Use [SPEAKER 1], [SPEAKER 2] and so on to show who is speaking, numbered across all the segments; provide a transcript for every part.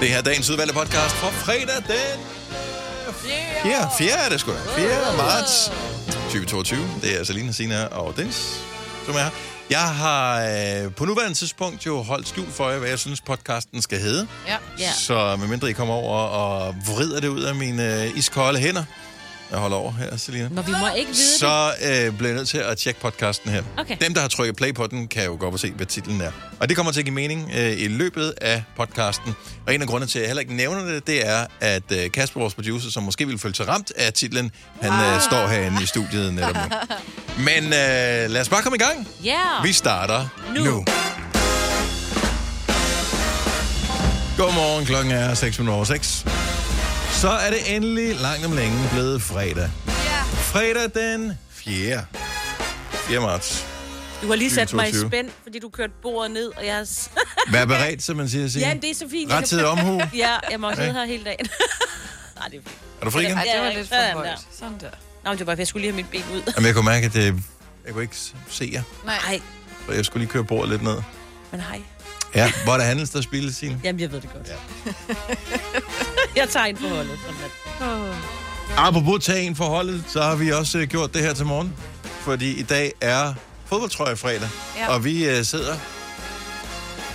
[SPEAKER 1] Det her er dagens udvalgte podcast fra fredag den... Ja, 4. er det sgu da. 4. marts 2022. Det er Selina, Sina og Dennis, som er her. Jeg har øh, på nuværende tidspunkt jo holdt skjult for jer, hvad jeg synes podcasten skal hedde.
[SPEAKER 2] Ja. ja.
[SPEAKER 1] Så medmindre I kommer over og vrider det ud af mine øh, iskolde hænder, jeg holder over her, Selina,
[SPEAKER 2] Nå, vi må ikke vide det.
[SPEAKER 1] så øh, bliver jeg nødt til at tjekke podcasten her.
[SPEAKER 2] Okay.
[SPEAKER 1] Dem, der har trykket play på den, kan jo godt se, hvad titlen er. Og det kommer til at give mening øh, i løbet af podcasten. Og en af grundene til, at jeg heller ikke nævner det, det er, at øh, Kasper, vores producer, som måske ville føle sig ramt af titlen, han øh, står herinde i studiet netop nu. Men øh, lad os bare komme i gang.
[SPEAKER 2] Ja.
[SPEAKER 1] Vi starter nu.
[SPEAKER 2] Nu.
[SPEAKER 1] nu. Godmorgen, klokken er 6.06. Så er det endelig langt om længe blevet fredag.
[SPEAKER 3] Ja.
[SPEAKER 1] Fredag den 4. 4. marts.
[SPEAKER 3] Du har lige sat mig i
[SPEAKER 1] 22.
[SPEAKER 3] spænd, fordi du kørte bordet ned, og jeg har... s-
[SPEAKER 1] Vær beredt, som man siger. Signe.
[SPEAKER 3] ja, men det er så fint.
[SPEAKER 1] Rettidig omhu.
[SPEAKER 3] ja, jeg må også
[SPEAKER 1] Ja.
[SPEAKER 3] sidde her hele dagen. Nej, det er fint.
[SPEAKER 1] Er du fri igen?
[SPEAKER 4] Ej, det var
[SPEAKER 3] Ja,
[SPEAKER 4] lidt
[SPEAKER 3] ja,
[SPEAKER 4] for
[SPEAKER 3] ja.
[SPEAKER 4] højt. Sådan der.
[SPEAKER 3] Nå, men det var bare, for jeg skulle lige have mit ben ud.
[SPEAKER 1] Jamen, jeg kunne mærke, at øh, jeg kunne ikke se jer,
[SPEAKER 4] Nej,
[SPEAKER 3] Nej,
[SPEAKER 1] for jeg skulle lige køre bordet lidt ned.
[SPEAKER 3] men hej.
[SPEAKER 1] Ja, hvor der handles der spilles, Signe?
[SPEAKER 3] Jamen, jeg ved det godt.
[SPEAKER 1] Ja.
[SPEAKER 3] Ja. jeg tager en forholdet. Sådan at...
[SPEAKER 1] Apropos tage en for holdet, så har vi også øh, gjort det her til morgen. Fordi i dag er fodboldtrøje fredag, ja.
[SPEAKER 4] Ja.
[SPEAKER 1] og vi øh, sidder...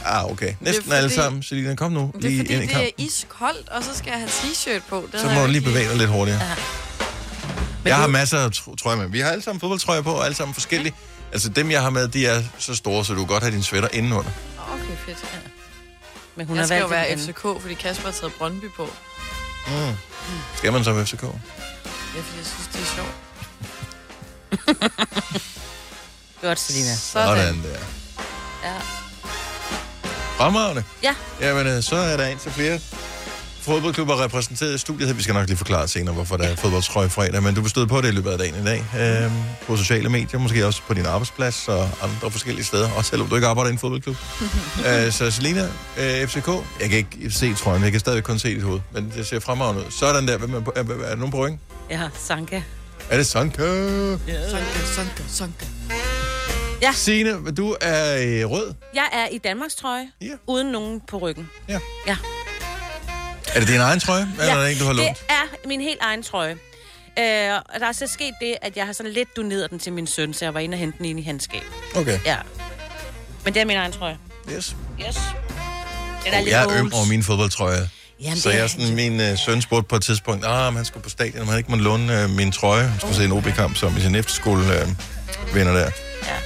[SPEAKER 1] Ah, okay. Næsten
[SPEAKER 4] fordi-
[SPEAKER 1] alle sammen. Selina, kom nu
[SPEAKER 4] det er
[SPEAKER 1] lige
[SPEAKER 4] fordi,
[SPEAKER 1] ind i
[SPEAKER 4] det er
[SPEAKER 1] kampen.
[SPEAKER 4] iskoldt, og så skal jeg have t-shirt på. Det
[SPEAKER 1] Så
[SPEAKER 4] havde
[SPEAKER 1] må
[SPEAKER 4] jeg
[SPEAKER 1] du lige
[SPEAKER 4] ikke
[SPEAKER 1] bevæge dig lidt hurtigere.
[SPEAKER 3] Men
[SPEAKER 1] Jeg
[SPEAKER 3] du-
[SPEAKER 1] har masser af tr- trøjer med. Vi har alle sammen fodboldtrøjer på, og alle sammen forskellige. Altså dem, jeg har med, de er så store, så du kan godt have din sweater indenunder.
[SPEAKER 4] Okay, fedt. Ja.
[SPEAKER 3] Men hun
[SPEAKER 4] Jeg
[SPEAKER 3] har
[SPEAKER 4] skal jo
[SPEAKER 3] valgt
[SPEAKER 4] være
[SPEAKER 3] en anden.
[SPEAKER 4] FCK, fordi Kasper har taget Brøndby på.
[SPEAKER 1] Mm. Skal man så med FCK?
[SPEAKER 4] Ja, fordi jeg synes, det er sjovt.
[SPEAKER 3] Godt, Selina.
[SPEAKER 4] Sådan.
[SPEAKER 1] der.
[SPEAKER 4] Ja.
[SPEAKER 1] Fremragende.
[SPEAKER 3] Ja.
[SPEAKER 1] Jamen, øh, så er der en til flere fodboldklubber repræsenteret i studiet. her. Vi skal nok lige forklare senere, hvorfor der er fodboldtrøje fredag, men du bestod på det i løbet af dagen i dag. Øhm, på sociale medier, måske også på din arbejdsplads og andre forskellige steder, også selvom du ikke arbejder i en fodboldklub. øh, så Selina, øh, FCK, jeg kan ikke se trøjen, jeg kan stadig kun se dit hoved, men det ser fremragende ud. Sådan der, Hvem er, på- er, er, er nogen på ryggen?
[SPEAKER 3] Jeg har Sanka.
[SPEAKER 1] Er det Sanka?
[SPEAKER 4] Sanke, sanke, sanke.
[SPEAKER 1] Signe, du er øh, rød.
[SPEAKER 3] Jeg er i Danmarks trøje,
[SPEAKER 1] Ja.
[SPEAKER 3] uden nogen på ryggen.
[SPEAKER 1] Ja.
[SPEAKER 3] Ja.
[SPEAKER 1] Er det din egen trøje, eller ja. er det en, du har lånt?
[SPEAKER 3] det er min helt egen trøje. Øh, og der er så sket det, at jeg har sådan lidt doneret den til min søn, så jeg var inde og hente den ind i hans skab.
[SPEAKER 1] Okay,
[SPEAKER 3] Ja. Men det er min egen trøje.
[SPEAKER 1] yes.
[SPEAKER 3] Yes. Den er lidt
[SPEAKER 1] Jeg
[SPEAKER 3] old.
[SPEAKER 1] er øm over mine fodboldtrøjer.
[SPEAKER 3] Jamen,
[SPEAKER 1] Så
[SPEAKER 3] det er
[SPEAKER 1] jeg sådan, min øh, søn spurgte på et tidspunkt, ah, men han skulle på stadion, om han ikke måtte låne øh, min trøje. Han skulle se en OB-kamp, som i sin efterskole øh, vinder der.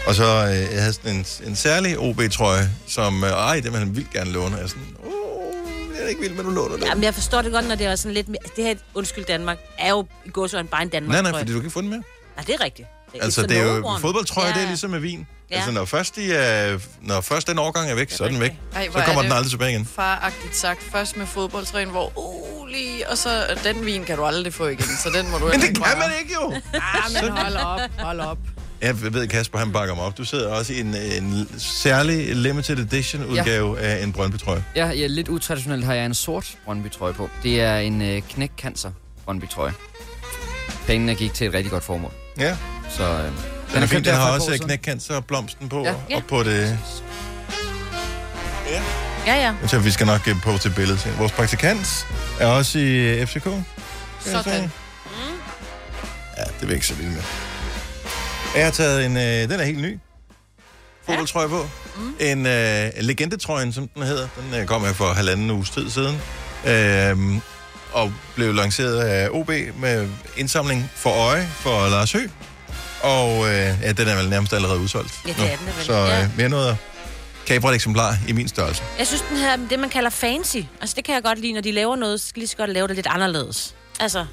[SPEAKER 1] Og så øh, jeg havde sådan en, en særlig OB-trøje, som, øh, ej, den vil han vildt gerne låne. Og Jeg er sådan, oh, jeg er ikke vild med, du låner den.
[SPEAKER 3] Jamen, jeg forstår det godt, når det er sådan lidt... mere- Altså, Det her, undskyld Danmark, er jo i gåsøjne bare en Danmark
[SPEAKER 1] Nej, nej, fordi du kan ikke få den mere.
[SPEAKER 3] Nej, det er rigtigt. er
[SPEAKER 1] Altså,
[SPEAKER 3] it's
[SPEAKER 1] det
[SPEAKER 3] a
[SPEAKER 1] er
[SPEAKER 3] no
[SPEAKER 1] jo
[SPEAKER 3] one.
[SPEAKER 1] fodboldtrøje,
[SPEAKER 3] Ja.
[SPEAKER 1] det er ligesom med vin.
[SPEAKER 3] Ja.
[SPEAKER 1] Altså, når først, de er, når først den årgang er væk, så er den væk.
[SPEAKER 3] rigtigt.
[SPEAKER 4] Ej, hvor
[SPEAKER 1] Så
[SPEAKER 4] er
[SPEAKER 1] kommer
[SPEAKER 4] det
[SPEAKER 1] den aldrig tilbage igen.
[SPEAKER 4] Faragtigt sagt. Først med fodboldtræen, hvor uh, lige, og så den vin kan du aldrig få igen, så den må du
[SPEAKER 1] Men det kan man ikke jo!
[SPEAKER 4] Ah, men hold op, hold op.
[SPEAKER 1] Jeg ved, Kasper, han bakker mig op. Du sidder også i en, en særlig limited edition udgave ja. af en Brøndby-trøje.
[SPEAKER 5] Ja, ja, lidt utraditionelt har jeg en sort Brøndby-trøje på. Det er en øh, knækcancer Brøndby-trøje. Pengene gik til et rigtig godt formål.
[SPEAKER 1] Ja,
[SPEAKER 5] Så, øh, den,
[SPEAKER 1] den, er
[SPEAKER 5] købt
[SPEAKER 1] fin. den
[SPEAKER 5] her for
[SPEAKER 1] har
[SPEAKER 5] et
[SPEAKER 1] også
[SPEAKER 5] par år siden.
[SPEAKER 1] knækkancer og blomsten på,
[SPEAKER 5] Ja.
[SPEAKER 1] ja. og på det...
[SPEAKER 3] Ja, ja.
[SPEAKER 1] Jeg tror, vi skal nok øh, poste et billede til. Vores praktikant er også i øh, FCK. kan jeg
[SPEAKER 4] Sådan.
[SPEAKER 1] sige. Ja, det er vi ikke så vilde med. Jeg har taget en... Øh, den er helt ny. Fodboldtrøje på. Mm. En øh, legendetrøjen, som den hedder. Den øh, kom her for halvanden uges tid siden. Øhm, og blev lanceret af OB med indsamling for øje for Lars Høgh. Og øh, ja, den er vel nærmest allerede udsolgt.
[SPEAKER 3] Ja, det
[SPEAKER 1] nu.
[SPEAKER 3] er den da vel.
[SPEAKER 1] Så
[SPEAKER 3] Ja.
[SPEAKER 1] øh, vi har nået at kabre et eksemplar i min størrelse.
[SPEAKER 3] Jeg synes, den her, det man kalder fancy, altså det kan jeg godt lide, når de laver noget, så skal de lige så godt lave det lidt anderledes. Altså,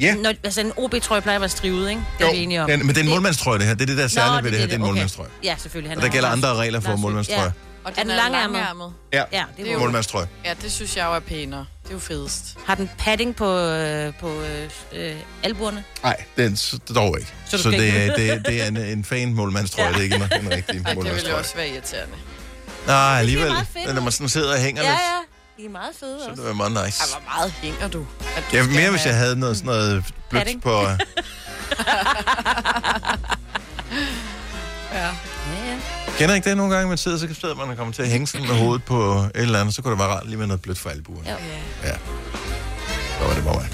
[SPEAKER 1] Ja.
[SPEAKER 3] når, altså en OB-trøje plejer at være strivet, ikke? Det er vi enige om.
[SPEAKER 1] Den, men det er en målmandstrøje, det her. Det er det, der er
[SPEAKER 3] Nå,
[SPEAKER 1] særligt ved det her. Det er en
[SPEAKER 3] okay.
[SPEAKER 1] målmandstrøje.
[SPEAKER 3] Ja, selvfølgelig. Han
[SPEAKER 1] Og der
[SPEAKER 3] er-
[SPEAKER 1] gælder andre regler for
[SPEAKER 3] Lars Høgh.
[SPEAKER 1] målmandstrøje.
[SPEAKER 4] Og
[SPEAKER 3] Er
[SPEAKER 4] den
[SPEAKER 3] den
[SPEAKER 4] er
[SPEAKER 3] langærmet?
[SPEAKER 4] langærmet.
[SPEAKER 1] Ja,
[SPEAKER 3] Ja, ja det
[SPEAKER 4] Det er
[SPEAKER 3] var,
[SPEAKER 1] målmandstrøje.
[SPEAKER 4] Ja, det synes jeg jo er pænere. Det er jo fedest.
[SPEAKER 3] Har den padding på, øh, på øh, øh, albuerne?
[SPEAKER 1] Nej, det er s- det dog ikke. Så,
[SPEAKER 3] Så du
[SPEAKER 1] så
[SPEAKER 3] skal
[SPEAKER 1] det,
[SPEAKER 3] ikke-
[SPEAKER 1] er, det, er- det er en, en fan målmandstrøje, ja. det er ikke en, en
[SPEAKER 4] Ej, det
[SPEAKER 1] rigtig
[SPEAKER 4] ville jo
[SPEAKER 1] målmandstrøje.
[SPEAKER 4] også være irriterende.
[SPEAKER 1] Nej, alligevel.
[SPEAKER 3] meget fedt
[SPEAKER 1] Men når man sådan sidder og hænger
[SPEAKER 3] Ja,
[SPEAKER 1] lidt,
[SPEAKER 3] ja. De er meget fede
[SPEAKER 1] så
[SPEAKER 3] også.
[SPEAKER 1] det være meget nice.
[SPEAKER 4] Ej, hvor meget hænger du? At du
[SPEAKER 1] Ja,
[SPEAKER 4] skal
[SPEAKER 1] mere hvis jeg
[SPEAKER 4] have-
[SPEAKER 1] havde noget, sådan noget blødt
[SPEAKER 3] Padding.
[SPEAKER 1] på... øh.
[SPEAKER 4] Ja.
[SPEAKER 3] Ja, ja.
[SPEAKER 1] Kender I ikke det nogle gange, man sidder, så sidder man og kommer til at hænge sådan med hovedet på et eller andet, så kunne det være rart lige med noget blødt for albuerne.
[SPEAKER 3] Ja.
[SPEAKER 1] Ja. Så var det bare mig.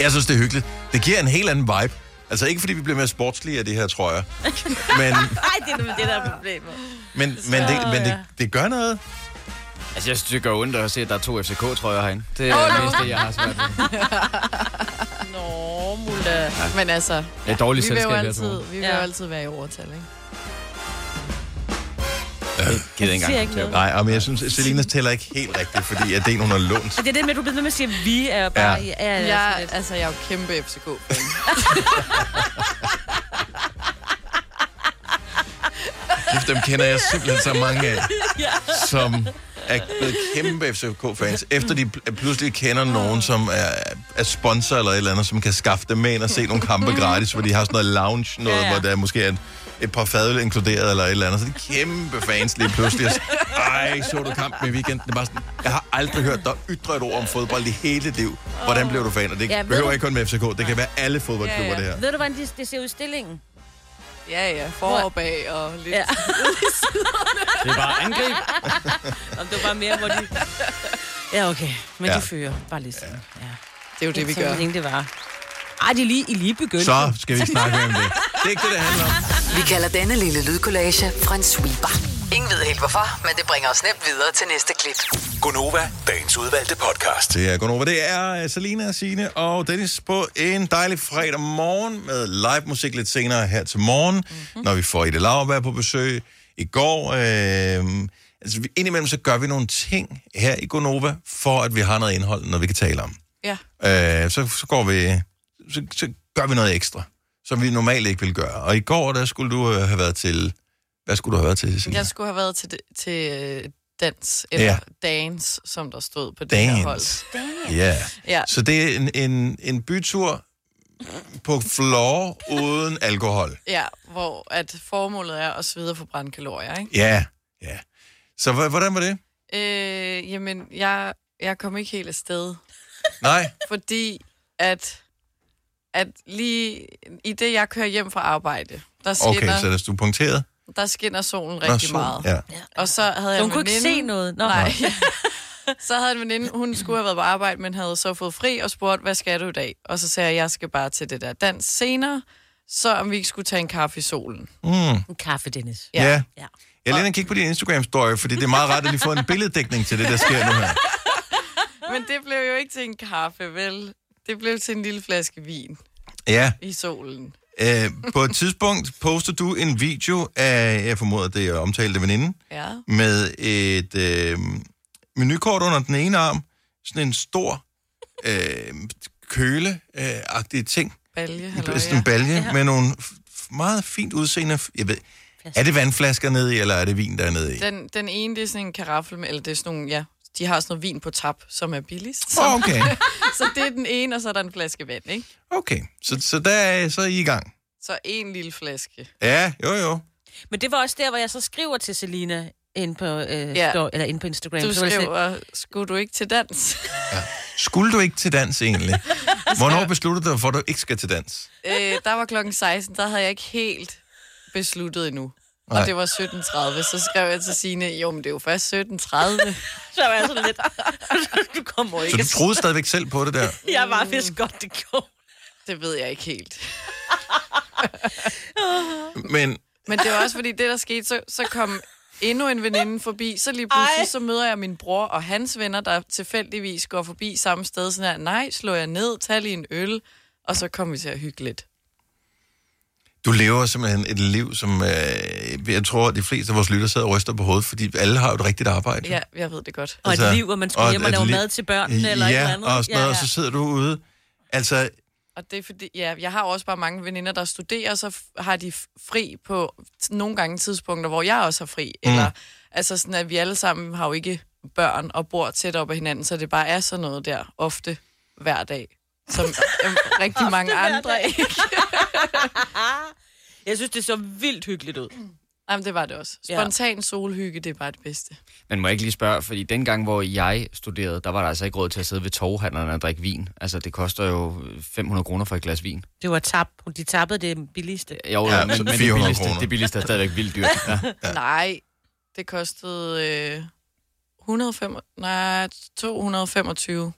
[SPEAKER 1] Jeg synes, det er hyggeligt. Det giver en helt anden vibe. Altså ikke fordi vi bliver mere sportslige af det her, tror jeg. Men,
[SPEAKER 3] Nej, det er nemlig det, der er problemet.
[SPEAKER 1] men, men, det, men det, det gør noget.
[SPEAKER 5] Altså, jeg synes, det gør ondt at se, at der er to FCK-trøjer herinde. Det er det meste, jeg har svært ved.
[SPEAKER 1] øh,
[SPEAKER 4] Nå, Mulla. Men altså,
[SPEAKER 5] Det er dårligt
[SPEAKER 4] vi vil jo
[SPEAKER 5] selskab, jeg
[SPEAKER 4] altid,
[SPEAKER 5] tror.
[SPEAKER 4] vi vil
[SPEAKER 3] Ja.
[SPEAKER 4] jo altid være i overtal, ikke?
[SPEAKER 5] Jeg gider ikke
[SPEAKER 3] øh,
[SPEAKER 5] engang
[SPEAKER 3] siger ikke
[SPEAKER 5] til at
[SPEAKER 1] Nej, og men jeg synes, at Selina tæller ikke helt rigtigt, fordi at det er en, hun har lånt.
[SPEAKER 3] Og det er det med, at du bliver ved med at sige, at vi er bare...
[SPEAKER 1] Ja.
[SPEAKER 3] Ja. Ja, ja,
[SPEAKER 4] Jeg,
[SPEAKER 3] sådan lidt.
[SPEAKER 4] altså, jeg er jo kæmpe FCK-fan.
[SPEAKER 1] Kæft, Dem kender jeg simpelthen så mange af, som er blevet kæmpe FCK-fans, efter de pl- pludselig kender nogen, som er, er sponsor eller et eller andet, som kan skaffe dem med ind og se nogle kampe gratis, hvor de har sådan noget lounge, noget,
[SPEAKER 3] Mhm. Ja,
[SPEAKER 1] ja,
[SPEAKER 3] ja.
[SPEAKER 1] ja. hvor der er måske er et, et par fadøl inkluderet eller et eller andet. Så de er kæmpe fans lige pludselig. Og så, Ej, så du kampen i weekenden? Det er bare sådan, jeg har aldrig hørt dig ytre et ord om fodbold i hele dit liv. Hvordan blev du fan? Og det
[SPEAKER 3] Ja,
[SPEAKER 1] ja,
[SPEAKER 3] ved
[SPEAKER 1] behøver
[SPEAKER 3] du-
[SPEAKER 1] ikke kun med FCK. Det kan være alle fodboldklubber,
[SPEAKER 4] Ja, ja.
[SPEAKER 1] det her.
[SPEAKER 3] Ved du, hvordan det, det ser ud i stillingen?
[SPEAKER 4] Ja, ja, for og bag og lidt.
[SPEAKER 3] Ja.
[SPEAKER 4] Ja.
[SPEAKER 5] Det er bare angreb.
[SPEAKER 3] Om det var bare mere, hvor de... Ja, okay. Men
[SPEAKER 1] Ja.
[SPEAKER 3] ja. de fører bare lige sådan. Ja. ja.
[SPEAKER 4] Det er jo det, vi gør.
[SPEAKER 3] Som tænkte, det var. Ej, de er lige, I er lige begyndt.
[SPEAKER 1] Så skal vi ikke snakke mere om det. Det er ikke det, det handler om.
[SPEAKER 2] Vi kalder denne lille lydkollage Frans sweeper. Ingen ved helt hvorfor, men det bringer os nemt videre til næste klip.
[SPEAKER 6] Gunova, dagens udvalgte podcast.
[SPEAKER 1] Det er Gunova. Det er øh, Selina, Signe og Dennis på en dejlig fredag morgen med live musik lidt senere her til morgen, mm-hmm. når vi får Ida Lauerberg på besøg i går. Øh, altså, vi- indimellem så gør vi nogle ting her i Gonova, for at vi har noget indhold, når vi kan tale om.
[SPEAKER 4] Ja.
[SPEAKER 1] Øh, så, så går vi, så, så gør vi noget ekstra, som vi normalt ikke vil gøre. Og i går, der skulle du øh, have været til, hvad skulle du have været til, Signe?
[SPEAKER 4] Jeg skulle have været til, det- til øh, dans, eller
[SPEAKER 1] Ja.
[SPEAKER 4] ja. dance, som der stod på det her hold.
[SPEAKER 1] Dance. Ja.
[SPEAKER 4] Ja.
[SPEAKER 1] Så det er en, en, en bytur på floor uden alkohol.
[SPEAKER 4] Ja, hvor at formålet er at svede og forbrænde kalorier, ikke?
[SPEAKER 1] Ja, ja. Så hva- hvordan var det?
[SPEAKER 4] Øh, jamen, jeg, jeg kom ikke helt afsted,
[SPEAKER 1] Nej,
[SPEAKER 4] fordi at, at lige i det, jeg kører hjem fra arbejde, der skinner,
[SPEAKER 1] okay, så er det- du er punkteret.
[SPEAKER 4] der skinner solen
[SPEAKER 1] Nå,
[SPEAKER 4] rigtig
[SPEAKER 1] sol.
[SPEAKER 4] meget.
[SPEAKER 1] Ja.
[SPEAKER 4] Og så havde
[SPEAKER 3] Så
[SPEAKER 4] jeg
[SPEAKER 3] hun
[SPEAKER 4] en
[SPEAKER 3] kunne ikke
[SPEAKER 4] veninde-
[SPEAKER 3] se noget. Nå,
[SPEAKER 4] Nej. så havde en veninde, hun skulle have været på arbejde, men havde så fået fri og spurgt, hvad skal du i dag? Og så sagde jeg, jeg skal bare til det der dans senere, så om vi ikke skulle tage en kaffe i solen.
[SPEAKER 3] En kaffe, Dennis.
[SPEAKER 1] Ja. Mm. ja.
[SPEAKER 3] Ja.
[SPEAKER 1] Jeg er lige inde og kigge på din Instagram-story, fordi det er meget rart at lige få en billeddækning til det, der sker nu her.
[SPEAKER 4] Men det blev jo ikke til en kaffe, vel? Det blev til en lille flaske vin
[SPEAKER 1] Ja,
[SPEAKER 4] i solen.
[SPEAKER 1] øh, på et tidspunkt poster du en video af, jeg formoder, det er omtalte veninde,
[SPEAKER 4] Ja.
[SPEAKER 1] med et øh, menukort under den ene arm, sådan en stor øh, køle-agtig ting,
[SPEAKER 4] Balje,
[SPEAKER 1] Halløj,
[SPEAKER 4] halløj,
[SPEAKER 1] sådan en balje, ja. med nogle f- f- meget fint udseende... f- Jeg ved, er det vandflasker nede i, eller er det vin, der er nede i? Åh,
[SPEAKER 4] Den, den ene, det er sådan en karaffel, med- eller det er sådan nogle, ja, de har sådan noget vin på tap, som er billigst. Så,
[SPEAKER 1] oh, okay.
[SPEAKER 4] så det er den ene, og så er der en flaske vand, ikke?
[SPEAKER 1] Okay, så, så der er, så er I i gang.
[SPEAKER 4] Så en lille flaske.
[SPEAKER 1] Ja, jo jo.
[SPEAKER 3] Men det var også der, hvor jeg så skriver til Selina ind på, øh,
[SPEAKER 4] Ja.
[SPEAKER 3] ja. story, eller ind på Instagram.
[SPEAKER 4] Du
[SPEAKER 3] så var det sådan,
[SPEAKER 4] skriver, skulle du ikke til dans?
[SPEAKER 1] Skulle du ikke til dans egentlig? Hvornår besluttede du dig for, at du ikke skal til dans?
[SPEAKER 4] øh, der var klokken 16, der havde jeg ikke helt besluttet endnu. Nej.
[SPEAKER 1] Nej.
[SPEAKER 4] Og det var 17.30, så skrev jeg til Signe, jo, men det er jo først 17.30.
[SPEAKER 3] så var jeg sådan lidt, du kommer
[SPEAKER 1] Så
[SPEAKER 3] ikke.
[SPEAKER 1] du troede stadigvæk selv på det der?
[SPEAKER 3] Jeg var vist godt, det gjorde.
[SPEAKER 4] det ved jeg ikke helt.
[SPEAKER 1] Men
[SPEAKER 4] Men det var også fordi, det der skete, så, så kom endnu en veninde forbi, så lige pludselig,
[SPEAKER 3] Ej.
[SPEAKER 4] Ej. så møder jeg min bror og hans venner, der tilfældigvis går forbi samme sted, sådan her, nej, slår jeg ned, tag lige en øl, og så kom vi til at hygge lidt.
[SPEAKER 1] Du lever simpelthen et liv, som øh, jeg tror, at de fleste af vores lytter sidder og ryster på hovedet, fordi alle har jo et rigtigt arbejde. Altså,
[SPEAKER 4] Ja, jeg ved det godt.
[SPEAKER 3] Og et liv, hvor man skulle
[SPEAKER 1] og
[SPEAKER 3] hjem og
[SPEAKER 1] et
[SPEAKER 3] lave
[SPEAKER 1] liv-
[SPEAKER 3] mad til børnene eller et
[SPEAKER 1] ja,
[SPEAKER 3] eller andet.
[SPEAKER 1] Og, sådan noget,
[SPEAKER 3] Ja,
[SPEAKER 1] og
[SPEAKER 3] ja.
[SPEAKER 1] så sidder du ude. Altså,
[SPEAKER 4] Og det er fordi, ja, jeg har også bare mange veninder, der studerer, og så f- har de f- fri på t- nogle gange tidspunkter, hvor jeg også har fri. Mm. Eller, altså sådan, at vi alle sammen har jo ikke børn og bor tæt op ad hinanden, så det bare er sådan noget der, ofte hver dag, som øhm, rigtig mange andre.
[SPEAKER 3] Jeg synes, det så vildt hyggeligt ud.
[SPEAKER 4] Jamen, det var det også.
[SPEAKER 3] Ja.
[SPEAKER 4] Spontan solhygge, det er bare det bedste.
[SPEAKER 5] Men må jeg ikke lige spørge, fordi dengang, hvor jeg studerede, der var der altså ikke råd til at sidde ved toghandlerne og drikke vin. Altså, det koster jo 500 kroner for et glas vin.
[SPEAKER 3] Det var tab. De tappede det billigste.
[SPEAKER 5] Jo,
[SPEAKER 1] Ja,
[SPEAKER 5] ja, men,
[SPEAKER 1] så
[SPEAKER 5] men det,
[SPEAKER 1] 400
[SPEAKER 5] billigste,
[SPEAKER 1] kroner.
[SPEAKER 5] det billigste er stadigvæk vildt dyrt. Ja.
[SPEAKER 4] Ja. Nej, det kostede øh, 105, nej, 225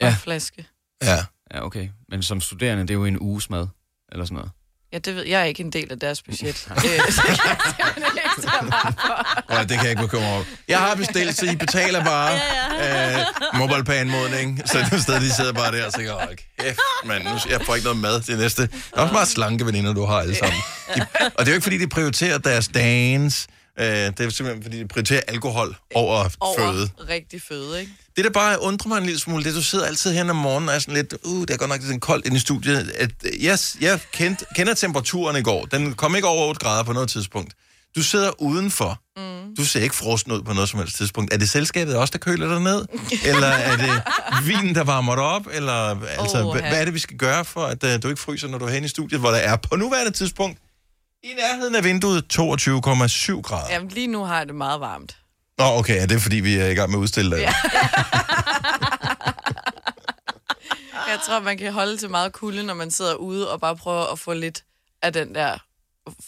[SPEAKER 4] ja.
[SPEAKER 5] Ja.
[SPEAKER 4] en flaske.
[SPEAKER 1] Ja.
[SPEAKER 5] ja, okay. Men som studerende, det er jo en uges mad, eller sådan noget.
[SPEAKER 4] Ja, det ved jeg er ikke en del af deres budget. Øh, så jeg kan ikke tage vare for.
[SPEAKER 1] Og det kan jeg ikke bekymre over. Jeg har bestilt, så I betaler bare ja, ja. MobilePay-anmodning. Så det er stadig, de sidder bare der og tænker, åh, kæft, mand, nu, jeg får ikke noget mad til næste. Der er også meget slanke veninder, du har alle sammen. De, og det er jo ikke, fordi de prioriterer deres dagens. Øh, det er simpelthen, fordi de prioriterer alkohol over,
[SPEAKER 4] Over
[SPEAKER 1] føde.
[SPEAKER 4] rigtig føde, ikke?
[SPEAKER 1] Det, der bare undrer mig en lille smule, det er, du sidder altid hen om morgenen og er sådan lidt, uh, det er godt nok lidt koldt inde i studiet. At, øh, jeg jeg kendte, kender temperaturen i går. Den kom ikke over 8 grader på noget tidspunkt. Du sidder udenfor. Mm. Du ser ikke frosten ud på noget som helst tidspunkt. Er det selskabet også, der køler dig ned? Eller er det vinen, der varmer dig op? Eller altså,
[SPEAKER 4] Åh,
[SPEAKER 1] oh,
[SPEAKER 4] ja.
[SPEAKER 1] hvad er det, vi skal gøre for, at uh, du ikke fryser, når du er hen i studiet, hvor der er på nuværende tidspunkt i nærheden af vinduet 22,7 grader?
[SPEAKER 4] Jamen, lige nu har jeg det meget varmt.
[SPEAKER 1] Nå, okay, er det fordi, vi er i gang med at udstille dig? Ja.
[SPEAKER 4] Jeg tror, man kan holde til meget kulde, når man sidder ude og bare prøver at få lidt af den der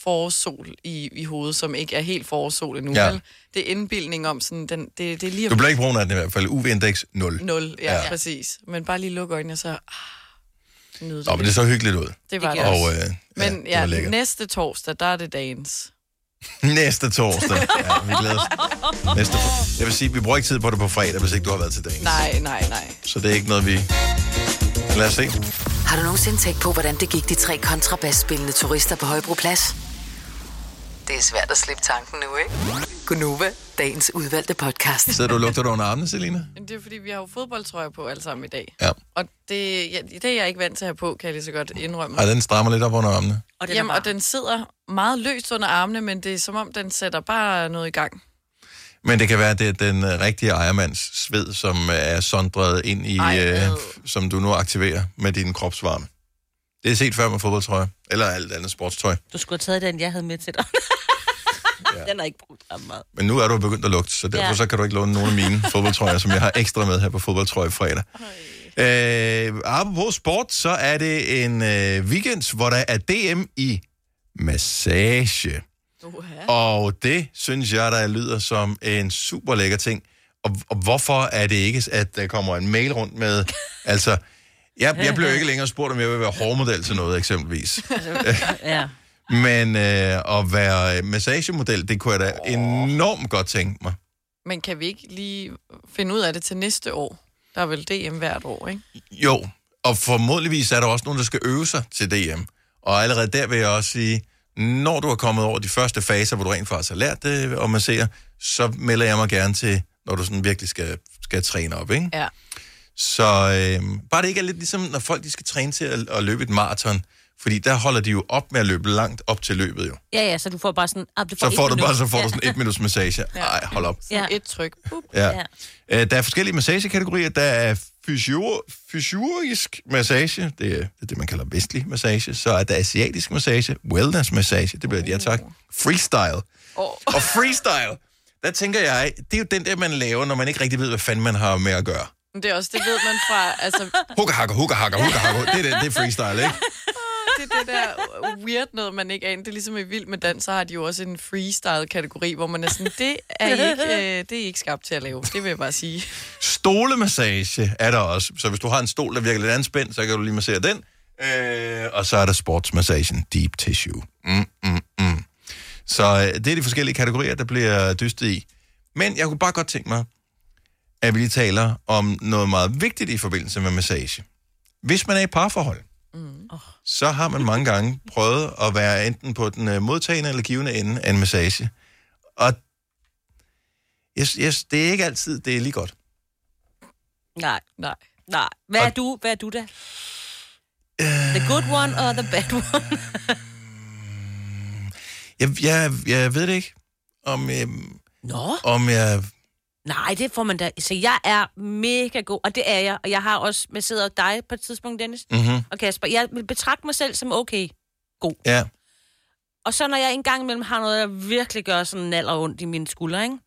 [SPEAKER 4] forårssol i, i hovedet, som ikke er helt forårssol endnu.
[SPEAKER 1] Ja.
[SPEAKER 4] Ja. Det er indbildning om sådan, den, det, det er lige
[SPEAKER 1] Du
[SPEAKER 4] om
[SPEAKER 1] bliver ikke brun af den i hvert fald. UV-indeks 0.
[SPEAKER 4] nul. Ja,
[SPEAKER 1] Ja.
[SPEAKER 4] ja, præcis. Men bare lige lukke øjnene og så... Ah, nyde det,
[SPEAKER 1] Nå, men det
[SPEAKER 4] lidt.
[SPEAKER 1] så hyggeligt ud.
[SPEAKER 4] det var det,
[SPEAKER 3] giver
[SPEAKER 4] også.
[SPEAKER 1] Og øh,
[SPEAKER 4] Men
[SPEAKER 1] ja,
[SPEAKER 4] ja,
[SPEAKER 1] det var lækkert.
[SPEAKER 4] næste torsdag, der er det dagens.
[SPEAKER 1] Næste torsdag. Ja, vi glæder os. Næste. Jeg vil sige, vi bruger ikke tid på det på fredag, hvis ikke du har været til dagen.
[SPEAKER 4] Nej, nej, nej.
[SPEAKER 1] Så det er ikke noget, vi... Lad os se.
[SPEAKER 2] Har du nogensinde tænkt på, hvordan det gik de tre kontrabasspillende turister på Højbroplads? Det er svært at slippe tanken nu, ikke? Gunova, dagens udvalgte podcast.
[SPEAKER 1] Sidder du og lugter dig under armene, Selina?
[SPEAKER 4] Men Det er fordi, vi har jo fodboldtrøjer på alle sammen i dag.
[SPEAKER 1] Ja.
[SPEAKER 4] Og det, ja, det er jeg ikke vant til at have på, kan jeg lige så godt indrømme.
[SPEAKER 1] Ej, den strammer lidt op under armene.
[SPEAKER 3] Og den
[SPEAKER 4] Jamen,
[SPEAKER 3] er
[SPEAKER 4] og den sidder meget løst under armene, men det er som om, den sætter bare noget i gang.
[SPEAKER 1] Men det kan være, at det er den øh, rigtige ejermands sved, som øh, er sondret ind i,
[SPEAKER 4] Ej,
[SPEAKER 1] øh,
[SPEAKER 4] ad.
[SPEAKER 1] som du nu aktiverer med din kropsvarme. Det er set før med fodboldtrøje, eller alt andet sportstøj.
[SPEAKER 3] Du skulle have taget den, jeg havde med til dig. Den er ikke brugt ret meget.
[SPEAKER 1] Men nu er du begyndt at lugte, så derfor ja.
[SPEAKER 3] Ja.
[SPEAKER 1] så kan du ikke låne nogen af mine fodboldtrøjer, som jeg har ekstra med her på fodboldtrøje fredag. Øh, apropos sport, så er det en øh, weekend, hvor der er DM i massage.
[SPEAKER 4] Oha.
[SPEAKER 1] Og det synes jeg, der lyder som en super lækker ting. Og, og hvorfor er det ikke, at der kommer en mail rundt med... Altså, jeg, jeg blev ikke længere spurgt, om jeg vil være hårmodel til noget, eksempelvis.
[SPEAKER 3] Ja.
[SPEAKER 1] Men øh, at være massagemodel, det kunne jeg da enormt godt tænke mig.
[SPEAKER 4] Men kan vi ikke lige finde ud af det til næste år? Der er vel DM hvert år, ikke?
[SPEAKER 1] Jo, og formodligvis er der også nogen, der skal øve sig til DM. Og allerede der vil jeg også sige, når du er kommet over de første faser, hvor du rent faktisk har lært det og masserer, så melder jeg mig gerne til, når du sådan virkelig skal, skal træne op, ikke?
[SPEAKER 4] Ja.
[SPEAKER 1] Så øh, bare det ikke er lidt ligesom, når folk de skal træne til at, at løbe et maraton, fordi der holder de jo op med at løbe langt op til løbet jo.
[SPEAKER 3] ja, ja, så du får bare sådan... Ah, du får
[SPEAKER 1] Så
[SPEAKER 3] et
[SPEAKER 1] får du
[SPEAKER 3] minut.
[SPEAKER 1] bare så får
[SPEAKER 3] ja.
[SPEAKER 1] du sådan et minuts massage. Ej, hold op.
[SPEAKER 4] Ja.
[SPEAKER 3] Ja.
[SPEAKER 4] Et tryk. Bup.
[SPEAKER 1] Ja.
[SPEAKER 3] Ja.
[SPEAKER 1] Øh, Der er forskellige massagekategorier. Der er fysio- fysiorisk massage, det er det, er det, man kalder vestlig massage. Så er der asiatisk massage, wellness massage, det bliver et ja tak. Freestyle.
[SPEAKER 4] Oh.
[SPEAKER 1] Og freestyle, der tænker jeg, det er jo den der, man laver, når man ikke rigtig ved, hvad fanden man har med at gøre.
[SPEAKER 4] Det er også, det ved man fra, altså,
[SPEAKER 1] Hugga hakker, hugga hakker, hugga hakker. Det er, det, det er freestyle, ikke?
[SPEAKER 4] det er det der weird noget, man ikke aner. Det er ligesom i Vild med Dans, så har de jo også en freestyle-kategori, hvor man er sådan, det er, I ikke, øh, det er I ikke skabt til at lave. Det vil jeg bare sige.
[SPEAKER 1] Stolemassage er der også. Så hvis du har en stol, der virker lidt anspændt, så kan du lige massere den. Øh, og så er der sportsmassagen Deep Tissue. Mm, mm, mm. Så øh, det er de forskellige kategorier, der bliver dystet i. Men jeg kunne bare godt tænke mig, at vi lige taler om noget meget vigtigt i forbindelse med massage. Hvis man er i parforhold, så har man mange gange prøvet at være enten på den øh, modtagende eller givende ende af en massage. Og yes, yes, det er ikke altid, det er lige godt.
[SPEAKER 3] Nej,
[SPEAKER 4] Nej.
[SPEAKER 3] nej. Hvad er du, hvad er du da?
[SPEAKER 1] Øh.
[SPEAKER 3] The good one or the bad one?
[SPEAKER 1] Jeg, jeg, jeg ved det ikke, om, øhm,
[SPEAKER 3] Nå,
[SPEAKER 1] om jeg...
[SPEAKER 3] nej, det får man da. Så jeg er mega god, og det er jeg. Og jeg har også med sidder dig på et tidspunkt, Dennis
[SPEAKER 1] Mm-hmm.
[SPEAKER 3] og Kasper. Jeg vil betragte mig selv som okay.
[SPEAKER 1] Ja.
[SPEAKER 3] Og så når jeg engang imellem har noget, der virkelig gør sådan naller ondt i mine skuldre, ikke?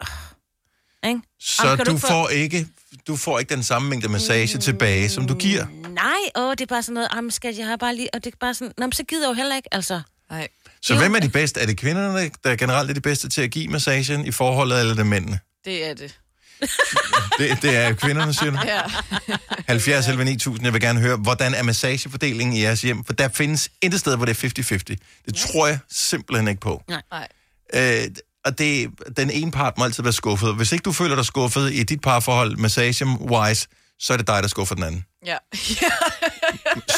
[SPEAKER 3] Ah, Ikke?
[SPEAKER 1] Så
[SPEAKER 3] Jamen, kan
[SPEAKER 1] du,
[SPEAKER 3] du
[SPEAKER 1] du,
[SPEAKER 3] ikke få- Mm.
[SPEAKER 1] får ikke, du får ikke den samme mængde massage tilbage, som du giver.
[SPEAKER 3] Nej, åh, det er bare sådan noget, jamen skat, jeg har bare lige, og det er bare sådan, nå, men så gider jeg jo heller ikke, altså.
[SPEAKER 4] Nej.
[SPEAKER 1] Så hvem er de bedste? Er det kvinderne, der generelt er de bedste til at give massagen i forholdet, eller er det mændene?
[SPEAKER 4] Det er det.
[SPEAKER 1] Det, det er kvinderne, siger du?
[SPEAKER 4] Ja.
[SPEAKER 1] 70 11 9000. Jeg vil gerne høre, hvordan er massagefordelingen i jeres hjem? For der findes intet sted, hvor det er 50-50. Det tror jeg simpelthen ikke på.
[SPEAKER 4] Nej.
[SPEAKER 1] Øh, og det, den ene part må altid være skuffet. Hvis ikke du føler dig skuffet i dit parforhold, massage-wise, så er det dig, der skuffer den anden.
[SPEAKER 4] Ja.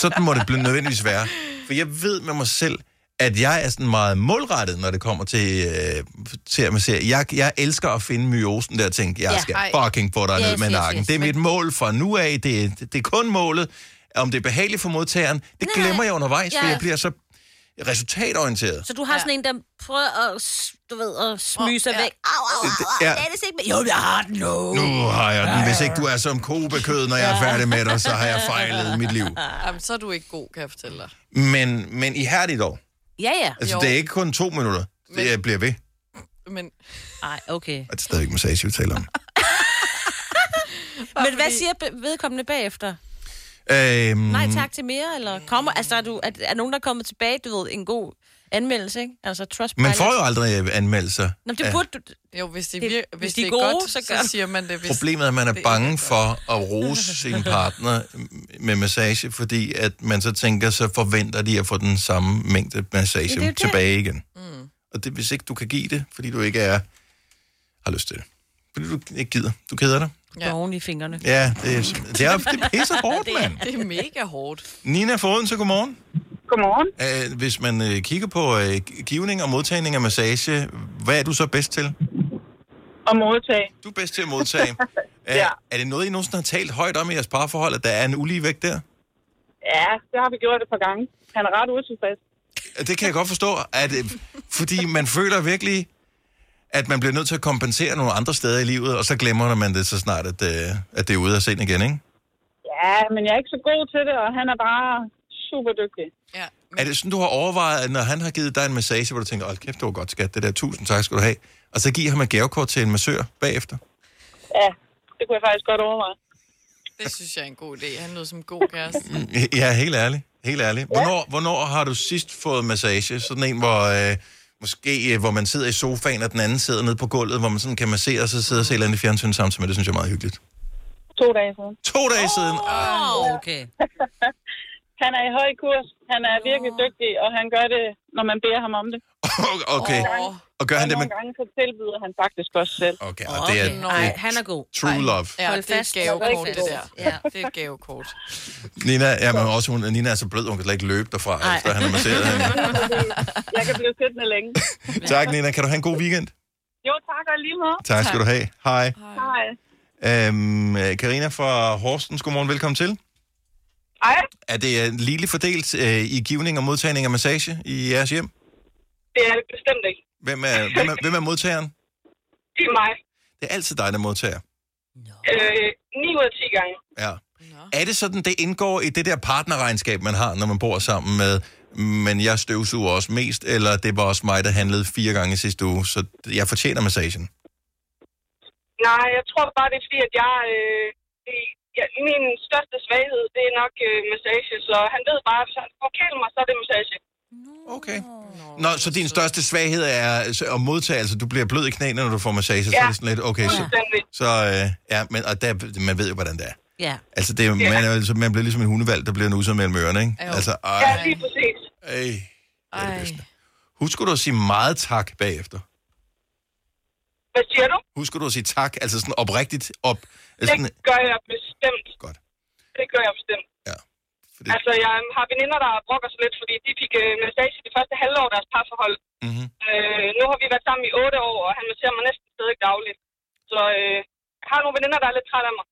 [SPEAKER 1] Sådan må det blive nødvendigvis være. For jeg ved med mig selv, at jeg er sådan meget målrettet, når det kommer til, øh, til at massere. Jeg, jeg elsker at finde myosen der og tænke, jeg
[SPEAKER 3] Ja,
[SPEAKER 1] skal
[SPEAKER 4] ej.
[SPEAKER 1] fucking få dig
[SPEAKER 3] Yes,
[SPEAKER 1] ned med
[SPEAKER 3] yes,
[SPEAKER 1] nakken.
[SPEAKER 3] yes.
[SPEAKER 1] Det er mit mål fra nu af. Det, er- det er kun målet. Om det er behageligt for modtageren, det
[SPEAKER 3] Nej.
[SPEAKER 1] glemmer jeg undervejs, for
[SPEAKER 3] Ja.
[SPEAKER 1] jeg bliver så resultatorienteret.
[SPEAKER 3] Så du har ja. sådan en, der prøver at, s- du ved, at smyge sig
[SPEAKER 4] Åh,
[SPEAKER 3] ja.
[SPEAKER 4] ja.
[SPEAKER 3] væk. Au, au, au, au,
[SPEAKER 1] Ja.
[SPEAKER 3] ja. det er det ikke med. Jo, jeg har den nu.
[SPEAKER 1] Nu har jeg den. Hvis ikke du er som kobekød, når jeg er færdig med dig, så har jeg fejlet i mit liv.
[SPEAKER 4] Jamen, så er du ikke god, kan jeg fortælle dig.
[SPEAKER 1] Men, men ihærdigt dog.
[SPEAKER 3] Ja, ja.
[SPEAKER 1] Altså,
[SPEAKER 4] Jo.
[SPEAKER 1] det er ikke kun to minutter. Det jeg bliver ved.
[SPEAKER 4] Men,
[SPEAKER 3] Ej, okay.
[SPEAKER 1] Og det er stadigvæk massage, vi taler om.
[SPEAKER 3] Men hvad siger be- vedkommende bagefter?
[SPEAKER 1] Øhm,
[SPEAKER 3] Nej, tak til mere, eller kommer, altså er, du, er, er nogen, der er kommet tilbage, du ved, en god anmeldelse, ikke? Altså trust
[SPEAKER 1] Man får jo aldrig øh, anmeldelser.
[SPEAKER 3] Nå, men det
[SPEAKER 1] Ja.
[SPEAKER 3] burde du...
[SPEAKER 4] jo, hvis det,
[SPEAKER 3] Det-
[SPEAKER 4] vir-
[SPEAKER 3] hvis
[SPEAKER 4] hvis hvis
[SPEAKER 3] de
[SPEAKER 4] det
[SPEAKER 3] er
[SPEAKER 4] er
[SPEAKER 3] gode,
[SPEAKER 4] godt,
[SPEAKER 3] så
[SPEAKER 4] så,
[SPEAKER 3] gør
[SPEAKER 4] så siger man det. Hvis...
[SPEAKER 1] Problemet er, at man er bange for at rose sin partner med massage, fordi at man så tænker, så forventer de at få den samme mængde massage
[SPEAKER 3] Men det er jo det.
[SPEAKER 1] tilbage igen. Mm. Og det, hvis ikke du kan give det, fordi du ikke er, har lyst til det. Fordi du ikke gider. Du keder dig.
[SPEAKER 3] Ja.
[SPEAKER 4] Ja.
[SPEAKER 3] Oven i fingrene.
[SPEAKER 1] Ja, det er, det er, det er pisse hårdt, mand.
[SPEAKER 4] Det er mega hårdt.
[SPEAKER 1] Nina Foden, så godmorgen.
[SPEAKER 7] Godmorgen.
[SPEAKER 1] Uh, hvis man uh, kigger på uh, givning og modtagning af massage, hvad er du så bedst til?
[SPEAKER 7] Og modtage.
[SPEAKER 1] Du er bedst til at modtage. Uh,
[SPEAKER 7] Ja.
[SPEAKER 1] Er det noget, I nogensinde har talt højt om i jeres parforhold, at der er en ulige vægt der?
[SPEAKER 7] Ja, det har vi gjort et par gange. Han er ret utilfreds.
[SPEAKER 1] Øh, Det kan jeg godt forstå, at, øh, fordi man føler virkelig, at man bliver nødt til at kompensere nogle andre steder i livet, og så glemmer man det så snart, at, uh, at det er ude af scenen igen, ikke?
[SPEAKER 7] Ja, men jeg er ikke så god til det, og han er bare super dygtig.
[SPEAKER 4] Ja.
[SPEAKER 1] Er det sådan, du har overvejet, at når han har givet dig en massage, hvor du tænker, hold kæft, det var godt skat, det der, tusind tak skal du have, og så giver ham et gavekort til en massør bagefter?
[SPEAKER 7] Ja, det kunne jeg faktisk godt overveje.
[SPEAKER 4] Det synes jeg er en god idé. Han lød som en god kæreste.
[SPEAKER 1] Ja, helt ærligt. Helt ærligt. Hvornår, ja. hvornår har du sidst fået massage? Sådan en, hvor, øh, måske, øh, hvor man sidder i sofaen, og den anden sidder nede på gulvet, hvor man sådan kan massere sig og sidde og se et eller andet fjernsyn sammen, men det synes jeg er meget hyggeligt.
[SPEAKER 7] To dage siden.
[SPEAKER 1] To dage oh. siden.
[SPEAKER 3] Åh, oh, okay.
[SPEAKER 7] Han er i høj kurs. Han er virkelig dygtig, og han gør det, når man beder ham om det.
[SPEAKER 1] Okay.
[SPEAKER 4] Åh,
[SPEAKER 1] Og gør
[SPEAKER 7] Og
[SPEAKER 1] han det med...
[SPEAKER 7] nogle gange så tilbyder han faktisk også selv.
[SPEAKER 1] Okay, og det er,
[SPEAKER 3] okay.
[SPEAKER 1] det
[SPEAKER 3] Nej,
[SPEAKER 1] er
[SPEAKER 3] han er god.
[SPEAKER 1] true love.
[SPEAKER 4] ja,
[SPEAKER 3] Hold
[SPEAKER 4] det er
[SPEAKER 3] fast.
[SPEAKER 4] et gavekort, det der.
[SPEAKER 3] Ja.
[SPEAKER 4] Det er et gavekort.
[SPEAKER 1] Nina, ja, men også, hun, Nina er så blød, hun kan slet ikke løbe derfra,
[SPEAKER 3] Nej.
[SPEAKER 1] efter han har masseret hende.
[SPEAKER 7] Jeg kan blive siddende længe.
[SPEAKER 1] Tak, Nina. Kan du have en god weekend?
[SPEAKER 7] Jo, tak og lige måde.
[SPEAKER 1] Tak skal du have. Hej.
[SPEAKER 7] Hej.
[SPEAKER 1] Øhm, Karina fra Horsens, godmorgen. Velkommen til.
[SPEAKER 7] Hej.
[SPEAKER 1] Er det øh, ligeligt fordelt øh, i givning og modtagning af massage i jeres hjem?
[SPEAKER 7] Det er det bestemt ikke.
[SPEAKER 1] Hvem er, hvem er, hvem er modtageren?
[SPEAKER 7] Det er mig.
[SPEAKER 1] Det er altid dig, der modtager.
[SPEAKER 7] Øh, 9 ud af 10 gange.
[SPEAKER 1] Ja. Er det sådan, det indgår i det der partnerregnskab, man har, når man bor sammen med, men jeg støvsuger også mest, eller det var også mig, der handlede fire gange i sidste uge, så jeg fortjener massagen?
[SPEAKER 7] Nej, jeg tror bare, det er fordi, at jeg... Øh, det, ja, min største svaghed, det er nok øh, massage, så han ved bare, at hvis han forkæler mig, så er det massage.
[SPEAKER 1] Okay. Nå, så din største svaghed er så- at modtage, altså du bliver blød i knæene, når du får massage, så
[SPEAKER 7] Ja.
[SPEAKER 1] er det sådan lidt, okay, så,
[SPEAKER 7] Fuldstændig.
[SPEAKER 1] så øh, ja, men, og der, man ved jo, hvordan det er.
[SPEAKER 3] Ja.
[SPEAKER 1] Altså, det, er- man, er, jo altså, man bliver ligesom en hundevalg, der bliver nusset mellem ørerne, ikke?
[SPEAKER 4] Jo.
[SPEAKER 1] Altså,
[SPEAKER 7] Ja,
[SPEAKER 1] ej,
[SPEAKER 7] lige præcis.
[SPEAKER 1] ej, det er det
[SPEAKER 4] Ej.
[SPEAKER 1] bedste. Husker du at sige meget tak bagefter?
[SPEAKER 7] Hvad siger du?
[SPEAKER 1] Husker du at sige tak, altså sådan oprigtigt op? Altså Sådan,
[SPEAKER 7] Det gør jeg bestemt.
[SPEAKER 1] Godt.
[SPEAKER 7] Det gør jeg bestemt.
[SPEAKER 1] fordi,
[SPEAKER 7] Altså, jeg har veninder, der brokker sig lidt, fordi de fik øh, massage det første halvår af deres parforhold.
[SPEAKER 1] mm-hmm.
[SPEAKER 7] Øh, nu har vi været sammen i 8 år, og han masserer mig næsten stadig dagligt. Så øh, jeg har nogle veninder, der er lidt trætte af mig.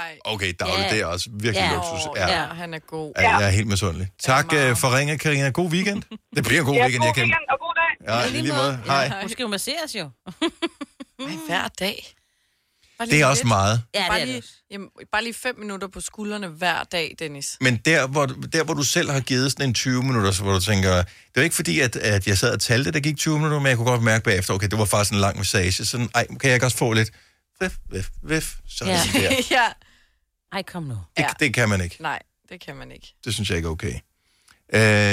[SPEAKER 4] Ej.
[SPEAKER 1] Okay, dagligt,
[SPEAKER 3] Ja.
[SPEAKER 1] det er også virkelig
[SPEAKER 3] Ja.
[SPEAKER 1] luksus.
[SPEAKER 4] Åh,
[SPEAKER 1] Ja.
[SPEAKER 4] ja,
[SPEAKER 1] Ja.
[SPEAKER 4] han er god.
[SPEAKER 1] Jeg er helt misundelig. Tak
[SPEAKER 4] meget.
[SPEAKER 1] øh, for ringet, Karina. God weekend. Det bliver en god
[SPEAKER 7] Ja,
[SPEAKER 1] weekend,
[SPEAKER 7] god
[SPEAKER 1] jeg kan.
[SPEAKER 7] weekend og god dag.
[SPEAKER 1] Ja, i lige måde. Hej.
[SPEAKER 3] Hun skal jo masseres jo.
[SPEAKER 4] Ej, hver dag. Bare lige
[SPEAKER 1] Det er også
[SPEAKER 4] lidt.
[SPEAKER 1] meget.
[SPEAKER 3] Ja, det er
[SPEAKER 4] bare,
[SPEAKER 3] det
[SPEAKER 4] lige,
[SPEAKER 3] også.
[SPEAKER 4] jamen, bare lige fem minutter på skuldrene hver dag, Dennis.
[SPEAKER 1] Men der hvor, der, hvor du selv har givet sådan en 20 minutter, så hvor du tænker, det var ikke fordi, at, at jeg sad og talte, der gik 20 minutter, men jeg kunne godt mærke bagefter, okay, det var faktisk en lang massage, sådan, ej, kan jeg ikke også få lidt? Vif, vif, vif, så er
[SPEAKER 3] Ja.
[SPEAKER 1] det der.
[SPEAKER 4] ja.
[SPEAKER 3] Ej, kom nu.
[SPEAKER 1] Det, det kan man ikke.
[SPEAKER 4] Nej, det kan man ikke.
[SPEAKER 1] Det synes jeg ikke er okay.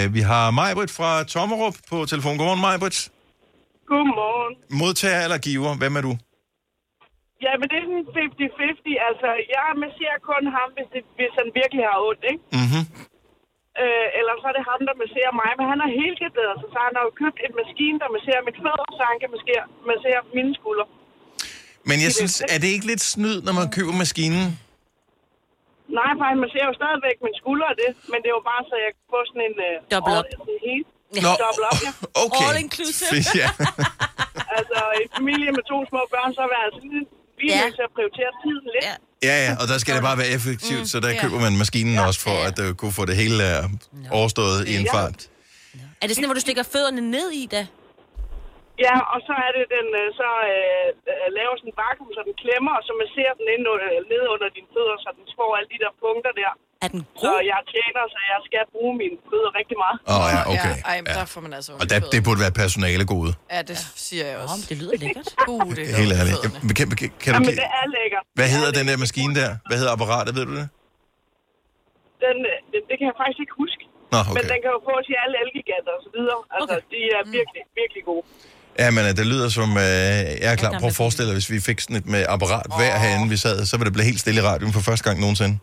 [SPEAKER 1] Uh, vi har Majbrit fra Tommerup på telefon. Godmorgen, Majbrit.
[SPEAKER 7] Godmorgen.
[SPEAKER 1] Modtager eller giver, hvem er du?
[SPEAKER 7] Ja, men det er sådan 50-50. Altså, jeg masserer kun ham, hvis, det, hvis han virkelig har ondt, ikke?
[SPEAKER 1] Mm-hmm.
[SPEAKER 7] Øh, eller så er det ham, der masserer mig. Men han har helt garderet sig, så han har jo købt en maskine, der masserer mit fødder, så han kan massere, massere mine skuldre.
[SPEAKER 1] Men jeg synes, er det ikke lidt snyd, når man køber maskinen?
[SPEAKER 7] Nej, for han masserer jo stadigvæk mine skuldre og det, men det er jo bare, så jeg kan få sådan en... Øh,
[SPEAKER 3] Dobbelt op.
[SPEAKER 7] over- det hele.
[SPEAKER 1] Nå,
[SPEAKER 7] Dobbelt op, ja.
[SPEAKER 1] okay.
[SPEAKER 3] All inclusive.
[SPEAKER 1] Fedt, ja.
[SPEAKER 7] Altså, i familie med to små børn, så er vi altså lige, vi er
[SPEAKER 3] Ja.
[SPEAKER 7] nødt til at prioritere tiden lidt.
[SPEAKER 3] Ja.
[SPEAKER 1] Ja, ja, og der skal det bare være effektivt, mm, så der køber man maskinen også for, at du kunne få det hele uh, overstået i en
[SPEAKER 7] Ja.
[SPEAKER 1] fart.
[SPEAKER 3] Er det sådan, hvor du stikker fødderne ned i det?
[SPEAKER 7] Ja, og så er det den, øh, så øh, øh, laver sådan en vakuum, så den klemmer, og så man ser den ind under, ned under dine fødder, så den får alle de der punkter der.
[SPEAKER 3] Er den
[SPEAKER 7] Så
[SPEAKER 3] god?
[SPEAKER 7] jeg tjener, så jeg skal bruge mine fødder rigtig meget.
[SPEAKER 1] Åh oh, ja, okay.
[SPEAKER 4] Ja, ej, men
[SPEAKER 1] Ja.
[SPEAKER 4] der får man altså
[SPEAKER 1] Og der, det burde være personale gode,
[SPEAKER 4] Ja, det siger jeg
[SPEAKER 3] Nå,
[SPEAKER 4] også.
[SPEAKER 3] men det lyder lækkert.
[SPEAKER 4] Uh, det er
[SPEAKER 1] helt
[SPEAKER 4] godt
[SPEAKER 1] ærligt.
[SPEAKER 4] fødderne.
[SPEAKER 1] Kan, kan, kan, kan du,
[SPEAKER 7] Jamen,
[SPEAKER 1] give-
[SPEAKER 7] det er lækkert.
[SPEAKER 1] hvad hedder
[SPEAKER 7] Det er
[SPEAKER 1] den der maskine der? Hvad hedder apparatet, ved du det?
[SPEAKER 7] Den, øh, den, det kan jeg faktisk ikke huske.
[SPEAKER 1] Nå,
[SPEAKER 7] Okay. Men
[SPEAKER 1] Ah, okay.
[SPEAKER 7] den kan jo få til alle elgiganter og så videre. Altså,
[SPEAKER 3] Okay.
[SPEAKER 7] okay. de er virkelig,
[SPEAKER 4] Mm.
[SPEAKER 7] virkelig gode.
[SPEAKER 1] Ja, men øh, det lyder som, øh, jeg er klar.
[SPEAKER 3] gammel
[SPEAKER 1] Prøv at forestille dig, hvis vi fik sådan et med apparat hver herinde, vi sad, så ville det blive helt stille i radioen for første gang nogensinde.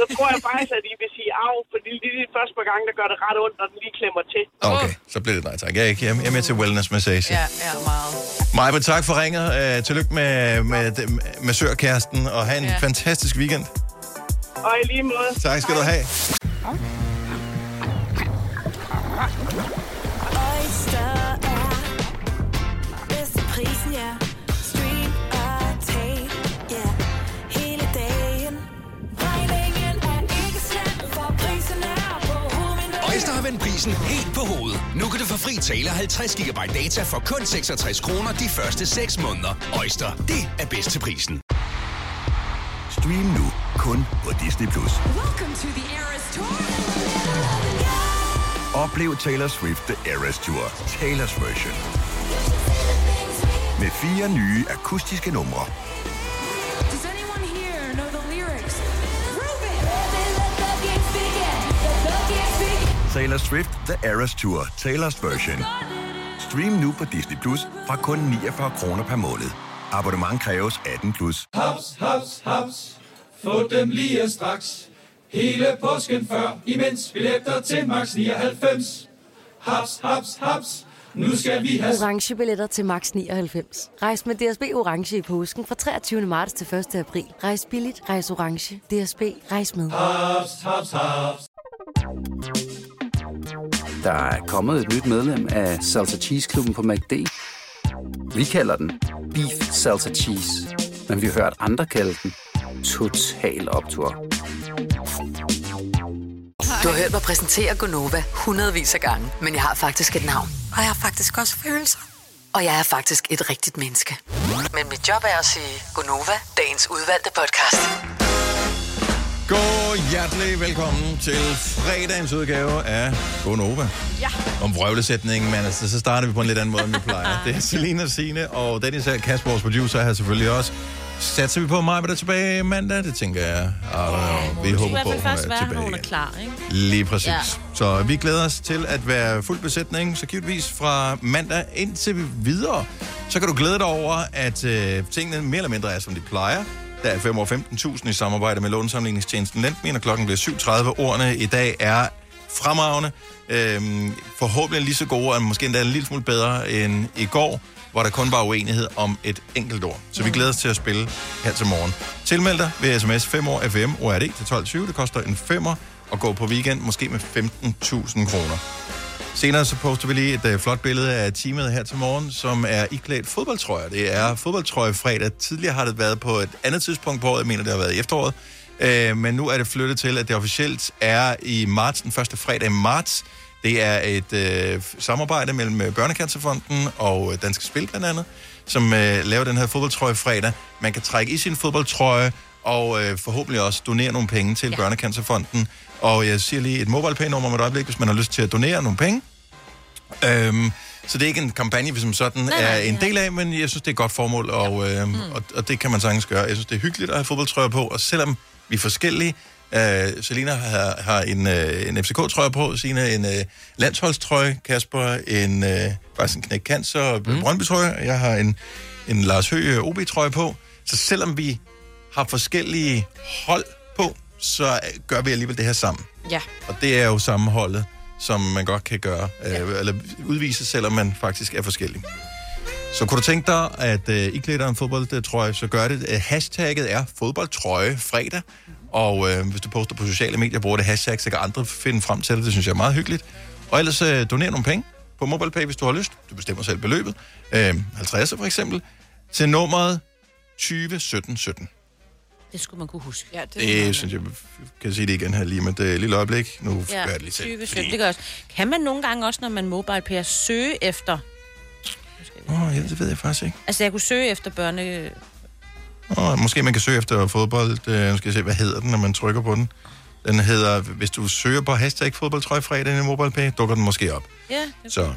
[SPEAKER 7] Så tror jeg faktisk, at I vil sige af, fordi det er de første par gange, der gør det ret ondt, når den lige klemmer til.
[SPEAKER 1] Nå, Okay, så bliver det nej tak. Jeg er, ikke, jeg jeg er med til wellness-massage.
[SPEAKER 4] Ja, ja, meget.
[SPEAKER 1] Maja, tak for ringet. Øh, tillykke med, med, med, med sørkæresten, og have en
[SPEAKER 4] Ja.
[SPEAKER 1] fantastisk weekend.
[SPEAKER 7] Og i lige måde...
[SPEAKER 1] Tak skal du have.
[SPEAKER 8] Oyster er bedst til prisen, ja. Stream og tag, ja. Hele dagen. Regningen er ikke slem, for prisen er på hovedet.
[SPEAKER 6] Øjster har vendt prisen helt på hovedet. Nu kan du få fri tale 50 GB data for kun 66 kroner de første 6 måneder. Øjster, det er bedst til prisen.
[SPEAKER 9] Stream nu kun på Disney+. Plus. Oplev Taylor Swift The Eras Tour, Taylor's version. Med fire nye akustiske numre. Taylor Swift The Eras Tour, Taylor's version. Stream nu på Disney Plus fra kun 49 kroner per måned. Abonnement kræves 18 plus.
[SPEAKER 10] Haps, haps, haps. Få dem lige straks. Hele påsken før, imens billetter til max 99. Haps, haps, haps. Nu skal vi have
[SPEAKER 11] Orange billetter til max 99. Rejs med DSB Orange i påsken fra 23. marts til 1. april. Rejs billigt, rejs orange. DSB, rejs med.
[SPEAKER 10] haps, haps, haps.
[SPEAKER 9] Der er kommet et nyt medlem af Salsa Cheese Klubben på MACD. Vi kalder den Beef Salsa Cheese, men vi har hørt andre kalde den Total Optor.
[SPEAKER 2] Du har hørt mig præsentere Gonova hundredvis af gange, men jeg har faktisk et navn. Og jeg har faktisk også følelser. Og jeg er faktisk et rigtigt menneske. Men mit job er at sige Gonova, dagens udvalgte podcast.
[SPEAKER 1] God hjertelig velkommen til fredagens udgave af Gonova. Ja. Om vrøvlesætningen, men altså, så starter vi på en lidt anden måde, end vi plejer. Det er Selina Sine og Dennis her, Kasper, vores producer, her selvfølgelig også. Satser vi på mig, hvad der er tilbage mandag? Det tænker jeg. I don't know.
[SPEAKER 3] Hun
[SPEAKER 1] Vi
[SPEAKER 3] skal i
[SPEAKER 1] håber
[SPEAKER 3] hvert
[SPEAKER 1] på,
[SPEAKER 3] fald
[SPEAKER 1] at hun
[SPEAKER 3] først
[SPEAKER 1] er
[SPEAKER 3] være, når
[SPEAKER 1] tilbage
[SPEAKER 3] hun er
[SPEAKER 1] igen.
[SPEAKER 3] klar, ikke?
[SPEAKER 1] Lige præcis. Ja.
[SPEAKER 3] Ja.
[SPEAKER 1] Så vi glæder os til at være fuld besætning, så givetvis fra mandag indtil videre. Så kan du glæde dig over, at øh, tingene mere eller mindre er, som de plejer. Der er 5 år 15.000 i samarbejde med lånesamligningstjenesten Lendmin, og klokken bliver 7.30. Ordene i dag er fremragende. Øhm, forhåbentlig lige så gode, og måske endda en lille smule bedre end i går, hvor der kun var uenighed om et enkelt ord. Så vi glæder os til at spille her til morgen. Tilmeld dig ved sms 5 år FM ORD til 12.20. Det koster en 5'er og gå på weekend, måske med 15.000 kroner. Senere så poster vi lige et øh, flot billede af teamet her til morgen, som er iklædt fodboldtrøjer. Det er fodboldtrøje fredag. Tidligere har det været på et andet tidspunkt på året. Jeg mener, det har været i efteråret. Øh, men nu er det flyttet til, at det officielt er i marts, den første fredag i marts. Det er et øh, samarbejde mellem øh, Børnecancerfonden og øh, Danske Spil blandt andet, som øh, laver den her fodboldtrøje fredag. Man kan trække i sin fodboldtrøje og øh, forhåbentlig også donere nogle penge til ja. Børnecancerfonden. Og jeg siger lige et mobile-pay-nummer om et øjeblik, hvis man har lyst til at donere nogle penge. Øhm, så det er ikke en kampagne, vi som sådan nej, er en del af, men jeg synes, det er et godt formål, og, øh, mm. og, og det kan man sagtens gøre. Jeg synes, det er hyggeligt at have fodboldtrøjer på, og selvom vi er forskellige, øh, Selina har, har en, øh, en FCK-trøje på, Sina en øh, landsholdstrøje, Kasper en, øh, faktisk en knæk cancer og mm. Brøndby-trøje, og jeg har en, en Lars Høgh øh, OB-trøje på. Så selvom vi har forskellige hold på, så øh, gør vi alligevel det her sammen.
[SPEAKER 4] Ja.
[SPEAKER 1] Og det er jo sammenholdet, som man godt kan gøre, øh, eller udvise, selvom man faktisk er forskellig. Så kunne du tænke dig, at øh, I klæder en fodboldtrøje, så gør det. Øh, hashtagget er fodboldtrøje fredag, og øh, hvis du poster på sociale medier, bruger det hashtag, så kan andre finde frem til det. Det synes jeg er meget hyggeligt. Og ellers øh, doner nogle penge på MobilePay, hvis du har lyst. Du bestemmer selv beløbet. Øh, 50 for eksempel. Til nummeret 201717.
[SPEAKER 3] Det skulle man kunne huske.
[SPEAKER 4] Ja,
[SPEAKER 1] Det Øh, synes jeg, kan sige det igen her lige med et øh, lille øjeblik. Nu ja,
[SPEAKER 3] Ja,
[SPEAKER 1] gør jeg det lige selv.
[SPEAKER 3] 20, 17, det gør jeg også. Kan man nogle gange også, når man mobile pærer, søge efter...
[SPEAKER 1] Åh, oh, ja, det ved jeg faktisk ikke.
[SPEAKER 3] Altså, jeg kunne søge efter børne...
[SPEAKER 1] Og måske man kan søge efter fodbold. Øh, nu skal jeg se, hvad hedder den, når man trykker på den. Den hedder, hvis du søger på hashtag fodboldtrøje fredag i MobilePay, dukker den måske op.
[SPEAKER 3] Ja,
[SPEAKER 1] det Så.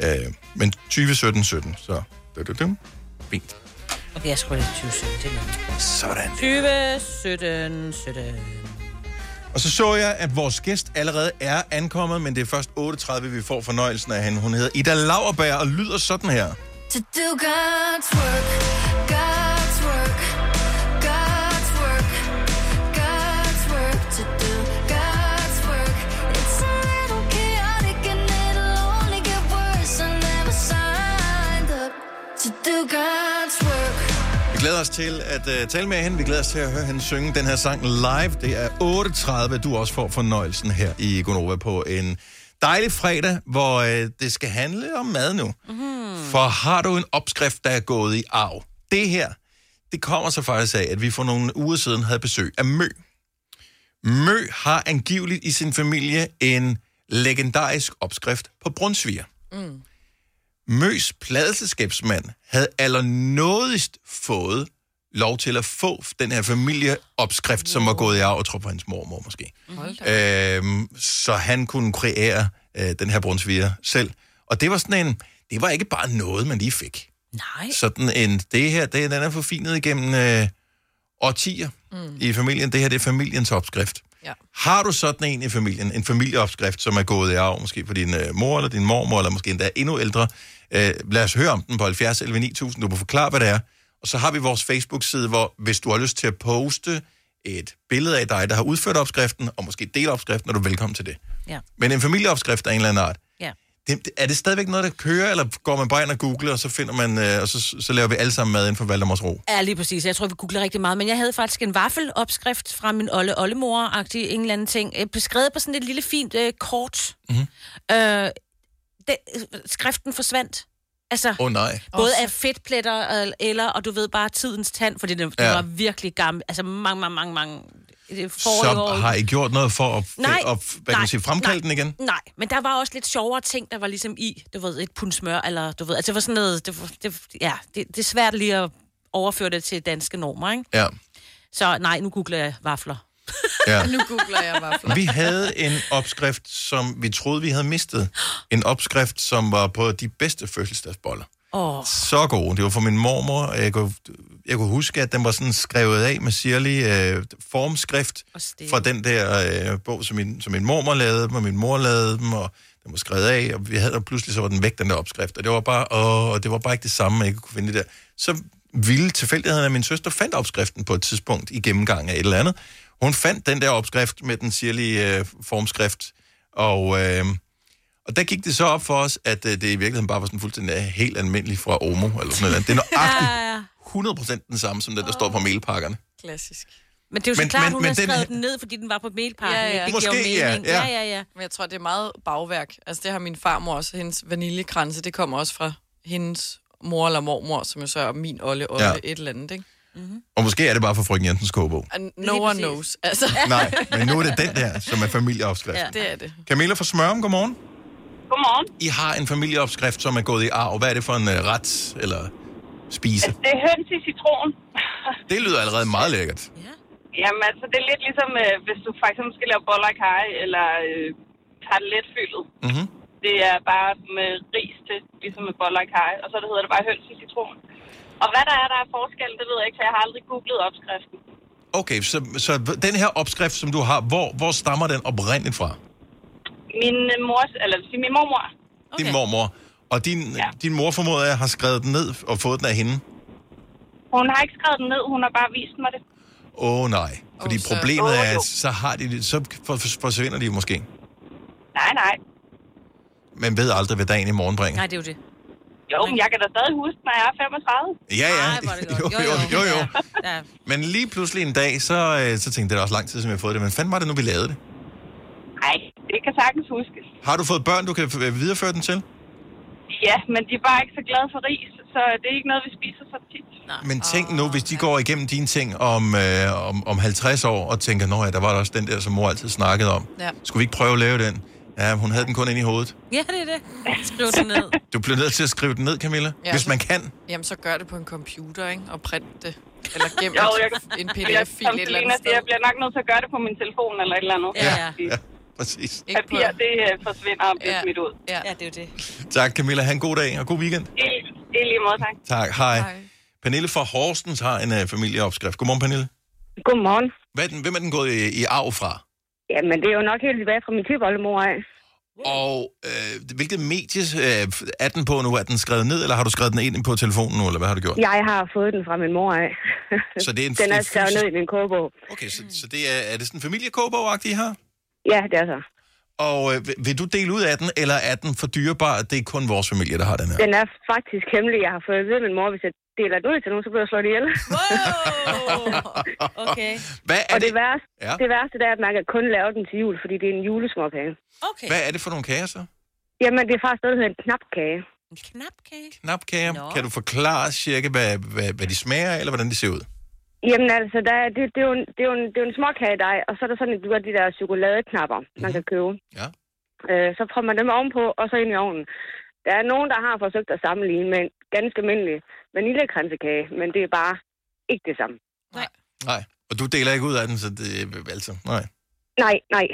[SPEAKER 1] Øh, men 2017 17, så... Du, du, du. Fint.
[SPEAKER 3] Okay, jeg skulle 2017 til noget.
[SPEAKER 1] Sådan.
[SPEAKER 3] 2017, 17.
[SPEAKER 1] Og så så jeg, at vores gæst allerede er ankommet, men det er først 8.30, vi får fornøjelsen af hende. Hun hedder Ida Lauerberg og lyder sådan her.
[SPEAKER 8] To do God's work, God's work, God's work, God's work, to do God's work. It's a little chaotic and it'll only get worse. I never signed up to do God's work.
[SPEAKER 1] Vi glæder os til at uh, tale med hende. Vi glæder os til at høre hende synge den her sang live. Det er 8.30, du også får fornøjelsen her i Gonova på en dejlig fredag, hvor uh, det skal handle om mad nu.
[SPEAKER 8] Mm-hmm.
[SPEAKER 1] Mm. For har du en opskrift, der er gået i arv? Det her, det kommer så faktisk af, at vi for nogle uger siden havde besøg af Mø. Mø har angiveligt i sin familie en legendarisk opskrift på brunsviger.
[SPEAKER 8] Mm.
[SPEAKER 1] Møs pladeselskabsmand havde allernådigst fået lov til at få den her familieopskrift, som var gået i arv, jeg tror på hans mormor måske.
[SPEAKER 8] Mm-hmm.
[SPEAKER 1] Øhm, så han kunne kreere øh, den her brunsviger selv. Og det var sådan en, det var ikke bare noget, man lige fik.
[SPEAKER 3] Nej.
[SPEAKER 1] Sådan en, det her, det, den er forfinet igennem øh, årtier mm. i familien. Det her, det er familiens opskrift.
[SPEAKER 4] Ja.
[SPEAKER 1] Har du sådan en i familien, en familieopskrift, som er gået i arv, måske på din øh, mor eller din mormor, eller måske endda endnu ældre, øh, lad os høre om den på 70 11 9000, du må forklare, hvad det er. Og så har vi vores Facebook-side, hvor hvis du har lyst til at poste et billede af dig, der har udført opskriften, og måske dele opskriften, er du velkommen til det.
[SPEAKER 3] Ja.
[SPEAKER 1] Men en familieopskrift af en eller anden art,
[SPEAKER 3] Ja.
[SPEAKER 1] det, er det stadigvæk noget, der kører, eller går man bare ind og googler, og så finder man, øh, og så, så laver vi alle sammen mad inden for Valdemars Ro?
[SPEAKER 3] Ja, lige præcis. Jeg tror, vi googler rigtig meget. Men jeg havde faktisk en vaffelopskrift fra min olle oldemor-agtig en eller anden ting. øh, Beskrevet på sådan et lille fint øh, kort.
[SPEAKER 1] Mhm.
[SPEAKER 3] Øh, det, skriften forsvandt. Altså,
[SPEAKER 1] Åh, nej.
[SPEAKER 3] både af fedtpletter øh, eller, og du ved bare, tidens tand, fordi den, ja.
[SPEAKER 1] Ja.
[SPEAKER 3] den var virkelig gammel. Altså mange, mange, mange, mange øh, forrige år.
[SPEAKER 1] Så har I gjort noget for at,
[SPEAKER 3] Nej,
[SPEAKER 1] at, at hvad kan man sige, fremkalde den igen?
[SPEAKER 3] Nej, men der var også lidt sjovere ting, der var ligesom i, du ved, et pund smør, eller du ved, altså det var sådan noget, det, var- det, ja, det, det er svært lige at overføre det til danske normer, ikke?
[SPEAKER 1] Ja.
[SPEAKER 3] Så nej, nu googler jeg vafler.
[SPEAKER 1] Ja.
[SPEAKER 4] Nu googler jeg vafler.
[SPEAKER 1] Vi havde en opskrift, som vi troede, vi havde mistet. En opskrift, som var på de bedste fødselsdagsboller.
[SPEAKER 3] Åh,
[SPEAKER 1] Så god. Det var fra min mormor. Jeg kunne, jeg kunne huske, at den var sådan skrevet af med sirlig øh, formskrift fra den der øh, bog, som min, som min mormor lavede dem, og min mor lavede dem, og den var skrevet af, og vi havde og pludselig så var den væk, den der opskrift. Og det var bare, åh, og det var bare ikke det samme, jeg ikke kunne finde det der. Så ville tilfældigheden, at min søster fandt opskriften på et tidspunkt i gennemgang af et eller andet. Hun fandt den der opskrift med den sirlige øh, formskrift, og... Øh, og der gik det så op for os, at øh, det i virkeligheden bare var sådan fuldstændig øh, helt almindelig fra Omo, eller sådan noget. Det er nøjagtigt 100% den samme, som den, der står på mailpakkerne.
[SPEAKER 4] Klassisk.
[SPEAKER 3] Men det er jo så
[SPEAKER 1] Men-
[SPEAKER 3] klart,
[SPEAKER 1] men-
[SPEAKER 3] hun
[SPEAKER 1] men
[SPEAKER 3] har
[SPEAKER 1] den
[SPEAKER 3] skrevet
[SPEAKER 1] her-
[SPEAKER 3] den ned, fordi den var på mailpakken.
[SPEAKER 4] Ja, ja.
[SPEAKER 3] Det
[SPEAKER 1] Måske,
[SPEAKER 3] giver
[SPEAKER 1] ja,
[SPEAKER 3] mening.
[SPEAKER 1] ja.
[SPEAKER 3] Ja, ja, ja.
[SPEAKER 4] Men jeg tror, det er meget bagværk. Altså, det har min farmor også. Hendes vaniljekranse, det kommer også fra hendes mor eller mormor, som jo så er min olle, olle,
[SPEAKER 1] Ja.
[SPEAKER 4] ja. et eller andet, ikke?
[SPEAKER 3] Mhm.
[SPEAKER 1] Mm-hmm. Og måske er det bare for frøken Jensens kogebog.
[SPEAKER 4] No one knows, altså.
[SPEAKER 1] Nej, men nu er det den der, som er familieopskrift.
[SPEAKER 4] Ja. Det er det.
[SPEAKER 1] Camilla fra Smørum, godmorgen.
[SPEAKER 7] Godmorgen.
[SPEAKER 1] I har en familieopskrift, som er gået i arv. Hvad er det for en uh, ret eller spise?
[SPEAKER 7] Det er høns i citron.
[SPEAKER 1] Det lyder allerede meget lækkert.
[SPEAKER 7] Jamen altså, det er lidt ligesom, øh, hvis du for eksempel skal lave boller i kaj, eller øh, tarteletfyldet.
[SPEAKER 1] Mm-hmm.
[SPEAKER 7] Det er bare med ris til, ligesom med boller i kaj, og så det hedder det bare høns i citron. Og hvad der er, der er forskel, det ved jeg ikke, for jeg har aldrig googlet opskriften.
[SPEAKER 1] Okay, så, så den her opskrift, som du har, hvor, hvor stammer den oprindeligt fra?
[SPEAKER 7] Min øh, mors, eller det vil sige min mormor.
[SPEAKER 1] Okay. Din mormor. Og din, ja. din mor, formoder jeg, har skrevet den ned og fået den af hende.
[SPEAKER 7] Hun har ikke skrevet den ned, hun har bare vist mig det.
[SPEAKER 1] Åh oh, nej. Fordi oh,
[SPEAKER 7] så-
[SPEAKER 1] problemet
[SPEAKER 7] Åh,
[SPEAKER 1] er,
[SPEAKER 7] jo.
[SPEAKER 1] at så, har de, det- så for- for- forsvinder de jo måske.
[SPEAKER 7] Nej, nej.
[SPEAKER 1] Man ved aldrig, hvad dagen i morgen bringer.
[SPEAKER 3] Nej, det er jo det.
[SPEAKER 7] Jo, men jeg kan da stadig huske, når jeg er 35.
[SPEAKER 1] Ja, ja. Jo, jo, jo, jo. Men lige pludselig en dag, så, øh, så tænkte jeg, det er også lang tid, som jeg har fået det. Men fanden var det nu, vi lavede det?
[SPEAKER 7] Nej, det kan sagtens huskes.
[SPEAKER 1] Har du fået børn, du kan øh, videreføre den til?
[SPEAKER 7] Ja, men de er bare ikke så glade for ris, så det er ikke noget, vi spiser så tit. Nej.
[SPEAKER 1] Men tænk nu, hvis de går igennem dine ting om, øh, om, om 50 år, og tænker, nå ja, der var der også den der, som mor altid snakkede om.
[SPEAKER 3] Ja.
[SPEAKER 1] Skulle vi ikke prøve at lave den? Ja, hun havde den kun inde i hovedet.
[SPEAKER 3] Ja, det er det. Skriv det ned.
[SPEAKER 1] Du bliver nødt til at skrive den ned, Camilla, ja.
[SPEAKER 4] Ja.
[SPEAKER 1] hvis man kan.
[SPEAKER 4] Jamen, så gør det på en computer, ikke? Og print det. Eller gem
[SPEAKER 7] Jo,
[SPEAKER 4] det
[SPEAKER 7] jeg,
[SPEAKER 4] en
[SPEAKER 7] jeg,
[SPEAKER 4] pdf-fil
[SPEAKER 7] som
[SPEAKER 4] et eller
[SPEAKER 7] Selena
[SPEAKER 4] andet
[SPEAKER 7] siger,
[SPEAKER 4] sted.
[SPEAKER 7] jeg bliver nok nødt til at gøre det på min telefon eller et eller andet.
[SPEAKER 4] Ja, ja.
[SPEAKER 1] Ja, præcis.
[SPEAKER 7] Papir, det øh, forsvinder og bliver
[SPEAKER 4] Ja.
[SPEAKER 7] smidt ud.
[SPEAKER 4] Ja.
[SPEAKER 3] ja, det er jo det.
[SPEAKER 1] Tak, Camilla. Ha' en god dag og god weekend.
[SPEAKER 7] Det, det er lige måde, tak.
[SPEAKER 1] Tak. Hej. Hej. Pernille fra Horsens har en uh, familieopskrift. Godmorgen, Pernille.
[SPEAKER 12] Godmorgen.
[SPEAKER 1] Hvad er den, hvem er den gået i, i arv fra?
[SPEAKER 12] Jamen, det er jo nok helt tilbage fra min typoldemor af.
[SPEAKER 1] Og øh, hvilket medie øh, er den på nu? Er den skrevet ned, eller har du skrevet den ind på telefonen nu, eller hvad har du gjort?
[SPEAKER 12] Jeg har fået den fra min mor af.
[SPEAKER 1] Så det er en-
[SPEAKER 12] den er
[SPEAKER 1] en
[SPEAKER 12] skrevet
[SPEAKER 1] fysisk-
[SPEAKER 12] ned i min kogebog.
[SPEAKER 1] Okay, så, så det er, er det sådan en familiekåbog I har?
[SPEAKER 12] Ja, det er så.
[SPEAKER 1] Og øh, vil- vil du dele ud af den, eller er den for dyrebar, at det er kun vores familie, der har den her?
[SPEAKER 12] Den er faktisk hemmelig. Jeg har fået at vide af min mor, hvis jeg deler den ud til nogen, så bliver jeg slået ihjel.
[SPEAKER 3] Okay.
[SPEAKER 1] Hvad er
[SPEAKER 12] Og
[SPEAKER 1] det,
[SPEAKER 12] det værste,
[SPEAKER 1] Ja.
[SPEAKER 12] ja. det værste det er, at man kan kun lave den til jul, fordi det er en julesmåkage.
[SPEAKER 3] Okay.
[SPEAKER 1] hvad er det for nogle kager så?
[SPEAKER 12] Jamen, det er faktisk noget, der hedder en knapkage.
[SPEAKER 1] Knapkager? No. Kan du forklare cirka, hvad, hvad, hvad de smager af, eller hvordan de ser ud?
[SPEAKER 12] Jamen altså, der er, det, det, er jo en, det, er jo en, det er jo en småkagedej, og så er der sådan et, du ved, de der chokoladeknapper, mm-hmm. man kan købe.
[SPEAKER 1] Ja.
[SPEAKER 12] Øh, så prøver man dem ovenpå, og så ind i ovnen. Der er nogen, der har forsøgt at sammenligne med en ganske almindelig vaniljekransekage, men det er bare ikke det samme.
[SPEAKER 1] Nej. Og du deler ikke ud af den, så det altså, nej.
[SPEAKER 12] Nej, nej.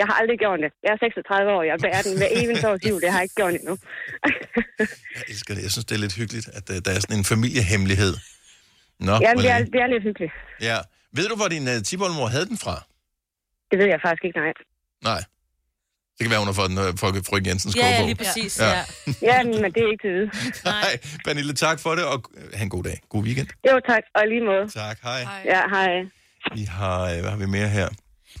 [SPEAKER 12] Jeg har aldrig gjort det. Jeg er 36 år, jeg bærer den hver eneste års jul. Det har jeg ikke gjort endnu.
[SPEAKER 1] Jeg elsker det. Jeg synes, det er lidt hyggeligt, at øh, der er sådan en familiehemmelighed. Nå,
[SPEAKER 12] Jamen, det er,
[SPEAKER 1] Malene.
[SPEAKER 12] det er lidt hyggeligt.
[SPEAKER 1] ja. Ved du, hvor din uh, tiboldmor havde den fra?
[SPEAKER 12] Det ved jeg faktisk ikke, nej.
[SPEAKER 1] Nej. Det kan være, hun har fået den øh, fra Frøken Jensens
[SPEAKER 12] Ja, ja,
[SPEAKER 1] kogebog.
[SPEAKER 12] lige præcis, ja. Ja, men det er ikke til vide.
[SPEAKER 1] Nej, Pernille, tak for det, og øh, ha' en god dag. God weekend.
[SPEAKER 12] Jo, tak. Og i lige måde.
[SPEAKER 1] Tak, hej.
[SPEAKER 12] Ja, hej.
[SPEAKER 1] Vi har, øh, hvad har vi mere her?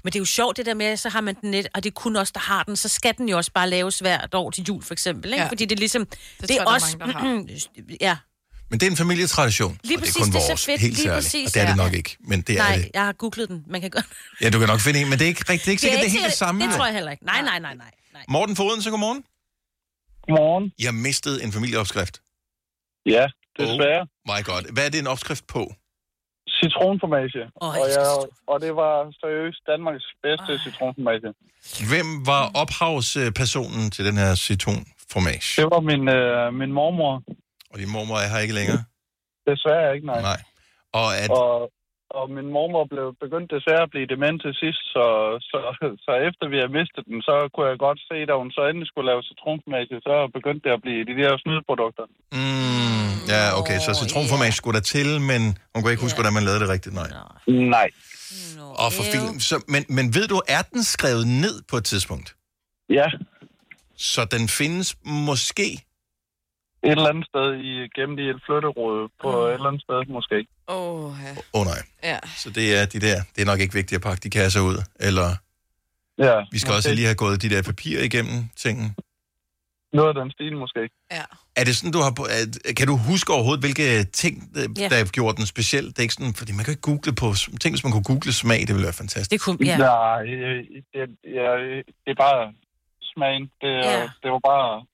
[SPEAKER 3] Men det er jo sjovt det der med, at så har man den net, og det er kun os, der har den. Så skal den jo også bare laves hvert år til jul, for eksempel. Ikke? Ja.
[SPEAKER 4] Ja.
[SPEAKER 3] Fordi det er ligesom... Det, det
[SPEAKER 4] tror
[SPEAKER 3] er
[SPEAKER 4] jeg, der er
[SPEAKER 3] også...
[SPEAKER 4] mange, der har.
[SPEAKER 3] ja.
[SPEAKER 1] Men det er en familietradition,
[SPEAKER 3] Lige
[SPEAKER 1] og det er
[SPEAKER 3] præcis,
[SPEAKER 1] kun
[SPEAKER 3] det er så
[SPEAKER 1] vores,
[SPEAKER 3] fedt.
[SPEAKER 1] helt
[SPEAKER 3] Lige
[SPEAKER 1] særligt.
[SPEAKER 3] præcis,
[SPEAKER 1] og det er det
[SPEAKER 3] ja.
[SPEAKER 1] nok ikke, men det
[SPEAKER 3] nej,
[SPEAKER 1] er det.
[SPEAKER 3] jeg har googlet den. Man kan godt... Det
[SPEAKER 1] Ja, du kan nok finde en, men det er ikke rigtigt. Det er ikke sikkert, det er helt det samme.
[SPEAKER 3] Det
[SPEAKER 1] jo.
[SPEAKER 3] tror jeg heller ikke. Nej, nej, nej, nej.
[SPEAKER 1] Morten Foden, så godmorgen.
[SPEAKER 13] Godmorgen.
[SPEAKER 1] Jeg mistede en familieopskrift.
[SPEAKER 13] Ja, desværre.
[SPEAKER 1] Oh my god. Hvad er det en opskrift på?
[SPEAKER 13] Citronformage.
[SPEAKER 3] Oh,
[SPEAKER 13] og, jeg, og det var seriøst Danmarks bedste oh. citronformage.
[SPEAKER 1] Hvem var ophavspersonen til den her citronformage?
[SPEAKER 13] Det var min, øh, min mormor.
[SPEAKER 1] Og din mormor er her ikke længere?
[SPEAKER 13] Desværre ikke, nej.
[SPEAKER 1] Nej. Og, at...
[SPEAKER 13] og, og min mormor blev begyndt desværre at blive dement til sidst, så, så, så efter vi havde mistet den, så kunne jeg godt se, da hun så endelig skulle lave citronformage, så begyndte det at blive de der snydeprodukter.
[SPEAKER 1] Mm, ja, okay, så citronformage skulle der til, men hun kunne ikke huske, hvordan man lavede det rigtigt, nej.
[SPEAKER 13] Nej.
[SPEAKER 1] Og for film, så, men, men ved du, er den skrevet ned på et tidspunkt?
[SPEAKER 13] Ja.
[SPEAKER 1] Så den findes måske?
[SPEAKER 13] Et eller andet sted i, gennem de et flytterod på et eller andet sted måske.
[SPEAKER 4] Åh, ja.
[SPEAKER 1] Åh oh, nej.
[SPEAKER 4] ja.
[SPEAKER 1] Så det er de der, det er nok ikke vigtigt at pakke de kasser ud, eller
[SPEAKER 13] Ja,
[SPEAKER 1] vi skal også
[SPEAKER 13] måske.
[SPEAKER 1] lige have gået de der papirer igennem tingen.
[SPEAKER 13] Noget af den stil måske.
[SPEAKER 1] Er det sådan, du har... på- at- Kan du huske overhovedet, hvilke ting, øh,
[SPEAKER 13] Ja.
[SPEAKER 1] der gjorde den speciel? Det er ikke sådan, fordi man kan ikke google på... Tænk, hvis man kunne google smag, det ville være fantastisk.
[SPEAKER 3] Det kunne,
[SPEAKER 13] Nej, øh, det, ja, øh, det er bare smagen. Det, ja. det var bare...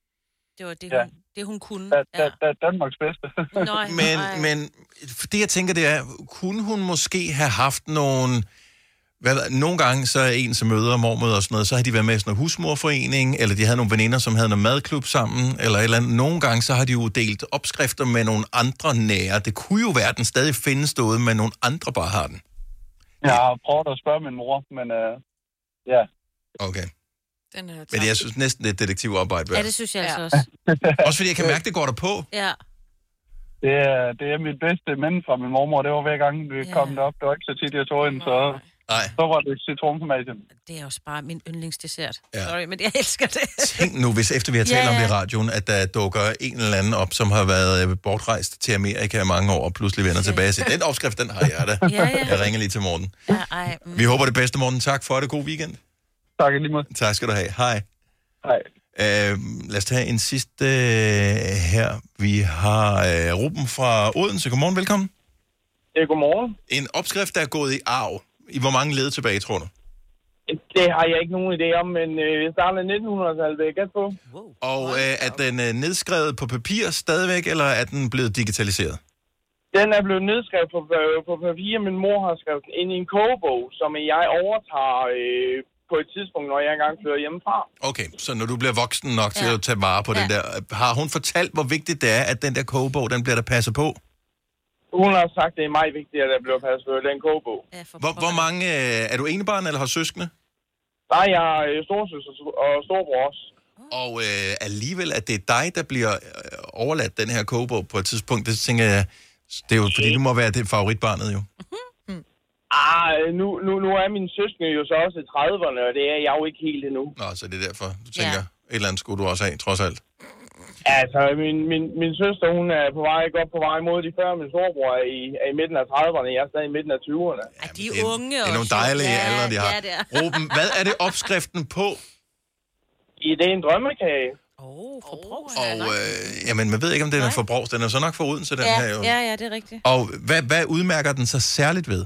[SPEAKER 3] Det var det,
[SPEAKER 13] Ja.
[SPEAKER 3] hun... det hun kunne.
[SPEAKER 13] Da, da, da, Danmarks bedste.
[SPEAKER 3] Nøj,
[SPEAKER 1] Men, men det, jeg tænker, det er, kunne hun måske have haft nogle... Hvad, ved- nogle gange så er en, som møder mormøder og sådan noget, så har de været med i sådan en husmorforening, eller de havde nogle veninder, som havde noget madklub sammen, eller et eller andet. Nogle gange så har de jo delt opskrifter med nogle andre nære. Det kunne jo være, at den stadig findes derude, men nogle andre bare har den.
[SPEAKER 13] Jeg har prøvet at spørge min mor, men øh, ja.
[SPEAKER 1] Okay.
[SPEAKER 4] Den er
[SPEAKER 1] Men jeg synes næsten, det er et detektivarbejde. værd.
[SPEAKER 3] Ja, det synes jeg altså også.
[SPEAKER 1] Også fordi jeg kan mærke, det går der på.
[SPEAKER 3] Ja.
[SPEAKER 13] Det er, det er mit bedste minde fra min mormor. Det var hver gang, vi kom derop. Det var ikke så tit, jeg tog ind, så, så var det citronformagen.
[SPEAKER 3] Det er også bare min yndlingsdessert.
[SPEAKER 1] Ja.
[SPEAKER 3] Ja. Sorry, men jeg elsker det.
[SPEAKER 1] Tænk nu, hvis efter vi har talt
[SPEAKER 3] Ja,
[SPEAKER 1] om det i
[SPEAKER 3] ja.
[SPEAKER 1] radioen, at der dukker en eller anden op, som har været øh, bortrejst til Amerika i mange år, og pludselig vender tilbage og siger, den opskrift, den har jeg da.
[SPEAKER 3] Ja, ja.
[SPEAKER 1] Jeg ringer lige til Morten.
[SPEAKER 3] Ja, ej, mm.
[SPEAKER 1] Vi håber det bedste, Morten. Tak for det. God weekend.
[SPEAKER 13] Tak lige måde.
[SPEAKER 1] Tak skal du have. Hej.
[SPEAKER 13] Hej.
[SPEAKER 1] Øh, lad os tage en sidste øh, her. Vi har øh, Ruben fra Odense. Godmorgen, velkommen.
[SPEAKER 14] Ja, godmorgen.
[SPEAKER 1] En opskrift, der er gået i arv. I hvor mange led tilbage, tror du?
[SPEAKER 14] Det har jeg ikke nogen idé om, men øh, vi starter i 1900-tallet, vil jeg gætte på.
[SPEAKER 1] Og øh, er den øh, nedskrevet på papir stadigvæk, eller er den blevet digitaliseret?
[SPEAKER 14] Den er blevet nedskrevet på, øh, på papir. Min mor har skrevet den ind i en kogebog, som jeg overtager øh, på et tidspunkt, når jeg engang flytter hjemmefra.
[SPEAKER 1] Okay, så når du bliver voksen nok til
[SPEAKER 14] Ja.
[SPEAKER 1] at tage vare på ja. den der, øh, har hun fortalt, hvor vigtigt det er, at den der kogebog, den bliver der passet på?
[SPEAKER 14] Hun har sagt, det er meget vigtigt, at der bliver passet på den kogebog.
[SPEAKER 1] Hvor, hvor mange, øh, er du enebarn eller har søskende?
[SPEAKER 14] Der er jeg øh, storsøster og storbror også.
[SPEAKER 1] Og øh, alligevel, at det er dig, der bliver øh, overladt den her kogebog på et tidspunkt, det tænker jeg, det er jo fordi, du må være det favoritbarnet jo.
[SPEAKER 14] Ah, øh, nu, nu, nu er min søskende jo så også i 30'erne, og det er jeg jo ikke helt endnu.
[SPEAKER 1] Nå, så det er derfor, du tænker, ja. et eller andet skulle du også have, trods alt.
[SPEAKER 14] Altså, min, min, min søster, hun er på vej, godt på vej mod de 40, min storbror er i, er i midten af 30'erne, jeg er stadig i midten af 20'erne.
[SPEAKER 3] Ja, de er unge
[SPEAKER 1] Det er nogle dejlige ja, aldre, de har.
[SPEAKER 3] Ja, det er.
[SPEAKER 1] Ruben, hvad er det opskriften på?
[SPEAKER 14] I det er en drømmekage.
[SPEAKER 1] Og, øh, jamen, man ved ikke, om den er for Brovs. Den er så nok for Odense, den
[SPEAKER 3] ja,
[SPEAKER 1] her jo.
[SPEAKER 3] ja, ja, det er rigtigt.
[SPEAKER 1] Og hvad, hvad udmærker den så særligt ved?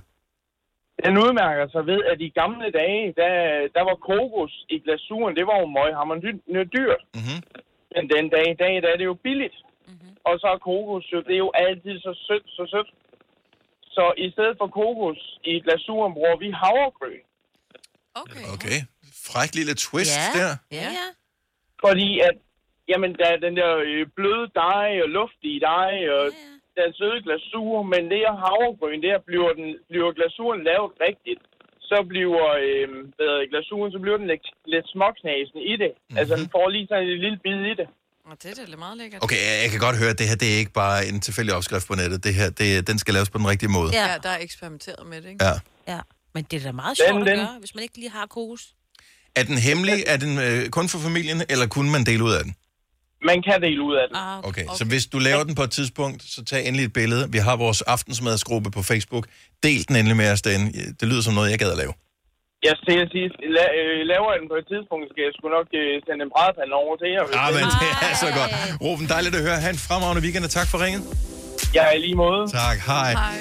[SPEAKER 14] Den udmærker sig ved, at i gamle dage, der, der var kokos i glasuren, det var jo møghammerende dyrt.
[SPEAKER 1] Mm-hmm.
[SPEAKER 14] Men den dag i dag, der er det jo billigt.
[SPEAKER 3] Mhm.
[SPEAKER 14] Mm-hmm. Og så er kokos jo, det er jo altid så sødt, så sødt. Så i stedet for kokos i glasuren, bruger vi havregryn.
[SPEAKER 1] Okay. Fræk lille twist ja. der.
[SPEAKER 3] Ja, ja.
[SPEAKER 14] Fordi at, jamen, der er den der øh, bløde dej og luftige dej og den søde glasur, men det her havregryn, der bliver, den, bliver glasuren lavet rigtigt, så bliver øh, hvad hedder det, glasuren, så bliver den lidt, lidt småknasen i det. Mm-hmm. Altså, den får lige sådan en lille bid i det.
[SPEAKER 4] Og det er da meget lækkert.
[SPEAKER 1] Okay, jeg, jeg kan godt høre, at det her det er ikke bare en tilfældig opskrift på nettet. Det her, det, den skal laves på den rigtige måde.
[SPEAKER 4] Ja. ja, der er eksperimenteret med det, ikke?
[SPEAKER 1] Ja.
[SPEAKER 3] ja. Men det er da meget
[SPEAKER 1] Den-
[SPEAKER 3] sjovt at
[SPEAKER 1] den-
[SPEAKER 3] gøre, hvis man ikke lige har kokos.
[SPEAKER 1] Er den hemmelig? Er den øh, kun for familien, eller kunne man dele ud af den?
[SPEAKER 14] Man kan dele ud af den.
[SPEAKER 3] Ah,
[SPEAKER 1] Okay, okay. så hvis du laver den på et tidspunkt, så tag endelig et billede. Vi har vores aftensmadsgruppe på Facebook. Del den endelig med os derinde. Det lyder som noget, jeg gad at lave.
[SPEAKER 14] Jeg skal jeg sige, la- øh, laver jeg den på et tidspunkt, skal jeg sgu nok øh, sende en brædpande over til jer.
[SPEAKER 1] Ah, men det er så godt. Ruben, dejligt at høre. Ha' en fremragende weekend, og tak for ringet.
[SPEAKER 14] Ja, i lige måde.
[SPEAKER 1] Tak, hej.
[SPEAKER 4] Hej.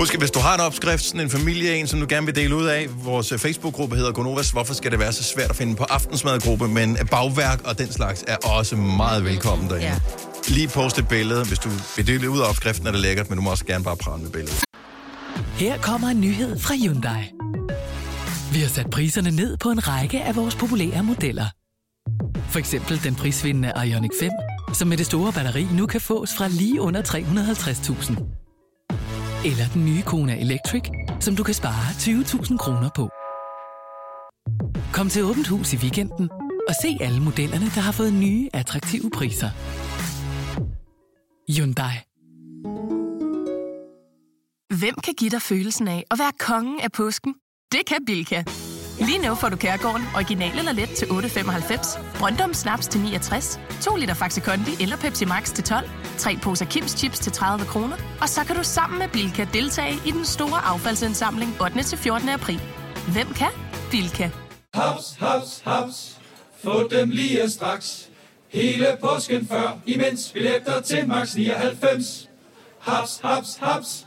[SPEAKER 1] Husk, at hvis du har en opskrift, sådan en familie, en, som du gerne vil dele ud af, vores øh, Facebook-gruppe hedder Gonovas. Hvorfor skal det være så svært at finde på aftensmadgruppe? Men øh, bagværk og den slags er også meget velkommen derinde.
[SPEAKER 15] Ja.
[SPEAKER 1] Lige post et billede. Hvis du vil dele ud af opskriften, er det lækkert, men du må også gerne bare prale med billedet.
[SPEAKER 15] Her kommer en nyhed fra Hyundai. Vi har sat priserne ned på en række af vores populære modeller. For eksempel den prisvindende Ioniq 5, som med det store batteri nu kan fås fra lige under 350.000. Eller den nye Kona Electric, som du kan spare 20.000 kroner på. Kom til Åbent Hus i weekenden og se alle modellerne, der har fået nye, attraktive priser. Hyundai.
[SPEAKER 16] Hvem kan give dig følelsen af at være kongen af påsken? Det kan Bilka! Lige nu får du Kærgården original eller let til 8.95, Brøndum Snaps til 69, 2 liter Faxi Kondi eller Pepsi Max til 12, tre poser Kims Chips til 30 kroner, og så kan du sammen med Bilka deltage i den store affaldsindsamling 8. til 14. april. Hvem kan? Bilka.
[SPEAKER 10] Haps, haps, haps. Få dem lige straks. Hele påsken før, imens vi læfter til max 99. Haps, haps, haps.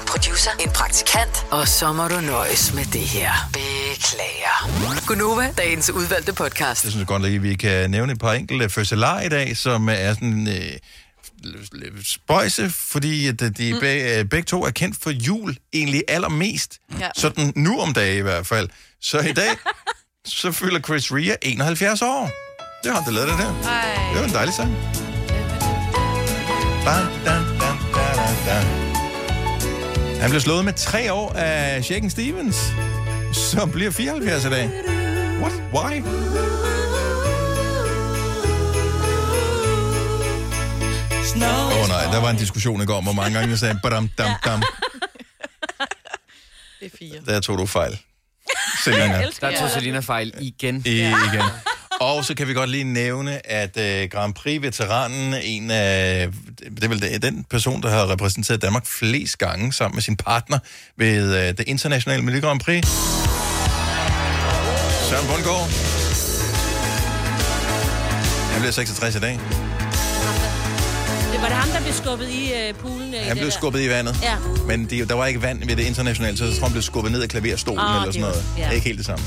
[SPEAKER 2] producer. En praktikant. Og så må du nøjes med det her. Beklager. Gunova, dagens udvalgte podcast.
[SPEAKER 1] Jeg synes godt, at vi kan nævne et par enkelte fødselar i dag, som er sådan øh, spøjse, fordi at de mm. beg, øh, begge to er kendt for jul egentlig allermest.
[SPEAKER 4] Ja.
[SPEAKER 1] Ja. Sådan nu om dagen i hvert fald. Så i dag, så fylder Chris Rea 71 år. Det har han da lavet det der. Det var en dejlig sang. Da, da, da, da, da, da. Han blev slået med tre år af Shaken Stevens, som bliver 74 i dag. What? Why? Åh oh, nej, der var en diskussion i går om, hvor mange gange jeg sagde, badam, dam, dam.
[SPEAKER 4] Det er fire.
[SPEAKER 1] Der tog du fejl. Selina.
[SPEAKER 4] Jeg elsker Der tog jer. Selina
[SPEAKER 1] fejl igen. Igen. Og så kan vi godt lige nævne, at øh, Grand Prix-veteranen, en af, det er vel det- den person, der har repræsenteret Danmark flest gange sammen med sin partner ved øh, det internationale Miljø Grand Prix, Søren Bundgaard. Han bliver 66 i dag.
[SPEAKER 3] Det var det ham, der blev skubbet i øh, poolen. øh, i
[SPEAKER 1] Han blev
[SPEAKER 3] det der.
[SPEAKER 1] skubbet i vandet.
[SPEAKER 3] Ja.
[SPEAKER 1] Men de, der var ikke vand ved det internationale, så jeg tror, han blev skubbet ned af klaverstolen
[SPEAKER 4] Åh,
[SPEAKER 1] oh, eller
[SPEAKER 4] Ah, det
[SPEAKER 1] sådan
[SPEAKER 4] var-
[SPEAKER 1] noget.
[SPEAKER 4] ja.
[SPEAKER 1] Det er ikke helt det samme.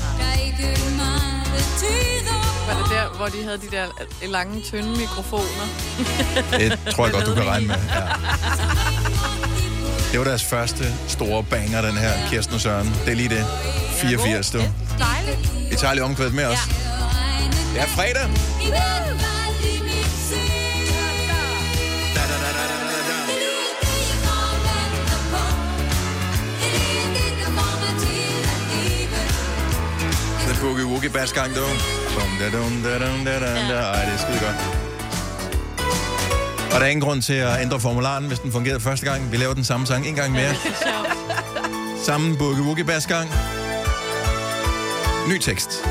[SPEAKER 4] Var det der, hvor de havde de der øh, lange, tynde mikrofoner?
[SPEAKER 1] Det tror jeg godt, du kan regne med. Ja. Det var deres første store banger, den her, Kirsten og Søren. Det er lige det. 84, du.
[SPEAKER 3] Dejligt.
[SPEAKER 1] Vi tager lige omkvædet med os. Det er fredag. The Boogie Woogie Bass Gang, du. Bum, da, dum, da, dum, da, dum, da. Ej, det er skide godt. Og der er ingen grund til at ændre formularen, hvis den fungerede første gang. Vi laver den samme sang en gang mere. Samme Boogie Woogie Bass Gang. Ny tekst.
[SPEAKER 4] Ja,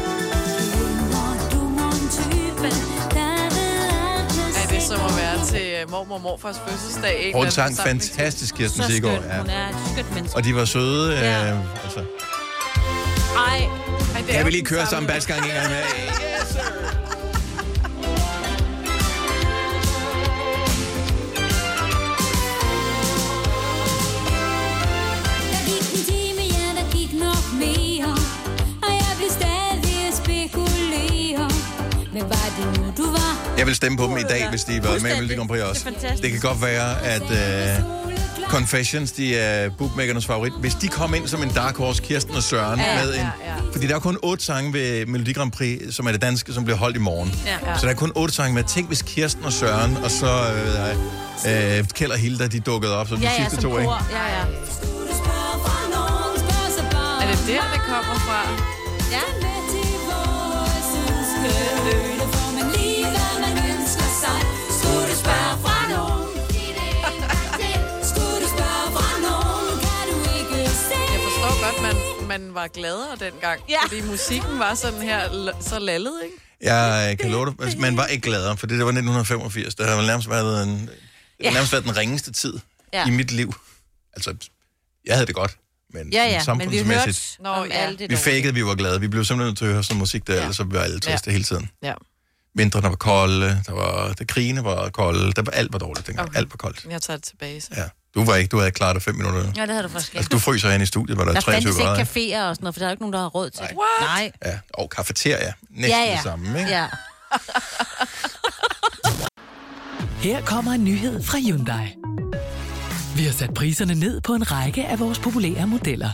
[SPEAKER 4] det er som at være til øh, mormor og morfars fødselsdag. ikke?
[SPEAKER 1] Hun
[SPEAKER 4] Den
[SPEAKER 1] sang
[SPEAKER 4] forsamling.
[SPEAKER 1] fantastisk, Kirsten
[SPEAKER 4] Så
[SPEAKER 1] Siggaard.
[SPEAKER 4] skøn. Hun er et skønt menneske.
[SPEAKER 1] Og de var søde.
[SPEAKER 4] Ja.
[SPEAKER 1] Øh, altså.
[SPEAKER 3] Ej. Ej det er
[SPEAKER 1] Kan vi
[SPEAKER 3] jo
[SPEAKER 1] lige
[SPEAKER 3] den
[SPEAKER 1] køre
[SPEAKER 3] samme.
[SPEAKER 1] samme basgang en gang med? Jeg vil stemme på dem i dag, hvis de var med i Melodi Grand Prix også.
[SPEAKER 8] Det er fantastisk.
[SPEAKER 1] Det kan godt være, at uh, Confessions, de er bookmakernes favorit. Hvis de kom ind som en dark horse, Kirsten og Søren,
[SPEAKER 8] Ja,
[SPEAKER 1] er med en...
[SPEAKER 8] ja, ja.
[SPEAKER 1] Fordi der er kun otte sange ved Melodi Grand Prix, som er det danske, som bliver holdt i morgen.
[SPEAKER 8] Ja, ja.
[SPEAKER 1] Så der er kun otte sange med. Tænk, hvis Kirsten og Søren, og så øh, øh, Kjeld og Hilda, de dukkede op som de
[SPEAKER 3] Ja, ja,
[SPEAKER 1] sidste
[SPEAKER 3] som
[SPEAKER 1] to, ikke?
[SPEAKER 3] kor. Ja, ja.
[SPEAKER 4] Er det der, det kommer fra?
[SPEAKER 3] Ja.
[SPEAKER 4] Jeg forstår godt, man, man var gladere dengang. Ja. Fordi musikken var sådan her, l- så lallet, ikke?
[SPEAKER 1] Jeg øh, kan love dig, altså, man var ikke gladere, for det der var 1985. Det har vel nærmest været, en, det
[SPEAKER 3] Ja.
[SPEAKER 1] har nærmest været den ringeste tid
[SPEAKER 3] Ja.
[SPEAKER 1] i mit liv. Altså, jeg havde det godt, men
[SPEAKER 3] Ja, ja,
[SPEAKER 1] sådan
[SPEAKER 3] men vi hørte
[SPEAKER 1] samfundsmæssigt.
[SPEAKER 3] Nå, om ja. alt det
[SPEAKER 1] vi
[SPEAKER 3] dårlige.
[SPEAKER 1] fakede, vi var glade. Vi blev simpelthen nødt til at høre sådan musik, der, ja. ellers så blev alle triste
[SPEAKER 4] Ja.
[SPEAKER 1] ja. hele tiden.
[SPEAKER 4] Ja.
[SPEAKER 1] Vintrene var kolde, der var, der krigene var kolde, der var, alt var dårligt dengang. Okay. Alt var koldt.
[SPEAKER 4] Jeg tager det tilbage, så.
[SPEAKER 1] Ja. Du var ikke, du havde klaret dig fem minutter.
[SPEAKER 3] Ja, det havde du faktisk ikke.
[SPEAKER 1] Altså, du fryser ind i studiet, var der,
[SPEAKER 3] Der
[SPEAKER 1] 23
[SPEAKER 3] fandtes ikke
[SPEAKER 1] grader.
[SPEAKER 3] caféer og sådan noget, for der er jo ikke nogen, der har råd til det. Nej.
[SPEAKER 1] Ja, og kafeteria. Næsten
[SPEAKER 3] ja, ja.
[SPEAKER 1] det samme, ikke?
[SPEAKER 3] Ja.
[SPEAKER 15] Her kommer en nyhed fra Hyundai. Vi har sat priserne ned på en række af vores populære modeller.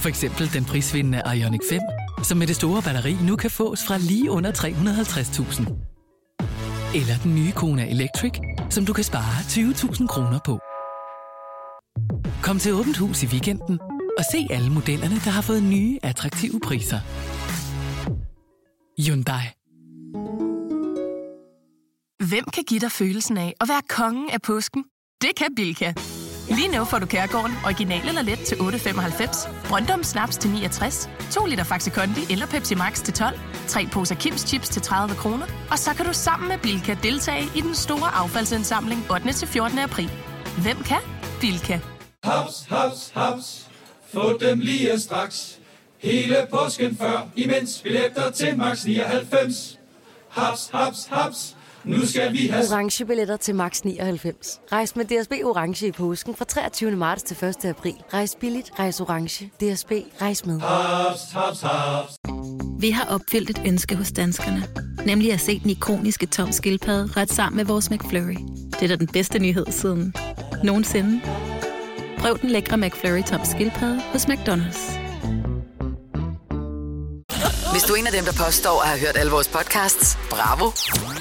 [SPEAKER 15] For eksempel den prisvindende Ioniq 5, som med det store batteri nu kan fås fra lige under 350.000. Eller den nye Kona Electric, som du kan spare 20.000 kroner på. Kom til Åbent Hus i weekenden og se alle modellerne, der har fået nye, attraktive priser. Hyundai.
[SPEAKER 16] Hvem kan give dig følelsen af at være kongen af påsken? Det kan Bilka. Lige nu får du Kærgården original eller let til 8.95, Brøndum Snaps til 69, 2 liter Faxi Kondi eller Pepsi Max til 12, tre poser Kims Chips til 30 kroner, og så kan du sammen med Bilka deltage i den store affaldsindsamling 8. til 14. april. Hvem kan? Bilka.
[SPEAKER 10] Haps, haps, haps. Få dem lige straks. Hele påsken før, imens billetter til max 99. Haps, haps, haps. Nu skal vi have...
[SPEAKER 11] orange billetter til max 99. Rejs med DSB orange i påsken fra 23. marts til 1. april. Rejs billigt, rejs orange. DSB rejs med.
[SPEAKER 10] Haps, haps, haps.
[SPEAKER 17] Vi har opfyldt et ønske hos danskerne. Nemlig at se den ikoniske tom skildpadde ret sammen med vores McFlurry. Det er da den bedste nyhed siden nogensinde. Prøv den lækre McFlurry tom skildpadde hos McDonald's.
[SPEAKER 2] Hvis du er en af dem, der påstår at have hørt alle vores podcasts, bravo.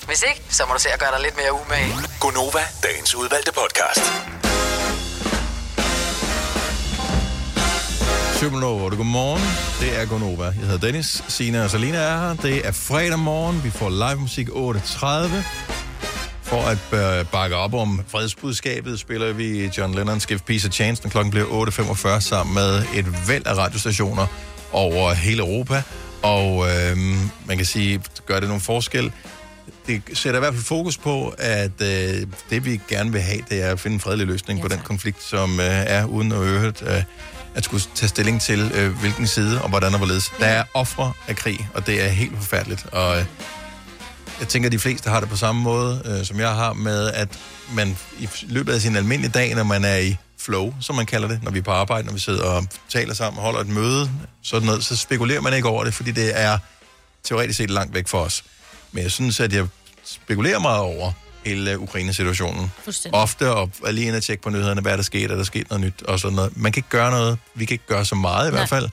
[SPEAKER 2] Hvis ikke, så må du se at gøre dig lidt mere umage.
[SPEAKER 6] Gonova, dagens udvalgte podcast.
[SPEAKER 1] 7.08. Godmorgen. Det er Gonova. Jeg hedder Dennis. Sina og Salina er her. Det er fredag morgen. Vi får live musik 8.30. For at øh, bakke op om fredsbudskabet, spiller vi John Lennons Give Peace a Chance, når klokken bliver 8.45, sammen med et væld af radiostationer over hele Europa. Og øh, man kan sige, gør det nogle forskel? Det sætter i hvert fald fokus på, at øh, det vi gerne vil have, det er at finde en fredelig løsning ja, på den konflikt, som øh, er uden at øvrigt øh, at skulle tage stilling til, øh, hvilken side og hvordan og hvorledes. Der er ofre af krig, og det er helt forfærdeligt. Og øh, jeg tænker, at de fleste har det på samme måde, øh, som jeg har, med at man i løbet af sin almindelige dag, når man er i flow, som man kalder det, når vi er på arbejde, når vi sidder og taler sammen, holder et møde, sådan noget, så spekulerer man ikke over det, fordi det er teoretisk set langt væk for os. Men jeg synes, at jeg spekulerer meget over hele øh, Ukraine-situationen.
[SPEAKER 3] Fuldstændig.
[SPEAKER 1] Ofte og er lige inde og tjekke på nyhederne, hvad er der sket, er der sket noget nyt og sådan noget. Man kan ikke gøre noget. Vi kan ikke gøre så meget i
[SPEAKER 3] Nej.
[SPEAKER 1] hvert fald.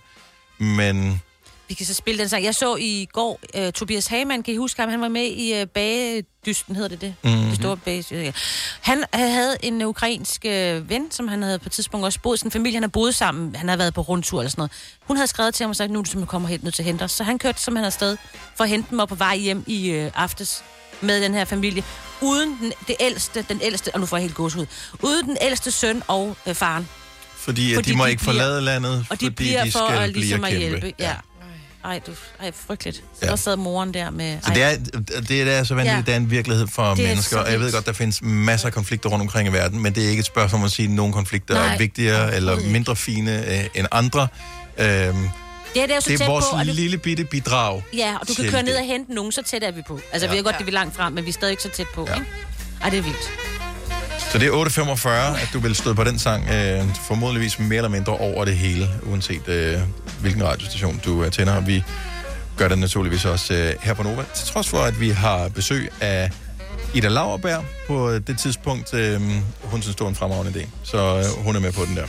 [SPEAKER 1] Men
[SPEAKER 3] Vi kan så spille den sang. Jeg så i går uh, Tobias Hagemann, kan I huske ham? Han var med i uh, Bagedysten, hedder det det?
[SPEAKER 1] Mhm.
[SPEAKER 3] Det store bage, ja. Han øh, havde en ukrainsk øh, ven, som han havde på et tidspunkt også boet. Sådan en familie, han har boet sammen. Han har været på rundtur eller sådan noget. Hun havde skrevet til ham og sagt, nu er du simpelthen kommer helt nødt til at hente os. Så han kørte simpelthen afsted for at hente dem og på vej hjem i øh, aftes med den her familie. Uden den, det ældste, den ældste, og nu får jeg helt gåsehud. Uden den ældste søn og øh, faren.
[SPEAKER 1] fordi, fordi de må ikke
[SPEAKER 3] bliver-
[SPEAKER 1] forlade landet,
[SPEAKER 3] og de
[SPEAKER 1] fordi
[SPEAKER 3] bliver
[SPEAKER 1] de
[SPEAKER 3] for
[SPEAKER 1] skal
[SPEAKER 3] at, ligesom
[SPEAKER 1] blive
[SPEAKER 3] at hjælpe.
[SPEAKER 1] Ja.
[SPEAKER 3] Ja. Ej, du, ej, frygteligt. Så ja. der sad moren der med...
[SPEAKER 1] Så det er, det er der er så
[SPEAKER 3] Ja.
[SPEAKER 1] vanvittigt, ja. det er en virkelighed for
[SPEAKER 3] Det er
[SPEAKER 1] mennesker.
[SPEAKER 3] så
[SPEAKER 1] Og jeg ved
[SPEAKER 3] vildt.
[SPEAKER 1] godt, der findes masser af konflikter rundt omkring i verden, men det er ikke et spørgsmål om at sige, at nogle konflikter Nej,
[SPEAKER 3] Nej,
[SPEAKER 1] er vigtigere eller
[SPEAKER 3] overhovedet
[SPEAKER 1] mindre fine øh, end andre. Øhm, det
[SPEAKER 3] Ja, det er jo så
[SPEAKER 1] det er
[SPEAKER 3] tæt
[SPEAKER 1] vores
[SPEAKER 3] på, og det-
[SPEAKER 1] lille bitte bidrag.
[SPEAKER 3] Ja, og du kan
[SPEAKER 1] til
[SPEAKER 3] køre
[SPEAKER 1] det.
[SPEAKER 3] ned og hente nogen, så tæt er vi på. Altså, ja.
[SPEAKER 1] Ja.
[SPEAKER 3] vi ved godt, det er vi langt frem, men vi er stadig ikke så tæt på, ja. ikke? Ej, det er vildt.
[SPEAKER 1] Så det er 8.45, at du vil støde på den sang, øh, formodentligvis mere eller mindre over det hele, uanset øh, hvilken radiostation du øh, tænder. Og vi gør det naturligvis også øh, her på Nova, til trods for, at vi har besøg af Ida Lauerberg på øh, det tidspunkt. Øh, hun synes, det var en fremragende idé, så øh, hun er med på den der.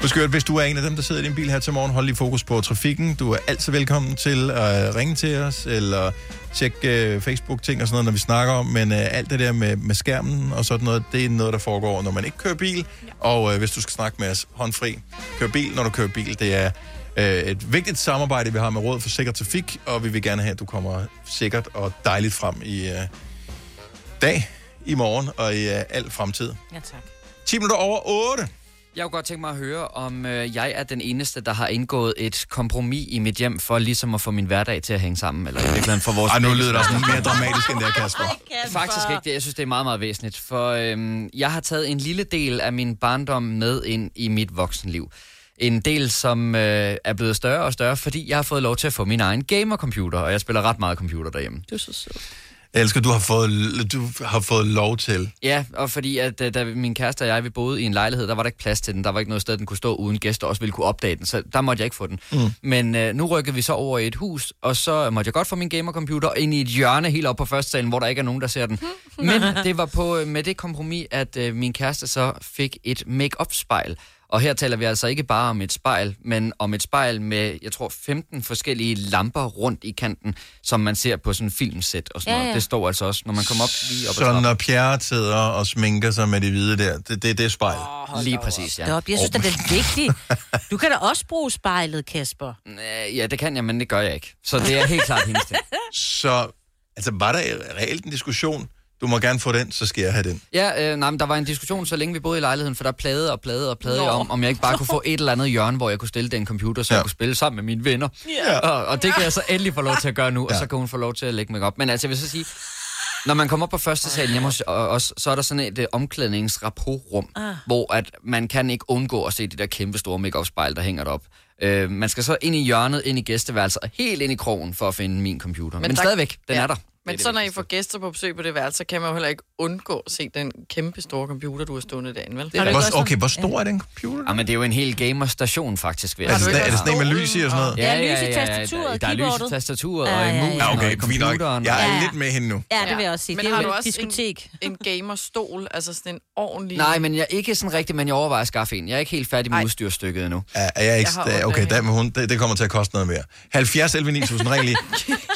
[SPEAKER 1] Husk at hvis du er en af dem, der sidder i din bil her til morgen, hold lige fokus på trafikken. Du er altid velkommen til at ringe til os, eller tjekke øh, Facebook-ting og sådan noget, når vi snakker om. Men øh, alt det der med, med skærmen og sådan noget, det er noget, der foregår, når man ikke kører bil. Og øh, hvis du skal snakke med os, håndfri. Kør bil, når du kører bil. Det er øh, et vigtigt samarbejde, vi har med Rådet for Sikker Trafik, og vi vil gerne have, at du kommer sikkert og dejligt frem i øh, dag, i morgen og i øh, al fremtid.
[SPEAKER 3] Ja, tak.
[SPEAKER 1] 10 minutter over 8.
[SPEAKER 5] Jeg kunne godt tænke mig at høre, om øh, jeg er den eneste, der har indgået et kompromis i mit hjem, for ligesom at få min hverdag til at hænge sammen. Eller i virkeligheden for vores
[SPEAKER 1] Ej, nu lyder det også
[SPEAKER 5] fælles-
[SPEAKER 1] mere dramatisk, end det er, Kasper.
[SPEAKER 5] Faktisk ikke det. Jeg synes, det er meget, meget væsentligt. For øhm, jeg har taget en lille del af min barndom med ind i mit voksenliv. En del, som øh, er blevet større og større, fordi jeg har fået lov til at få min egen gamercomputer, og jeg spiller ret meget computer derhjemme.
[SPEAKER 3] Du er så sød.
[SPEAKER 1] Jeg elsker, du har fået, du har fået lov til.
[SPEAKER 5] Ja, og fordi at øh, da min kæreste og jeg, vi boede i en lejlighed, der var der ikke plads til den. Der var ikke noget sted, den kunne stå uden gæster også ville kunne opdage den, så der måtte jeg ikke få den. Mm. Men øh, nu rykkede vi så over i et hus, og så måtte jeg godt få min gamercomputer ind i et hjørne helt op på første salen, hvor der ikke er nogen, der ser den. Men det var på øh, med det kompromis, at øh, min kæreste så fik et make-up-spejl. Og her taler vi altså ikke bare om et spejl, men om et spejl med, jeg tror, 15 forskellige lamper rundt i kanten, som man ser på sådan en filmsæt og sådan
[SPEAKER 1] Ja,
[SPEAKER 5] ja, ja.
[SPEAKER 1] ja.
[SPEAKER 5] noget. Det står altså også, når man kommer op lige op ad
[SPEAKER 1] Så
[SPEAKER 5] trappen.
[SPEAKER 1] når Pierre sidder og sminker sig med det hvide der, det, det, det er spejl.
[SPEAKER 5] Oh, lige præcis, ja.
[SPEAKER 3] Stop. Jeg synes, oh. det er vigtigt. Du kan da også bruge spejlet, Kasper.
[SPEAKER 5] Øh, Ja, det kan jeg, men det gør jeg ikke. Så det er helt klart hendes ting.
[SPEAKER 1] Så altså, var der reelt en diskussion? Du må gerne få den, så skal jeg have den.
[SPEAKER 5] Ja, øh, nej, men der var en diskussion, så længe vi boede i lejligheden, for der plagede og plagede og plagede jeg om, om jeg ikke bare kunne få et eller andet hjørne, hvor jeg kunne stille den computer, så ja. jeg kunne spille sammen med mine venner.
[SPEAKER 1] Ja.
[SPEAKER 5] Og, og det kan jeg så endelig få lov til at gøre nu, ja. og så kan hun få lov til at lægge mig op. Men altså, jeg vil så sige, når man kommer op på første salen hjemme hos os, så er der sådan et øh, omklædningsraporum,
[SPEAKER 18] Ah.
[SPEAKER 5] ah. hvor at man kan ikke undgå at se de der kæmpe store make spejl der hænger derop. Øh, man skal så ind i hjørnet, ind i gæsteværelset og helt ind i krogen for at finde min computer. Men,
[SPEAKER 4] Men
[SPEAKER 5] Men
[SPEAKER 4] der-
[SPEAKER 5] stadigvæk, den
[SPEAKER 4] ja.
[SPEAKER 5] er der.
[SPEAKER 4] Men så når I får gæster på besøg på det værelse, så kan man jo heller ikke undgå at se den kæmpe store computer, du har stående derinde, vel?
[SPEAKER 5] Det er rigtigt.
[SPEAKER 1] Okay, hvor stor er den computer?
[SPEAKER 5] Ja, men det er jo en hel gamerstation, faktisk. Ved
[SPEAKER 1] Er det sådan- er det sådan en med lys i og sådan noget?
[SPEAKER 3] Ja, lys i tastaturet,
[SPEAKER 5] Der er lys i
[SPEAKER 3] keyboardet.
[SPEAKER 5] tastaturet,
[SPEAKER 3] Ja,
[SPEAKER 5] og i
[SPEAKER 3] ja, ja.
[SPEAKER 5] musen,
[SPEAKER 1] Ja, okay,
[SPEAKER 5] og i
[SPEAKER 1] fint nok.
[SPEAKER 5] computeren.
[SPEAKER 1] Jeg er Ja. lidt med hende nu.
[SPEAKER 3] Ja, det vil jeg også sige.
[SPEAKER 4] Men
[SPEAKER 3] Det er
[SPEAKER 4] har
[SPEAKER 3] jo
[SPEAKER 4] du
[SPEAKER 3] et
[SPEAKER 4] også diskotek. en, en gamerstol, altså sådan en ordentlig...
[SPEAKER 5] Nej, men jeg er ikke sådan rigtig, men jeg overvejer at skaffe en. Jeg er ikke helt færdig med
[SPEAKER 4] Ej.
[SPEAKER 5] udstyrstykket endnu.
[SPEAKER 1] Er, er jeg ikke,
[SPEAKER 4] Jeg har
[SPEAKER 1] jeg
[SPEAKER 4] ondt
[SPEAKER 1] okay,
[SPEAKER 4] af
[SPEAKER 1] der med hun, det, det kommer til at koste noget mere. 70 11 9000, ring lige.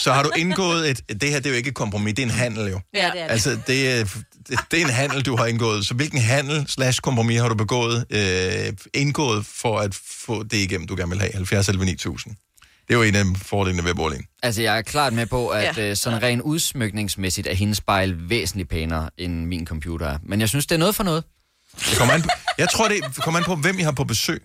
[SPEAKER 1] Så har du indgået et, det her det er jo ikke et kompromis, det er en handel jo.
[SPEAKER 3] Ja, det er det.
[SPEAKER 1] Altså, det er, det, det er en handel, du har indgået. Så hvilken handel slash kompromis har du begået, øh, indgået for at få det igennem, du gerne vil have? 70 11 9000. Det er jo en af fordelene ved at bo alene.
[SPEAKER 5] Altså, jeg er klart med på, at
[SPEAKER 1] Ja.
[SPEAKER 5] ja. øh, sådan rent udsmykningsmæssigt er hendes spejl væsentligt pænere, end min computer er. Men jeg synes, det er noget for noget.
[SPEAKER 1] Det kommer an på, jeg tror, det kommer an på, hvem I har på besøg.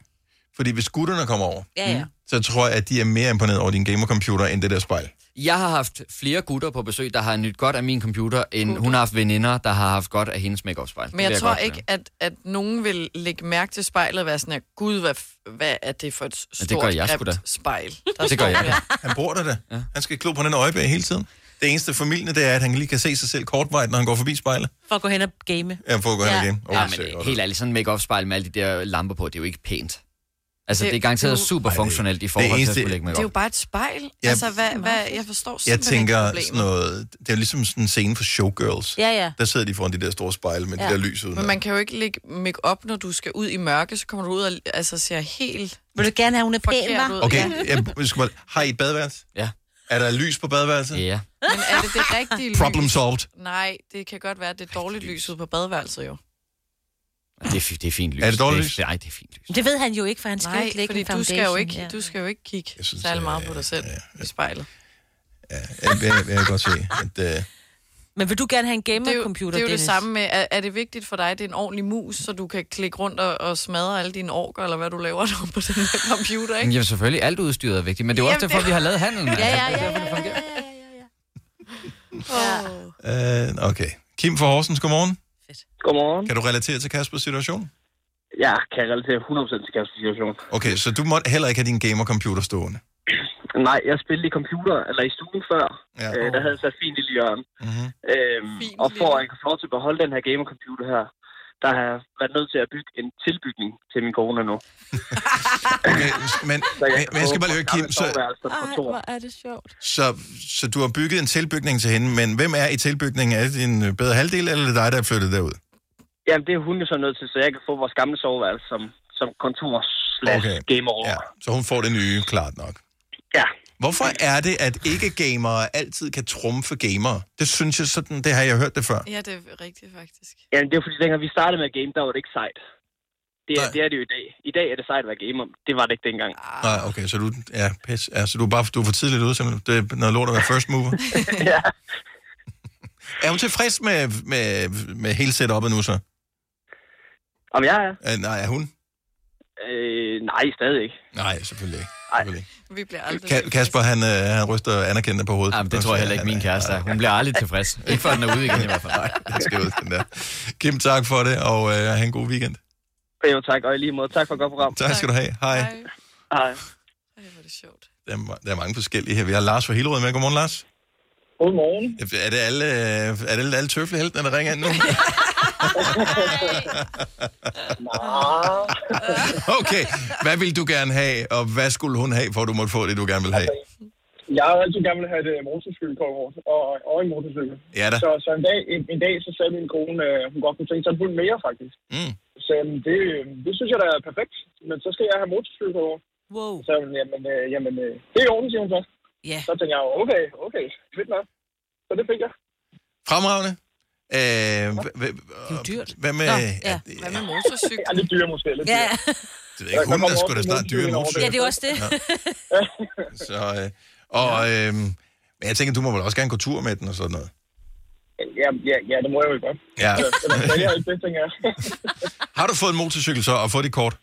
[SPEAKER 1] Fordi hvis gutterne kommer over,
[SPEAKER 5] Ja, ja.
[SPEAKER 1] så tror jeg, at de er mere imponeret over din gamercomputer, end det der spejl.
[SPEAKER 5] Jeg har haft flere gutter på besøg, der har nyt godt af min computer, end hun har haft veninder, der har haft godt af hendes make spejl
[SPEAKER 4] Men jeg tror ikke, at, at nogen vil lægge mærke til spejlet og være sådan her, gud, hvad, f- hvad er det for et
[SPEAKER 5] Ja,
[SPEAKER 4] stort,
[SPEAKER 5] det gør jeg sgu
[SPEAKER 4] grimt
[SPEAKER 5] da.
[SPEAKER 4] spejl?
[SPEAKER 5] Det gør jeg da.
[SPEAKER 1] Han bruger det da. Ja. Han skal glo på den øjebær hele tiden. Det eneste familien, det er, at han lige kan se sig selv kortvejt, når han går forbi spejlet.
[SPEAKER 3] For at gå hen og game.
[SPEAKER 1] Ja, for at gå hen igen.
[SPEAKER 5] Ja, men helt ærligt, sådan en make spejl med alle de der lamper på, det er jo ikke pænt. Altså,
[SPEAKER 4] Det-
[SPEAKER 5] det er garanteret
[SPEAKER 4] det er jo-
[SPEAKER 5] super funktionelt i forhold
[SPEAKER 1] eneste-
[SPEAKER 5] til at skulle lægge
[SPEAKER 4] Det er
[SPEAKER 5] make
[SPEAKER 4] jo bare et spejl.
[SPEAKER 1] Ja.
[SPEAKER 4] Ja. Altså, hvad, hvad, jeg forstår
[SPEAKER 1] Jeg
[SPEAKER 4] simpelthen ikke
[SPEAKER 1] tænker sådan
[SPEAKER 4] problemet.
[SPEAKER 1] noget... Det er jo ligesom sådan en scene for showgirls.
[SPEAKER 4] Ja, ja.
[SPEAKER 1] Der sidder de foran de der store spejle med ja. de der lys udenad.
[SPEAKER 4] Men man kan jo ikke lægge make op, når du skal ud i mørke, så kommer du ud og altså, ser helt...
[SPEAKER 3] Vil du gerne have, hun er
[SPEAKER 4] pæn,
[SPEAKER 1] Okay, jeg, jeg skal bare, har I et badeværelse?
[SPEAKER 5] Ja.
[SPEAKER 1] Er der lys på badeværelset?
[SPEAKER 5] Ja.
[SPEAKER 4] Men er det det rigtige lys?
[SPEAKER 1] Problem solved.
[SPEAKER 4] Nej, det kan godt være, at det er dårligt lys ude på badeværelset jo.
[SPEAKER 5] Det er, fi- det er fint lys.
[SPEAKER 1] Er det dårligt
[SPEAKER 5] lys? Nej, det er fint lys.
[SPEAKER 3] Det ved han jo ikke, for han skal
[SPEAKER 4] Nej,
[SPEAKER 3] ikke lægge
[SPEAKER 4] fordi
[SPEAKER 3] en
[SPEAKER 4] du
[SPEAKER 3] foundation.
[SPEAKER 4] skal, jo ikke,
[SPEAKER 3] Ja.
[SPEAKER 4] du skal jo ikke kigge særlig meget på dig selv i spejlet.
[SPEAKER 1] Jeg, jeg, jeg kan godt se, at... Øh,
[SPEAKER 3] Men vil du gerne have en gamercomputer,
[SPEAKER 4] Det er jo det
[SPEAKER 3] Dennis?
[SPEAKER 4] samme med, er, er det vigtigt for dig, at det er en ordentlig mus, så du kan klikke rundt og, og smadre alle dine orker, eller hvad du laver der på den her computer,
[SPEAKER 5] Men
[SPEAKER 4] ikke?
[SPEAKER 5] Jamen selvfølgelig, alt udstyret er vigtigt, men det er jo også
[SPEAKER 4] Jamen,
[SPEAKER 5] derfor,
[SPEAKER 4] det-
[SPEAKER 5] vi har lavet handlen.
[SPEAKER 4] Ja,
[SPEAKER 5] altså.
[SPEAKER 4] ja,
[SPEAKER 5] Det er
[SPEAKER 4] ja,
[SPEAKER 5] derfor, det fungerer.
[SPEAKER 1] øh, okay. Kim fra Horsens, godmorgen.
[SPEAKER 19] Godmorgen.
[SPEAKER 1] Kan du relatere til Kaspers situation?
[SPEAKER 19] Jeg kan relatere 100% til Kaspers situation.
[SPEAKER 1] Okay, så du må heller ikke have din gamercomputer stående.
[SPEAKER 19] Nej, jeg spillede i computer, eller i stuen før.
[SPEAKER 1] Ja.
[SPEAKER 19] Øh, der havde jeg så et fint lille hjørne.
[SPEAKER 1] Mm-hmm.
[SPEAKER 19] Øhm, og for at jeg kan få lov til at beholde den her gamercomputer her, der har jeg været nødt til at bygge en tilbygning til min kone nu.
[SPEAKER 1] Okay, men, men, men jeg skal bare lige høre, Kim, så,
[SPEAKER 19] Ej, hvor
[SPEAKER 20] er det sjovt.
[SPEAKER 1] så, så du har bygget en tilbygning til hende, men hvem er i tilbygningen? Er det din øh, bedre halvdel, eller er det dig, der er flyttet derud?
[SPEAKER 19] Jamen, det er hun jo så nødt til, så jeg kan få vores gamle soveværelse som, som kontor slash
[SPEAKER 1] Okay.
[SPEAKER 19] gamer over. Ja.
[SPEAKER 1] Så hun får det nye, klart nok.
[SPEAKER 19] Ja.
[SPEAKER 1] Hvorfor er det, at ikke-gamere altid kan trumfe gamere? Det synes jeg sådan, det har jeg hørt det før.
[SPEAKER 4] Ja, det er rigtigt faktisk.
[SPEAKER 19] Jamen, det er jo fordi, dengang vi startede med at game, der var det ikke sejt. Det er, det er det jo i dag. I dag er det sejt at være gamer. Det var det ikke dengang.
[SPEAKER 20] Ah.
[SPEAKER 1] Nej, okay, så du, ja, pis, ja, så du er bare du er for tidligt ude, simpelthen. Det er noget lort at være first mover.
[SPEAKER 19] ja.
[SPEAKER 1] Er hun tilfreds med, med, med hele setupet nu så?
[SPEAKER 19] Om jeg er?
[SPEAKER 1] Øh, nej, er hun?
[SPEAKER 19] Øh, nej, stadig ikke.
[SPEAKER 1] Nej, selvfølgelig ikke. Selvfølgelig ikke.
[SPEAKER 4] Vi bliver aldrig...
[SPEAKER 1] Ka- Kasper, han, øh, han ryster anerkendende på hovedet. Jamen,
[SPEAKER 5] Ah, det tror jeg heller ikke, min kæreste er. Hun bliver aldrig tilfreds. Ikke før den er ude igen i hvert fald.
[SPEAKER 1] Nej, den skal ud, den der. Kim, tak for det, og øh, have en god weekend.
[SPEAKER 19] Jo, tak, og i lige måde. Tak for et godt program.
[SPEAKER 1] Tak skal du have. Hej.
[SPEAKER 19] Hej.
[SPEAKER 1] Der er, ma- der er mange forskellige her. Vi har Lars fra Hillerød med. Godmorgen, Lars.
[SPEAKER 21] Godmorgen.
[SPEAKER 1] Er det alle, øh, er det alle tøfleheltene, der ringer ind nu?
[SPEAKER 21] Ah.
[SPEAKER 1] okay, hvad vil du gerne have, og hvad skulle hun have, for at du måtte få det, du gerne vil have?
[SPEAKER 21] Jeg har altid gerne vil have et øh, motorcykelkort og, og en motorcykel.
[SPEAKER 1] Ja da.
[SPEAKER 21] Så, så en, dag, en, en dag, så sagde min kone, øh, hun godt kunne tænke sig en hund mere, faktisk.
[SPEAKER 1] Mm.
[SPEAKER 21] Så sagde jeg, "Men det, øh, det synes jeg da er perfekt, men så skal jeg have motorcykelkort.
[SPEAKER 3] Wow.
[SPEAKER 21] Så sagde hun, jamen, øh, jamen øh, det er i orden, siger hun så.
[SPEAKER 3] Yeah.
[SPEAKER 21] Så tænkte jeg, okay, okay, fedt nok. Så det fik jeg.
[SPEAKER 1] Fremragende. Øh, hva- hva- Hvad med... ja.
[SPEAKER 4] Hvad med motorcykel?
[SPEAKER 21] Ja, lidt dyre måske. Lidt dyre.
[SPEAKER 3] Ja.
[SPEAKER 1] Det ved jeg ikke, hun der skulle da snart dyre motorcykel.
[SPEAKER 3] Ja, det er også det.
[SPEAKER 1] øhm, Så, øh, og, øh, men jeg tænker, du må vel også gerne gå tur med den og sådan noget.
[SPEAKER 21] Ja, ja, ja, det må jeg jo godt.
[SPEAKER 1] Ja.
[SPEAKER 21] Så, så man vælger ikke det, tænker jeg.
[SPEAKER 1] Har du fået en motorcykel så, og fået dit kort?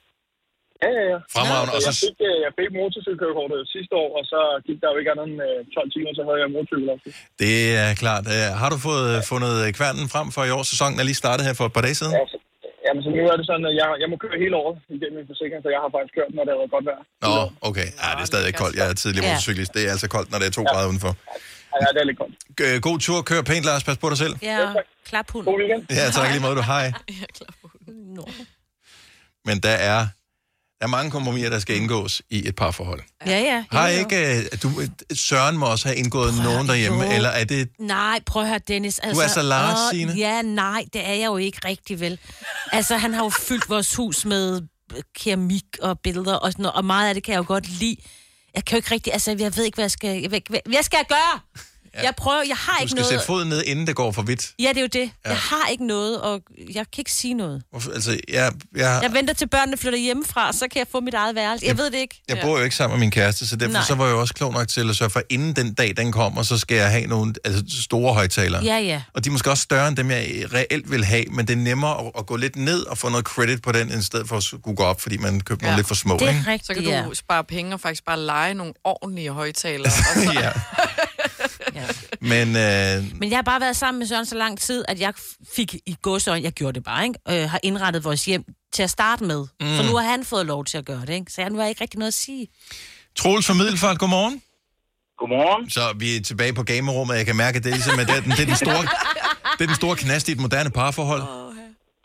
[SPEAKER 21] Ja, ja, ja.
[SPEAKER 1] Fremragende,
[SPEAKER 21] Så
[SPEAKER 1] og så-
[SPEAKER 21] jeg fik, øh, jeg fik motorcykelkørekortet sidste år, og så gik der jo ikke andet end øh, 12 timer, så havde jeg motorcykel også.
[SPEAKER 1] Det er klart. Øh, Har du fået øh, fundet øh, kværnen frem for i år? Sæsonen er lige startet her for et par dage siden.
[SPEAKER 21] Jamen, så nu er det sådan, at jeg, jeg må køre hele året igennem min forsikring, så jeg har faktisk kørt, når det har været godt vejr.
[SPEAKER 1] Nå, okay. Ja, det er stadig koldt. Jeg er tidlig
[SPEAKER 21] Ja.
[SPEAKER 1] motorcyklist. Det er altså koldt, når det er to grader udenfor.
[SPEAKER 21] Ja, det er lidt koldt.
[SPEAKER 1] Øh, God tur. Kør pænt, Lars. Pas på dig selv.
[SPEAKER 3] Ja, klap hunden.
[SPEAKER 21] God weekend.
[SPEAKER 1] Ja, tak i lige måde. Du hej. Men der er, der er mange kompromiser, der skal indgås i et parforhold.
[SPEAKER 3] Ja, ja.
[SPEAKER 1] Har
[SPEAKER 3] jo, jo.
[SPEAKER 1] ikke... øh, Du, Søren må også have indgået nogen derhjemme,
[SPEAKER 3] jo.
[SPEAKER 1] eller er det...
[SPEAKER 3] Nej, prøv at høre, Dennis. Altså,
[SPEAKER 1] er så large,
[SPEAKER 3] åh,
[SPEAKER 1] Signe.
[SPEAKER 3] Ja, nej, det er jeg jo ikke rigtig vel. Altså, han har jo fyldt vores hus med øh, keramik og billeder og sådan noget, og meget af det kan jeg jo godt lide. Jeg kan jo ikke rigtig, altså, jeg ved ikke, hvad jeg skal, jeg ved, ikke, hvad hvad skal jeg gøre? Ja. Jeg prøver, jeg har
[SPEAKER 1] Du
[SPEAKER 3] ikke
[SPEAKER 1] skal
[SPEAKER 3] noget.
[SPEAKER 1] sætte foden ned, inden det går for vidt.
[SPEAKER 3] Ja, det er jo det.
[SPEAKER 1] Ja.
[SPEAKER 3] Ja. Jeg har ikke noget, og jeg kan ikke sige noget.
[SPEAKER 1] Hvorfor- Altså, jeg, jeg,
[SPEAKER 3] Jeg venter til børnene flytter hjemmefra, så kan jeg få mit eget værelse. Jeg ved det ikke.
[SPEAKER 1] Jeg bor jo ikke sammen med min kæreste, så derfor
[SPEAKER 3] Nej.
[SPEAKER 1] så var jeg jo også klog nok til at sørge for, at inden den dag, den kommer, så skal jeg have nogle altså, store højtalere.
[SPEAKER 3] Ja, ja.
[SPEAKER 1] Og de er måske også større end dem, jeg reelt vil have, men det er nemmere at, at gå lidt ned og få noget credit på den, i stedet for at skulle gå op, fordi man købte ja. nogle lidt for små. ikke?
[SPEAKER 3] rigtigt,
[SPEAKER 4] Så kan du
[SPEAKER 3] ja.
[SPEAKER 4] spare penge og faktisk bare lege nogle ordentlige højtalere. Og så...
[SPEAKER 1] ja. Men øh,
[SPEAKER 3] Men jeg har bare været sammen med Søren så lang tid, at jeg f- fik i godsøjne, jeg gjorde det bare, ikke? Øh, har indrettet vores hjem til at starte med. Mm. For nu har han fået lov til at gøre det, ikke? Så jeg, nu har jeg ikke rigtig noget at sige.
[SPEAKER 1] Troels fra Middelfart, godmorgen.
[SPEAKER 18] Godmorgen.
[SPEAKER 1] Så vi er tilbage på gamerummet, jeg kan mærke, at det er, ligesom, at det er, den, det er, den, store, det er den store knast i et moderne parforhold.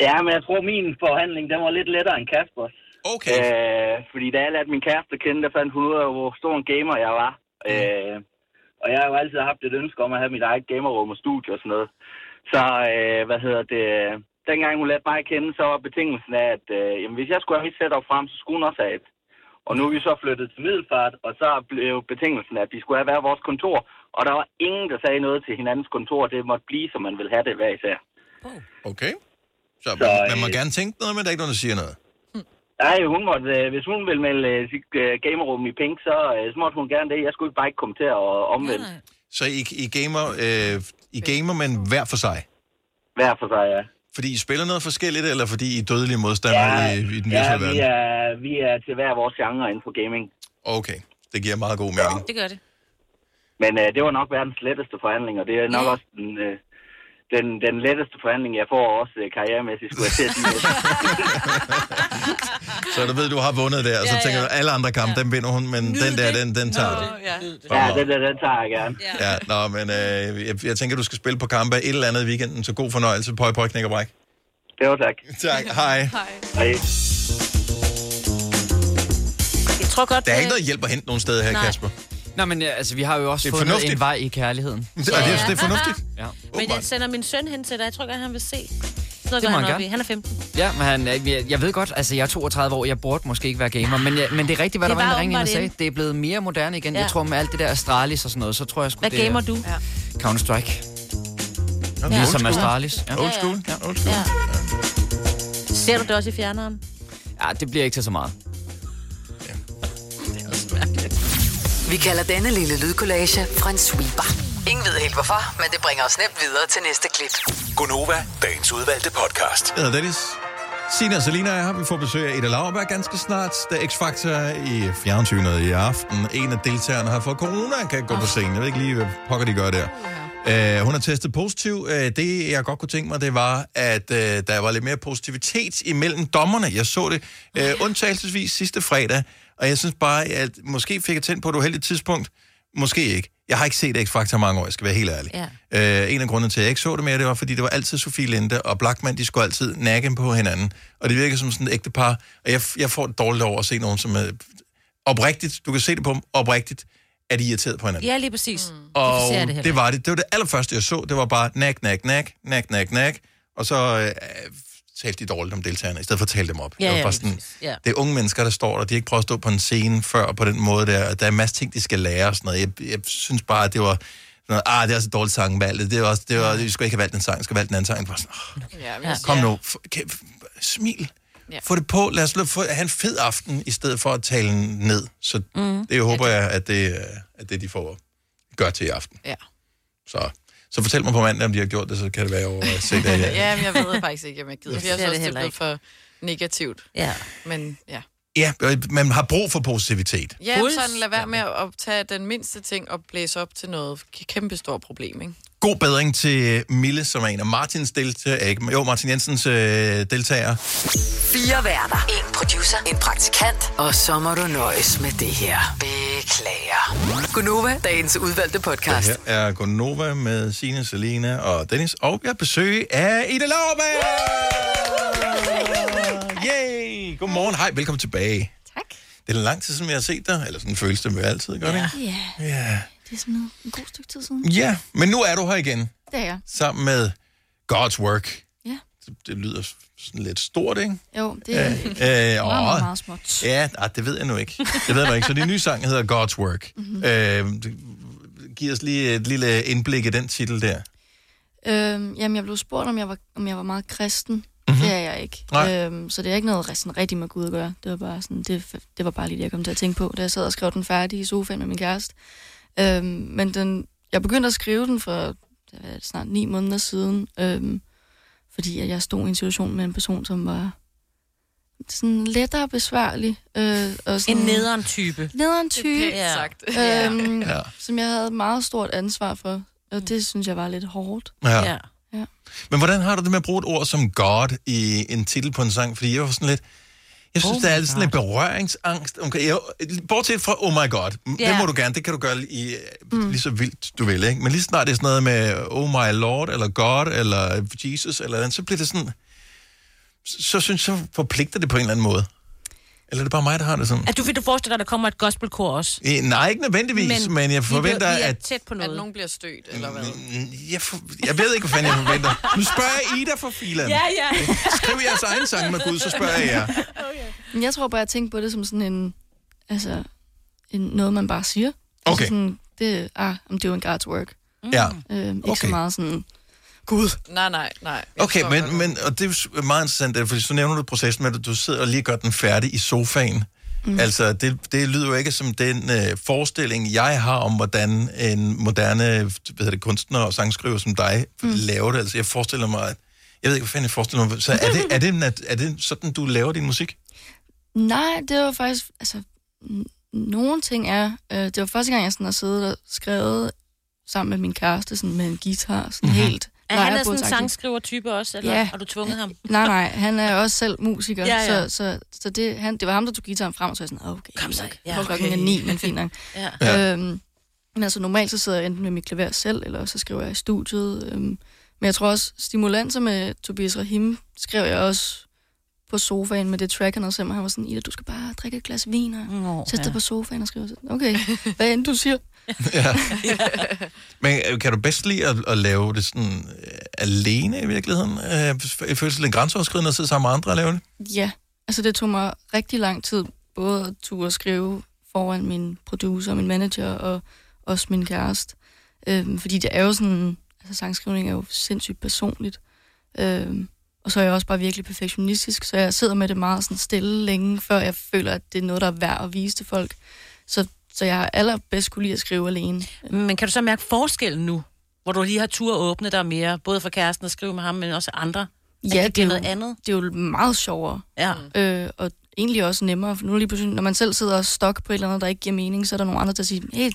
[SPEAKER 18] Ja, men jeg tror, min forhandling, den var lidt lettere end Kaspers.
[SPEAKER 1] Okay.
[SPEAKER 18] Øh, fordi da jeg lærte min kæreste at kende, der fandt hun ud af, hvor stor en gamer jeg var. Mm. Øh, og jeg har jo altid haft et ønske om at have mit eget gamerrum og studie og sådan noget. Så, øh, hvad hedder det... Dengang hun lærte mig at kende, så var betingelsen af, at øh, jamen, hvis jeg skulle have mit setup frem, så skulle hun også have et. Og nu er vi så flyttet til Middelfart, og så blev betingelsen, at vi skulle have hver vores kontor. Og der var ingen, der sagde noget til hinandens kontor. Det måtte blive, som man ville have det hver især.
[SPEAKER 1] Okay. Så, så man, man må
[SPEAKER 18] øh,
[SPEAKER 1] gerne tænke noget, men der er ikke nogen, der siger noget.
[SPEAKER 18] Nej, hun måtte, øh, hvis hun ville melde øh, sit øh, gamerum i pink, så, øh, så måtte hun gerne det. Jeg skulle ikke bare ikke kommentere og omvendt.
[SPEAKER 1] Så I, I, gamer, øh, I gamer, men hver for sig?
[SPEAKER 18] Hver for sig, ja.
[SPEAKER 1] Fordi I spiller noget forskelligt, eller fordi I er dødelige modstandere ja, i, i den
[SPEAKER 18] ja,
[SPEAKER 1] virkelige
[SPEAKER 18] vi
[SPEAKER 1] verden?
[SPEAKER 18] er, vi er til hver vores genre inden for gaming.
[SPEAKER 1] Okay, det giver meget god mening.
[SPEAKER 3] Det gør det.
[SPEAKER 18] Men øh, det var nok verdens letteste forhandling, og det er nok også den, øh, den, den letteste forhandling, jeg får også øh, karrieremæssigt, skulle jeg til at sige.
[SPEAKER 1] Så du ved, du har vundet der, og så
[SPEAKER 18] Ja, ja.
[SPEAKER 1] tænker du, alle andre kampe, ja. dem vinder hun, men den der, den, den tager du.
[SPEAKER 18] ja. ja, den der, den tager jeg gerne.
[SPEAKER 1] Ja, nå, men øh, jeg, jeg tænker, du skal spille på kampe et eller andet i weekenden, så god fornøjelse. Pøj, pøj, knæk og bræk.
[SPEAKER 18] Det var tak.
[SPEAKER 1] Tak, hej.
[SPEAKER 18] Hej.
[SPEAKER 3] Jeg tror godt,
[SPEAKER 1] Der er
[SPEAKER 5] øh,
[SPEAKER 1] ikke noget hjælp at hente nogen steder her,
[SPEAKER 5] Nej.
[SPEAKER 1] Kasper.
[SPEAKER 5] Nå, men ja, altså, vi har jo også
[SPEAKER 1] Det er
[SPEAKER 5] fundet
[SPEAKER 1] fornuftigt.
[SPEAKER 5] en vej i kærligheden.
[SPEAKER 1] Det er- det er- det er fornuftigt.
[SPEAKER 5] Ja.
[SPEAKER 3] Men jeg sender min søn hen til dig. Jeg tror godt, han vil se. Noget
[SPEAKER 5] Det
[SPEAKER 3] gør
[SPEAKER 5] må
[SPEAKER 3] han,
[SPEAKER 5] han
[SPEAKER 3] op i.
[SPEAKER 5] gerne.
[SPEAKER 3] Han er 15.
[SPEAKER 5] Ja, men han, øh, jeg, jeg ved godt, altså jeg er 32 år, jeg burde måske ikke være gamer, men, jeg, men det er rigtigt, hvad det der
[SPEAKER 3] Det
[SPEAKER 5] var en,
[SPEAKER 3] var
[SPEAKER 5] der ringede ind og
[SPEAKER 3] åbenbart
[SPEAKER 5] sagde.
[SPEAKER 3] inde.
[SPEAKER 5] Det er blevet mere moderne igen.
[SPEAKER 3] Ja.
[SPEAKER 5] Ja. Jeg tror med alt det der Astralis og sådan noget, så tror jeg sgu,
[SPEAKER 3] Hvad
[SPEAKER 5] det er-
[SPEAKER 3] gamer du? Ja.
[SPEAKER 5] Counter-Strike.
[SPEAKER 1] Ja.
[SPEAKER 5] Ligesom
[SPEAKER 3] Ja. Old school.
[SPEAKER 5] Astralis.
[SPEAKER 3] Ja, ja. Old school.
[SPEAKER 1] Ja. Old
[SPEAKER 3] Ja. Ser du det også i fjerneren?
[SPEAKER 5] ja, det bliver ikke til så meget.
[SPEAKER 2] Vi kalder denne lille lydkollage en sweeper. Ingen ved helt hvorfor, men det bringer os nemt videre til næste klip.
[SPEAKER 6] Gonova, dagens udvalgte podcast.
[SPEAKER 1] Jeg hedder Dennis. Signe og Selina er her. Vi får besøg af Ida Lauerberg ganske snart. Der er X-Factor i fjernsynet i aften. En af deltagerne har fået corona, kan gå på scenen. Jeg ved ikke lige, hvad pokker de gør der. Uh, hun har testet positiv. Uh, det, jeg godt kunne tænke mig, det var, at uh, der var lidt mere positivitet imellem dommerne. Jeg så det uh, undtagelsesvis sidste fredag, og jeg synes bare, at måske fik jeg tændt på et uheldigt tidspunkt. Måske ikke. Jeg har ikke set X-Factor i mange år, jeg skal være helt ærlig.
[SPEAKER 3] Ja.
[SPEAKER 1] Øh, en af grundene til, at jeg ikke så det mere, det var, fordi det var altid Sofie Linde og Blackman, de skulle altid nakke på hinanden. Og det virker som sådan et ægte par. Og jeg, jeg får det dårligt over at se nogen, som er oprigtigt, du kan se det på dem, oprigtigt, er de irriteret på hinanden.
[SPEAKER 3] Ja, lige præcis. Mm.
[SPEAKER 1] og
[SPEAKER 3] det,
[SPEAKER 1] det,
[SPEAKER 3] heller
[SPEAKER 1] det var det. Det var det allerførste, jeg så. Det var bare nak, nak, nak, nak, nak, nak. Og så øh, talte de dårligt om deltagerne, i stedet for at tale dem op.
[SPEAKER 3] Ja,
[SPEAKER 1] det var
[SPEAKER 3] ja,
[SPEAKER 1] bare
[SPEAKER 3] lige
[SPEAKER 1] sådan,
[SPEAKER 3] præcis. Ja.
[SPEAKER 1] det er unge mennesker, der står der, de har ikke prøvet at stå på en scene før på den måde der, der er en masse ting, de skal lære og sådan noget. Jeg, jeg synes bare, at det var sådan noget, ah, det er også et dårligt sangvalg, det er også, det var, vi skulle ikke have valgt den sang, vi skulle have valgt den anden sang. Jeg var sådan, oh,
[SPEAKER 4] Ja, men
[SPEAKER 1] ja.
[SPEAKER 4] jeg
[SPEAKER 1] kom
[SPEAKER 4] siger-
[SPEAKER 1] nu, f- kan, f- smil,
[SPEAKER 4] Ja.
[SPEAKER 1] ja. få det på, lad os lø- få, have en fed aften, i stedet for at tale ned. Så mm. det håber jeg, at det, øh, at det de får gør til i aften.
[SPEAKER 4] Ja.
[SPEAKER 1] Så, Så fortæl mig på mandag, om de har gjort det, så kan det være over at se det her.
[SPEAKER 4] Ja, men jeg ved faktisk ikke, om jeg gider.
[SPEAKER 3] Jeg
[SPEAKER 4] for Jeg
[SPEAKER 3] ser
[SPEAKER 4] synes
[SPEAKER 3] det
[SPEAKER 4] også, det
[SPEAKER 3] heller
[SPEAKER 4] er blevet for negativt.
[SPEAKER 3] Ja.
[SPEAKER 4] Men ja.
[SPEAKER 1] Ja, øh, man har brug for positivitet.
[SPEAKER 4] Ja, sådan lad være med at tage den mindste ting og blæse op til noget kæmpe stort problem, ikke?
[SPEAKER 1] God bedring til øh, Mille, som er en af Martins deltager, ikke? Jo, Martin Jensens øh, deltager.
[SPEAKER 2] Fire værter. En producer. En praktikant. Og så må du nøjes med det her. Beklager. Gunova, dagens udvalgte podcast.
[SPEAKER 1] Her er Gonova med Signe, Selina og Dennis. Og jeg har besøg af Ida Lauerberg! Yay! Godmorgen. Hej, velkommen tilbage.
[SPEAKER 20] Tak.
[SPEAKER 1] Det er lang tid, siden jeg har set dig. Eller sådan føles det med altid, gør det ikke?
[SPEAKER 20] Ja.
[SPEAKER 1] Ja.
[SPEAKER 20] Det er sådan noget, en god stykke tid siden.
[SPEAKER 1] Ja, men nu er du her igen.
[SPEAKER 20] Det er jeg.
[SPEAKER 1] Sammen med God's Work.
[SPEAKER 20] Ja.
[SPEAKER 1] Det, det lyder sådan lidt stort, ikke?
[SPEAKER 20] Jo, det er
[SPEAKER 1] Øh, øh,
[SPEAKER 20] meget,
[SPEAKER 1] åh.
[SPEAKER 20] meget, meget småt.
[SPEAKER 1] Ja, nej, det ved jeg nu ikke. Det ved jeg nu ikke. Så din nye sang hedder God's Work.
[SPEAKER 20] Mhm.
[SPEAKER 1] Mm-hmm. Øh, giv os lige et lille indblik i den titel der.
[SPEAKER 20] Øhm, jamen, jeg blev spurgt, om jeg var, om jeg var meget kristen. Mm-hmm. Det er jeg ikke.
[SPEAKER 1] Mhm. Nej.
[SPEAKER 20] Øhm, så det er ikke noget sådan rigtigt med Gud at gøre. Det var bare, sådan, det, det var bare lige det, jeg kom til at tænke på, da jeg sad og skrev den færdig i sofaen med min kæreste. Øhm, men den, jeg begyndte at skrive den for det var snart ni måneder siden, øhm, fordi at jeg stod i en situation med en person, som var sådan lettere besværlig. Øh, og sådan,
[SPEAKER 3] En nederen type.
[SPEAKER 20] Nederen
[SPEAKER 3] Det er
[SPEAKER 20] type.
[SPEAKER 3] pænt Ja. sagt.
[SPEAKER 20] Øhm,
[SPEAKER 1] Ja.
[SPEAKER 20] ja. Som jeg havde et meget stort ansvar for. Og det synes jeg var lidt hårdt.
[SPEAKER 1] Ja.
[SPEAKER 20] ja. ja.
[SPEAKER 1] Men hvordan har du det med at bruge et ord som God i en titel på en sang? Fordi jeg var sådan lidt... Jeg synes,
[SPEAKER 20] Oh
[SPEAKER 1] oh der er
[SPEAKER 20] my
[SPEAKER 1] altid sådan lidt berøringsangst. Okay, jeg, bortset fra, oh my god, yeah.
[SPEAKER 20] Ja.
[SPEAKER 1] det må du gerne, det kan du gøre i, mm. lige så vildt du vil, ikke? Men lige snart det er sådan noget med, oh my lord, eller God, eller Jesus, eller andet, så bliver det sådan, så, så synes jeg, forpligter det på en eller anden måde. Eller er det bare mig, der har det sådan?
[SPEAKER 3] At du vil du forestille dig, at der kommer et gospelkor også?
[SPEAKER 1] Eh, Nej, ikke nødvendigvis, men, men jeg forventer,
[SPEAKER 3] vi er, vi er
[SPEAKER 1] at...
[SPEAKER 3] tæt på noget. At nogen
[SPEAKER 4] bliver stødt, eller hvad?
[SPEAKER 1] Jeg, for, jeg ved ikke, hvad fanden jeg forventer. Nu spørger jeg Ida fra Filan.
[SPEAKER 20] Ja, ja.
[SPEAKER 1] Skriv jeres egen sang med Gud, så spørger jeg jer.
[SPEAKER 20] Men jeg tror bare, jeg tænkte på det som sådan en... Altså, en, noget man bare siger.
[SPEAKER 1] Okay.
[SPEAKER 20] Altså sådan, det, ah, I'm doing God's work.
[SPEAKER 1] Ja.
[SPEAKER 20] Øhm, ikke
[SPEAKER 1] Okay.
[SPEAKER 20] så meget sådan... Gud.
[SPEAKER 4] Nej, nej, nej. Jeg
[SPEAKER 1] Okay,
[SPEAKER 4] forstår godt.
[SPEAKER 1] men, men og det er jo s- meget interessant, øh, fordi så nævner du processen med, at du sidder og lige gør den færdig i sofaen. Mm. Altså, det, det lyder jo ikke som den øh, forestilling, jeg har om, hvordan en moderne hvad hedder det, kunstner og sangskriver som dig mm. laver det. Altså, jeg forestiller mig, at, jeg ved ikke, hvad fanden jeg forestiller mig. Så er det, er det, nat- er det sådan, du laver din musik?
[SPEAKER 20] Nej, det var faktisk... Altså, n- nogle ting er... Øh, det var første gang, jeg sådan har siddet og skrevet sammen med min kæreste, sådan med en guitar, sådan mm-hmm. helt...
[SPEAKER 3] Er han er sådan en
[SPEAKER 20] lejrebådsagtigt.
[SPEAKER 3] sangskriver-type også, eller
[SPEAKER 20] Ja.
[SPEAKER 3] har du tvunget ham?
[SPEAKER 20] Nej, nej, han er også selv musiker,
[SPEAKER 3] Ja,
[SPEAKER 20] ja,
[SPEAKER 3] ja.
[SPEAKER 20] ja. så, så, så det, han, det var ham, der tog gitaren frem, og så var jeg sådan, okay, Kom så,
[SPEAKER 3] ja,
[SPEAKER 20] ja, okay. klokken
[SPEAKER 3] okay.
[SPEAKER 20] er ni, men fint nok.
[SPEAKER 3] Ja.
[SPEAKER 20] ja. øhm, men altså normalt så sidder jeg enten med mit klaver selv, eller så skriver jeg i studiet. Øhm, men jeg tror også, stimulanser med Tobias Rahim skrev jeg også på sofaen med det track, han havde sendt mig. Han var sådan, Ida, du skal bare drikke et glas vin og
[SPEAKER 3] Nå,
[SPEAKER 20] sætte dig
[SPEAKER 3] ja.
[SPEAKER 20] på sofaen og skrive. Sådan, Okay, hvad end du siger.
[SPEAKER 1] Ja. Men øh, kan du bedst lide at, at lave det sådan øh, alene i virkeligheden? Øh, f- føles det lidt grænseoverskridende at sidde sammen med andre og lave det?
[SPEAKER 20] Ja, altså det tog mig rigtig lang tid, både at turde at skrive foran min producer, min manager og også min kæreste. Øhm, fordi det er jo sådan, altså sangskrivning er jo sindssygt personligt. Øhm, og så er jeg også bare virkelig perfektionistisk, så jeg sidder med det meget sådan stille længe, før jeg føler, at det er noget, der er værd at vise til folk. Så, så jeg har allerbedst kunne lide at skrive alene.
[SPEAKER 3] Men kan du så mærke forskellen nu, hvor du lige har tur åbne dig mere, både for kæresten at skrive med ham, men også andre? At
[SPEAKER 20] Ja,
[SPEAKER 3] det bliver
[SPEAKER 20] det er
[SPEAKER 3] noget
[SPEAKER 20] jo-
[SPEAKER 3] andet.
[SPEAKER 20] Det er jo meget sjovere.
[SPEAKER 3] Ja.
[SPEAKER 20] Øh, og egentlig også nemmere, for nu lige pludselig, når man selv sidder og stok på et eller andet, der ikke giver mening, så er der nogle andre, der siger, hey,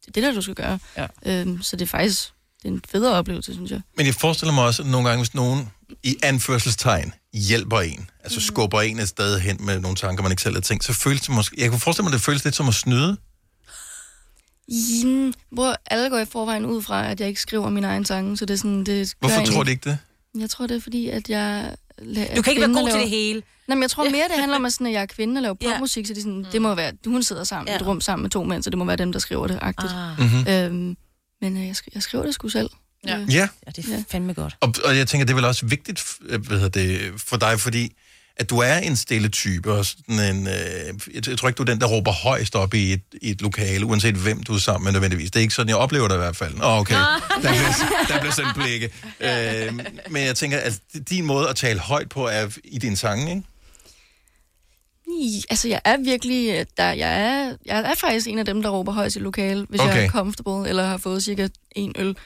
[SPEAKER 20] det er det der, du skal gøre.
[SPEAKER 5] Ja.
[SPEAKER 20] Øhm, så det er faktisk det er en federe oplevelse, synes jeg.
[SPEAKER 1] Men jeg forestiller mig også, at nogle gange, hvis nogen i anførselstegn hjælper en, altså skubber en et sted hen med nogle tanker, man ikke selv har tænkt, så føles det måske... Jeg kunne forestille mig, at det føles lidt som at snyde.
[SPEAKER 20] Jen, hvor alle går i forvejen ud fra, at jeg ikke skriver mine egne sange, så det er sådan, det gør
[SPEAKER 1] Hvorfor
[SPEAKER 20] jeg
[SPEAKER 1] tror
[SPEAKER 20] egentlig-
[SPEAKER 1] du ikke det?
[SPEAKER 20] Jeg tror, det er fordi, at jeg... la-
[SPEAKER 3] Du kan ikke være
[SPEAKER 20] kvinde
[SPEAKER 3] god til
[SPEAKER 20] laver-
[SPEAKER 3] det hele.
[SPEAKER 20] Nej, men jeg tror mere, det handler om, at, sådan, at jeg er kvinde og laver popmusik, så det, er
[SPEAKER 3] Mm.
[SPEAKER 20] sådan, det må være, hun sidder sammen i et rum sammen med to mænd, så det må være dem, der skriver det, agtigt.
[SPEAKER 3] Ah.
[SPEAKER 1] Mhm.
[SPEAKER 20] Øhm, men øh, jeg, sk- jeg skriver det sgu selv. Øh, Ja.
[SPEAKER 1] Ja.
[SPEAKER 3] Ja, det er fandme godt.
[SPEAKER 1] Og, og jeg tænker, det er vel også vigtigt f- øh, hvad hedder det, for dig, fordi at du er en stille type, og sådan en, øh, jeg, jeg tror ikke, du er den, der råber højst op i et, i et lokale, uanset hvem du er sammen med nødvendigvis. Det er ikke sådan, jeg oplever det i hvert fald. Åh, okay, der bliver, der bliver sendt blikke. Øh, men jeg tænker, at din måde at tale højt på er i din sange, ikke?
[SPEAKER 20] I, altså, jeg er virkelig... øh, Der, jeg, er, jeg er faktisk en af dem, der råber højst i lokale, hvis okay.
[SPEAKER 1] Okay.
[SPEAKER 20] jeg er comfortable eller har fået cirka en øl.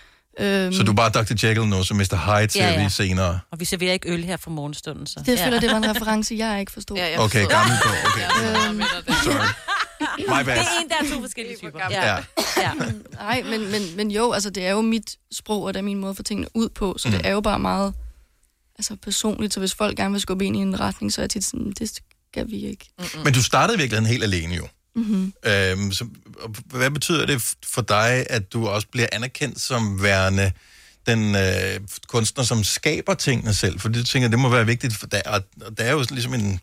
[SPEAKER 20] Øhm,
[SPEAKER 1] Så du er bare Dr. Jekyll nu, så Mr. Hyde til
[SPEAKER 20] Ja,
[SPEAKER 1] Mm. ja,
[SPEAKER 20] ja.
[SPEAKER 1] ja. senere.
[SPEAKER 3] Og vi serverer ikke øl her for morgenstunden, så.
[SPEAKER 20] Det, jeg føler, det var en reference, jeg ikke forstod. Ja,
[SPEAKER 1] jeg Okay, forstod. gammel bog, okay.
[SPEAKER 20] øhm,
[SPEAKER 1] My bad.
[SPEAKER 3] Det er en, der er to forskellige typer.
[SPEAKER 1] Ja.
[SPEAKER 3] ja.
[SPEAKER 20] Nej, men, men, men jo, altså det er jo mit sprog, og det er min måde at få tingene ud på, så mm. det er jo bare meget altså, personligt, så hvis folk gerne vil skubbe ind i en retning, så er jeg tit sådan, det skal vi ikke.
[SPEAKER 1] Men du startede i virkeligheden helt alene jo.
[SPEAKER 20] Mm-hmm.
[SPEAKER 1] Øhm, så, og hvad betyder det f- for dig, at du også bliver anerkendt som værende den øh, kunstner, som skaber tingene selv? For det tænker jeg, det må være vigtigt, for der, og, og der er jo sådan ligesom en,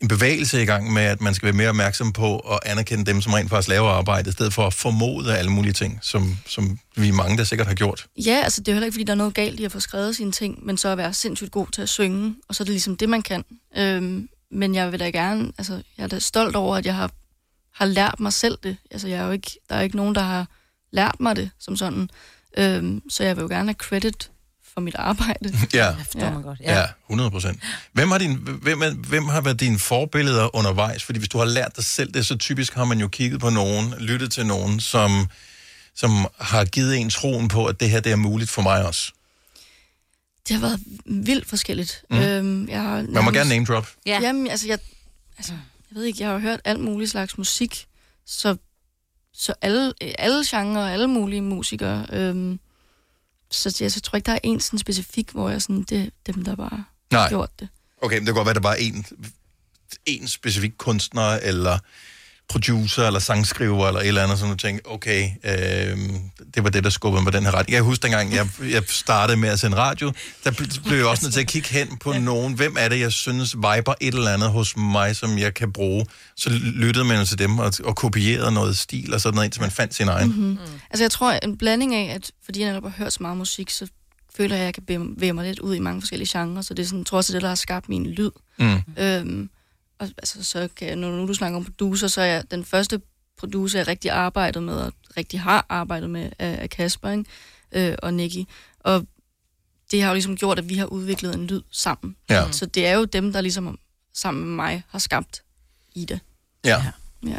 [SPEAKER 1] en bevægelse i gang med, at man skal være mere opmærksom på at anerkende dem, som rent faktisk laver arbejde, i stedet for at formode alle mulige ting, som, som vi er mange, der sikkert har gjort.
[SPEAKER 20] Ja, altså det er jo heller ikke, fordi der er noget galt i at få skrevet sine ting, men så at være sindssygt god til at synge, og så er det ligesom det, man kan. Øhm, men jeg vil da gerne, altså jeg er da stolt over, at jeg har, har lært mig selv det. Altså jeg er jo ikke, der er ikke nogen, der har lært mig det som sådan. Øhm, så jeg vil jo gerne have credit for mit arbejde.
[SPEAKER 1] Ja.
[SPEAKER 20] forstår man godt.
[SPEAKER 1] Ja, 100 procent. Hvem, har din, hvem, er- hvem har været dine forbilleder undervejs? Fordi hvis du har lært dig selv det, så typisk har man jo kigget på nogen, lyttet til nogen, som, som har givet en troen på, at det her det er muligt for mig også.
[SPEAKER 20] Det har været vildt forskelligt.
[SPEAKER 1] Mm.
[SPEAKER 20] Øhm, jeg har
[SPEAKER 1] Man må gerne name drop.
[SPEAKER 20] Ja. Jamen, altså jeg, altså, jeg ved ikke, jeg har jo hørt alt muligt slags musik, så, så alle, øh, alle genrer og alle mulige musikere. Øhm, så jeg så tror ikke, der er en sådan specifik, hvor jeg sådan, det er dem, der bare
[SPEAKER 1] Nej.
[SPEAKER 20] har gjort det.
[SPEAKER 1] Okay, men det kan godt være, at der bare er en, en specifik kunstner, eller producer, eller sangskriver, eller et eller andet, som du tænker, okay, øh, det var det, der skubbede mig på den her retning. Jeg husker dengang, jeg, jeg startede med at sende radio, der bl- blev jeg også nødt til at kigge hen på nogen. Hvem er det, jeg synes viber et eller andet hos mig, som jeg kan bruge? Så lyttede man jo til dem og, og kopierede noget stil og sådan noget, indtil man fandt sin egen.
[SPEAKER 20] Mm-hmm. Mm. Altså jeg tror, en blanding af, at fordi jeg netop har hørt så meget musik, så føler jeg, at jeg kan bevæge- bevæge mig lidt ud i mange forskellige genrer, så det er sådan, jeg tror også, det er det, der har skabt min lyd.
[SPEAKER 1] Mm.
[SPEAKER 20] Øhm, og altså, så kan jeg, når nu du snakker om producer, så er jeg den første producer, jeg rigtig arbejdede med, og rigtig har arbejdet med, er, er Kasper ikke? Øh, og Nicky. Og det har jo ligesom gjort, at vi har udviklet en lyd sammen.
[SPEAKER 1] Ja.
[SPEAKER 20] Så det er jo dem, der ligesom sammen med mig har skabt Ida.
[SPEAKER 1] Ja.
[SPEAKER 20] Ja.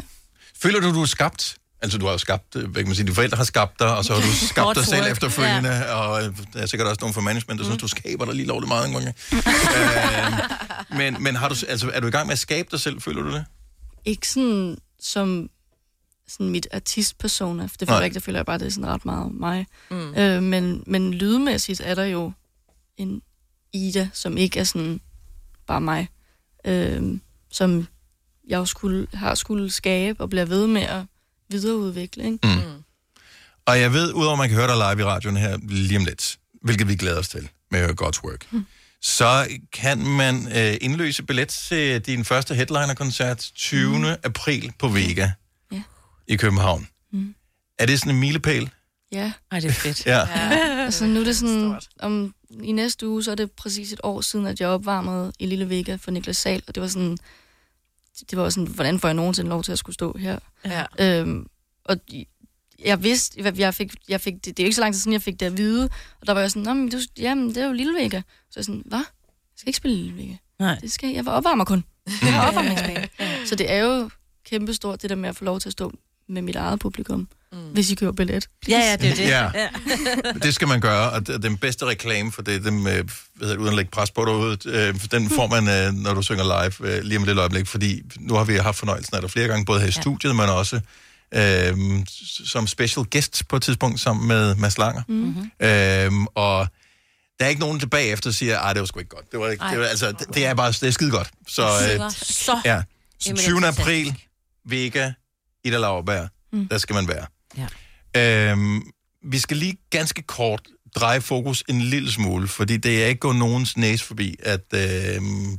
[SPEAKER 1] Føler du, du er skabt? Altså, du har jo skabt, øh, hvad kan man sige, dine forældre har skabt dig, og så har du skabt dig
[SPEAKER 6] Hårdt
[SPEAKER 1] selv
[SPEAKER 6] work.
[SPEAKER 1] efterfølgende, og øh, der er sikkert også nogen fra management, der
[SPEAKER 20] Mm.
[SPEAKER 1] synes, du skaber dig lige lovligt meget en gang. øh, men men har du, altså, er du i gang med at skabe dig selv, føler du det?
[SPEAKER 20] Ikke sådan som sådan mit artistpersona, for det
[SPEAKER 1] Nej.
[SPEAKER 20] føler jeg ikke, der føler jeg bare, det er sådan ret meget mig.
[SPEAKER 9] Mm.
[SPEAKER 20] Mm. Øh, men, men lydmæssigt er der jo en Ida, som ikke er sådan bare mig, øh, som jeg jo skulle, har skulle skabe og bliver ved med at videreudvikle. Ikke?
[SPEAKER 1] Mm. Og jeg ved, udover at man kan høre dig live i radioen her lige om lidt, hvilket vi glæder os til med God's Work, mm. så kan man øh, indløse billet til din første headliner-koncert 20. Mm. april på Vega
[SPEAKER 20] Ja.
[SPEAKER 1] i København.
[SPEAKER 20] Mm.
[SPEAKER 1] Er det sådan en milepæl?
[SPEAKER 20] Ja.
[SPEAKER 3] Ej, det er fedt.
[SPEAKER 1] Ja.
[SPEAKER 20] altså nu er det sådan, om, i næste uge, så er det præcis et år siden, at jeg opvarmede i Lille Vega for Niklas Sal, og det var sådan, det var også sådan, hvordan får jeg nogensinde lov til at skulle stå her?
[SPEAKER 4] Ja.
[SPEAKER 20] Øhm, og de- jeg vidste, hvad jeg fik, jeg fik det, det er jo ikke så lang tid siden, jeg fik det at vide, og der var jeg sådan, Nå, men du, jamen, det er jo Lille Vega. Så jeg sådan, hvad? Jeg skal ikke spille i Lille Vega.
[SPEAKER 3] Nej.
[SPEAKER 20] Det skal jeg, jeg var opvarmer kun. Jeg har opvarmningsbane. så det er jo kæmpestort, det der med at få lov til at stå med mit eget publikum, mm. hvis I køber billet.
[SPEAKER 3] Ja, ja, det er jo det.
[SPEAKER 1] Ja. Det skal man gøre, og det- den bedste reklame for det, dem, øh, hvad hedder det uden at lægge pres på dig, øh, den får man, øh, når du synger live øh, lige om et lille øjeblik, fordi nu har vi haft fornøjelsen af dig flere gange, både her i studiet, men også øh, som special guest på et tidspunkt sammen med Mads Langer.
[SPEAKER 3] Mm. Mhm.
[SPEAKER 6] Mm-hmm.
[SPEAKER 1] Øhm, og der er ikke nogen der bagefter siger, at det var sgu ikke godt. Det, var ikke,
[SPEAKER 6] Ej.
[SPEAKER 1] det, var, altså, det, det er bare det er skide godt. Så, øh,
[SPEAKER 3] så.
[SPEAKER 1] ja. så
[SPEAKER 3] Jamen, det er
[SPEAKER 1] 20.
[SPEAKER 3] fantastisk.
[SPEAKER 1] april, Vega, Ida Lauerberg, mm.
[SPEAKER 3] Mm.
[SPEAKER 1] der skal man være. Øhm, vi skal lige ganske kort dreje fokus en lille smule, fordi det er ikke gået nogens næse forbi, at øhm,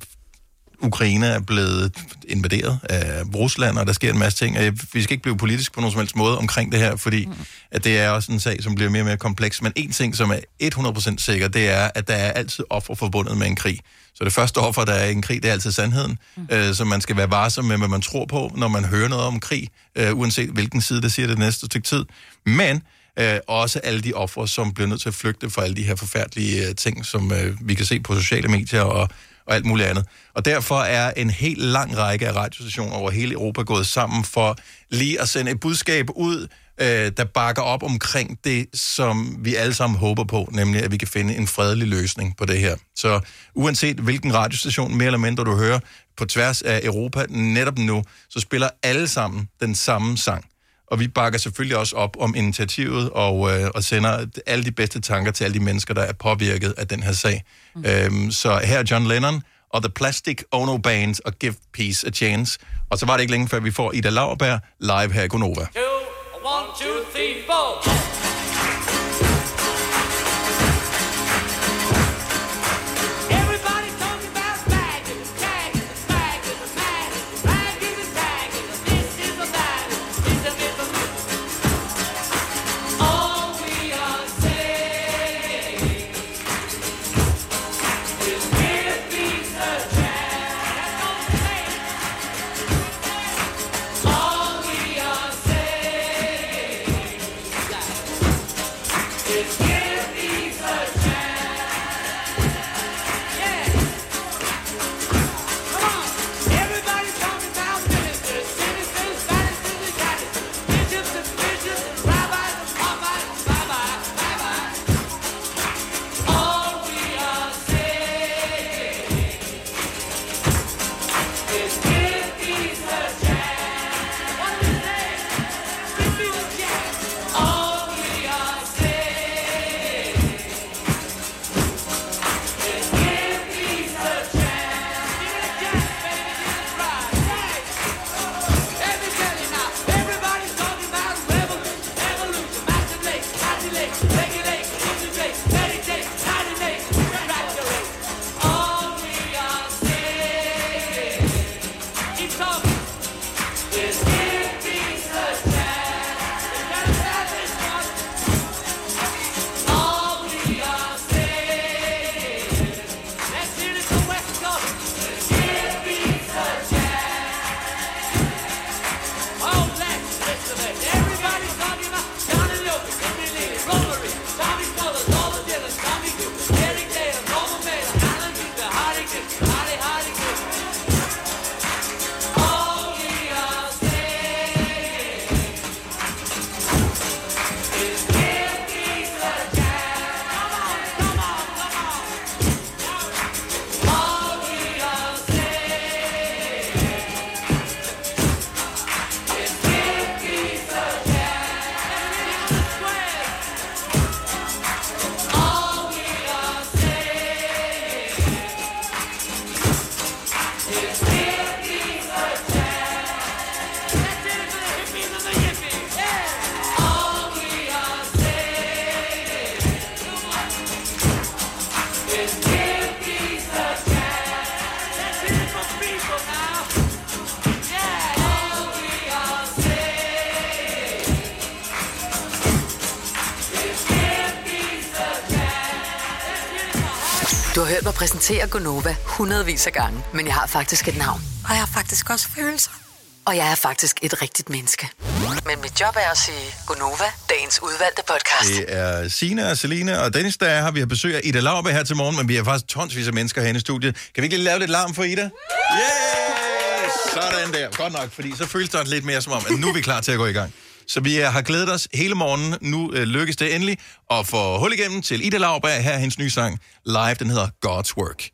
[SPEAKER 1] Ukraine er blevet invaderet af Rusland, og der sker en masse ting. Og jeg- Vi skal ikke blive politisk på nogen som helst måde omkring det her, fordi mm. at det er også en sag, som bliver mere og mere kompleks. Men en ting, som er 100% sikker, det er, at der er altid offer forbundet med en krig. Så det første offer, der er i en krig, det er altid sandheden. Mm. Øh, så man skal være varsom med, hvad man tror på, når man hører noget om krig, øh, uanset hvilken side, der siger det næste stykke tid. Men øh, også alle de ofre, som bliver nødt til at flygte fra alle de her forfærdelige øh, ting, som øh, vi kan se på sociale medier og, og alt muligt andet. Og derfor er en helt lang række af radiostationer over hele Europa gået sammen for lige at sende et budskab ud øh, der bakker op omkring det, som vi alle sammen håber på, nemlig at vi kan finde en fredelig løsning på det her. Så uanset hvilken radiostation, mere eller mindre du hører, på tværs af Europa netop nu, så spiller alle sammen den samme sang. Og vi bakker selvfølgelig også op om initiativet og, øh, og sender alle de bedste tanker til alle de mennesker, der er påvirket af den her sag. Mm. Øhm, så her er John Lennon og The Plastic Ono Band og Give Peace a Chance. Og så var det ikke længe før, vi får Ida Lauerberg live her i Gonova.
[SPEAKER 22] One, two, three, four. Everybody talking about bag in the tag in the bag in the bag in the bag in the tag in the this is a bag this is a bit of All we are saying is give peace a chance. All we are saying is give peace a chance.
[SPEAKER 8] Du har hørt mig præsentere Gonova hundredvis af gange, men jeg har faktisk et navn.
[SPEAKER 2] Og jeg har faktisk også følelser.
[SPEAKER 8] Og jeg er faktisk et rigtigt menneske. Men mit job er at sige Gonova, dagens udvalgte podcast.
[SPEAKER 1] Det er Sina og Selina og Dennis, der er her. Vi har besøg af Ida Lauber her til morgen, men vi har faktisk tonsvis af mennesker herinde i studiet. Kan vi ikke lige lave lidt larm for Ida? Yeah! Sådan der. Godt nok, fordi så føles det lidt mere som om, at nu er vi klar til at gå i gang. Så vi øh, har glædet os hele morgenen. Nu øh, lykkes det endelig at få hul igennem til Ida Lauberg. Her er hendes nye sang live. Den hedder God's Work.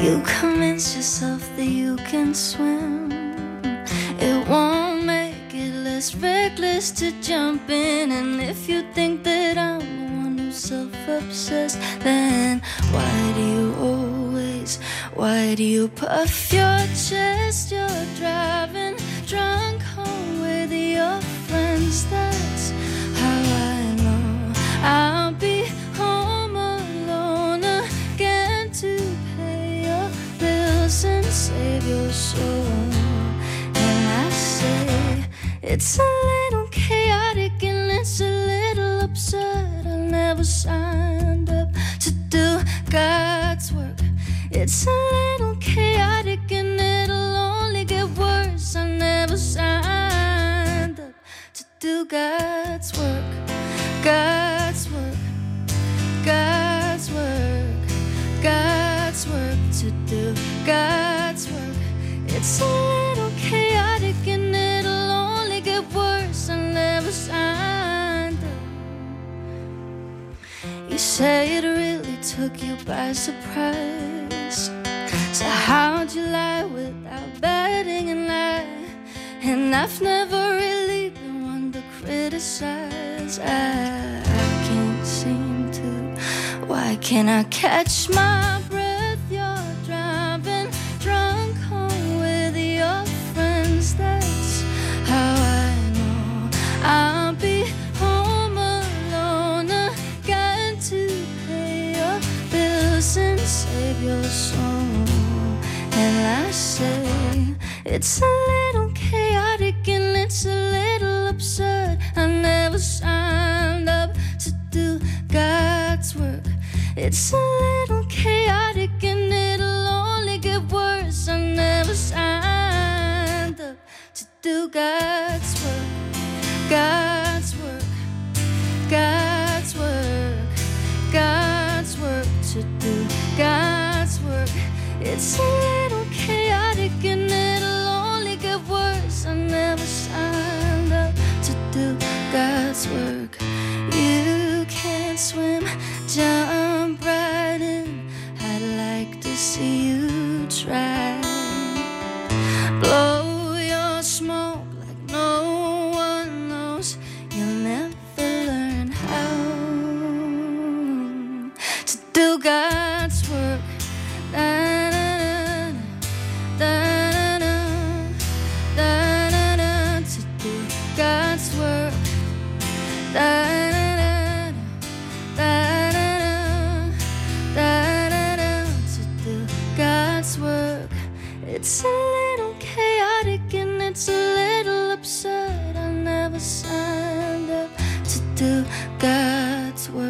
[SPEAKER 23] You convince yourself that you can swim. It won't make it less reckless to jump in. And if you think that I'm the one who's self obsessed, then why do you always, why do you puff your chest? You're driving drunk home with your friends. That's how I know I'll be home alone again to pay your bills and save your soul. And I say, it's a little chaotic and it's a little absurd. I never signed up to do God's work. It's a little chaotic and it'll only get worse. I never signed up to do God's work. God's work. God's work. God's It's a little chaotic and it'll only get worse unless I'm You say it really took you by surprise. So how'd you lie without betting and lie? And I've never really been one to criticize. I, I can't seem to. Why can't I catch my breath? You're driving drunk home with your friends. That's how I know I'll be home alone again to pay your bills and save your soul. And I say. It's a little chaotic and it's a little absurd. I never signed up to do God's work. It's a little chaotic and it'll only get worse. I never signed up to do God's work. God's work. God's work. God's work to do God's work. It's a little chaotic and it'll only get worse. I never signed up to do God's work. You can't swim, jump right in. I'd like to see you try. Blow your smoke like no one knows. You'll never learn how to do God's work. Da-na-na, da-na-na, da-na-na, to do God's work. Da-na-na, da-na-na, da-na-na, to do God's work. It's a little chaotic and it's a little absurd. I never signed up to do God's work.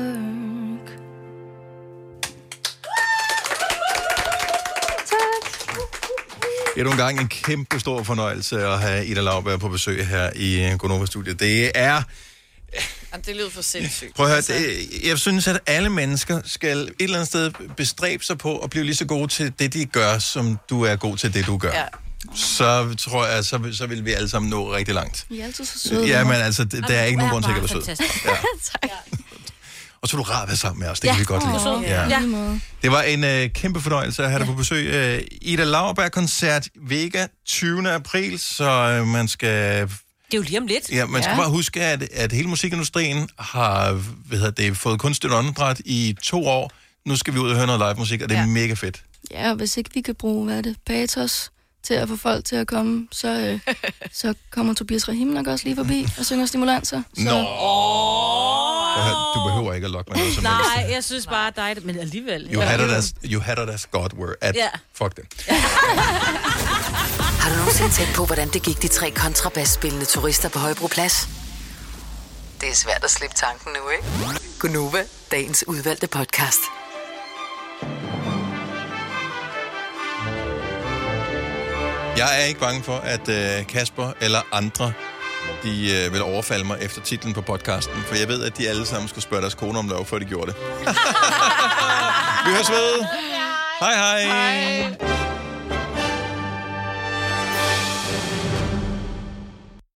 [SPEAKER 1] Endnu en gang en kæmpe stor fornøjelse at have Ida Lauberg på besøg her i øh, Gonova-studiet. Det er...
[SPEAKER 4] Jamen, det lyder for sindssygt.
[SPEAKER 1] Prøv
[SPEAKER 20] Altså-
[SPEAKER 1] at høre, det, jeg synes, at alle mennesker skal et eller andet sted bestræbe sig på at blive lige så gode til det, de gør, som du er god til det, du gør.
[SPEAKER 4] Ja.
[SPEAKER 1] Så tror jeg, så, vil- så vil vi alle sammen nå rigtig langt.
[SPEAKER 20] I er altid så søde.
[SPEAKER 1] Ja, men altså, det- der er ikke nogen grund til ikke at være sød.
[SPEAKER 20] Ja. tak.
[SPEAKER 1] Og så er du rar at være sammen med os, Altså, det kan vi godt lide.
[SPEAKER 20] Ja. Ja.
[SPEAKER 1] Det var en øh, kæmpe fornøjelse at have dig på besøg. Øh, Ida Lauerberg-koncert Vega 20. april, så øh, man skal...
[SPEAKER 3] Det er jo lige om lidt.
[SPEAKER 1] Ja, man skal ja. bare huske, at, at hele musikindustrien har hvad hedder det, fået kunstigt åndedræt i to år. Nu skal vi ud og høre noget live musik, og det er ja. mega fedt.
[SPEAKER 20] ja, og hvis ikke vi kan bruge, hvad er det, patos til at få folk til at komme, så, øh, så kommer Tobias Rahim nok også lige forbi og synger stimulanser. Så,
[SPEAKER 1] Nå. Prøv at høre, Du behøver ikke at lokke mig noget som helst.
[SPEAKER 3] Nej, jeg synes bare, dig, men alligevel.
[SPEAKER 1] You had it as, you had it as God were at...
[SPEAKER 3] Ja.
[SPEAKER 1] Fuck det.
[SPEAKER 2] Har du nogensinde tænkt på, hvordan det gik de tre kontrabasspillende turister på Højbroplads? Det er svært at slippe tanken nu, ikke? Gunova, dagens udvalgte podcast.
[SPEAKER 1] Jeg er ikke bange for, at øh, Kasper eller andre de øh, vil overfalde mig efter titlen på podcasten, for jeg ved, at de alle sammen skulle spørge deres kone om lov, før de gjorde det. Vi høres ved. Hej hej. hej.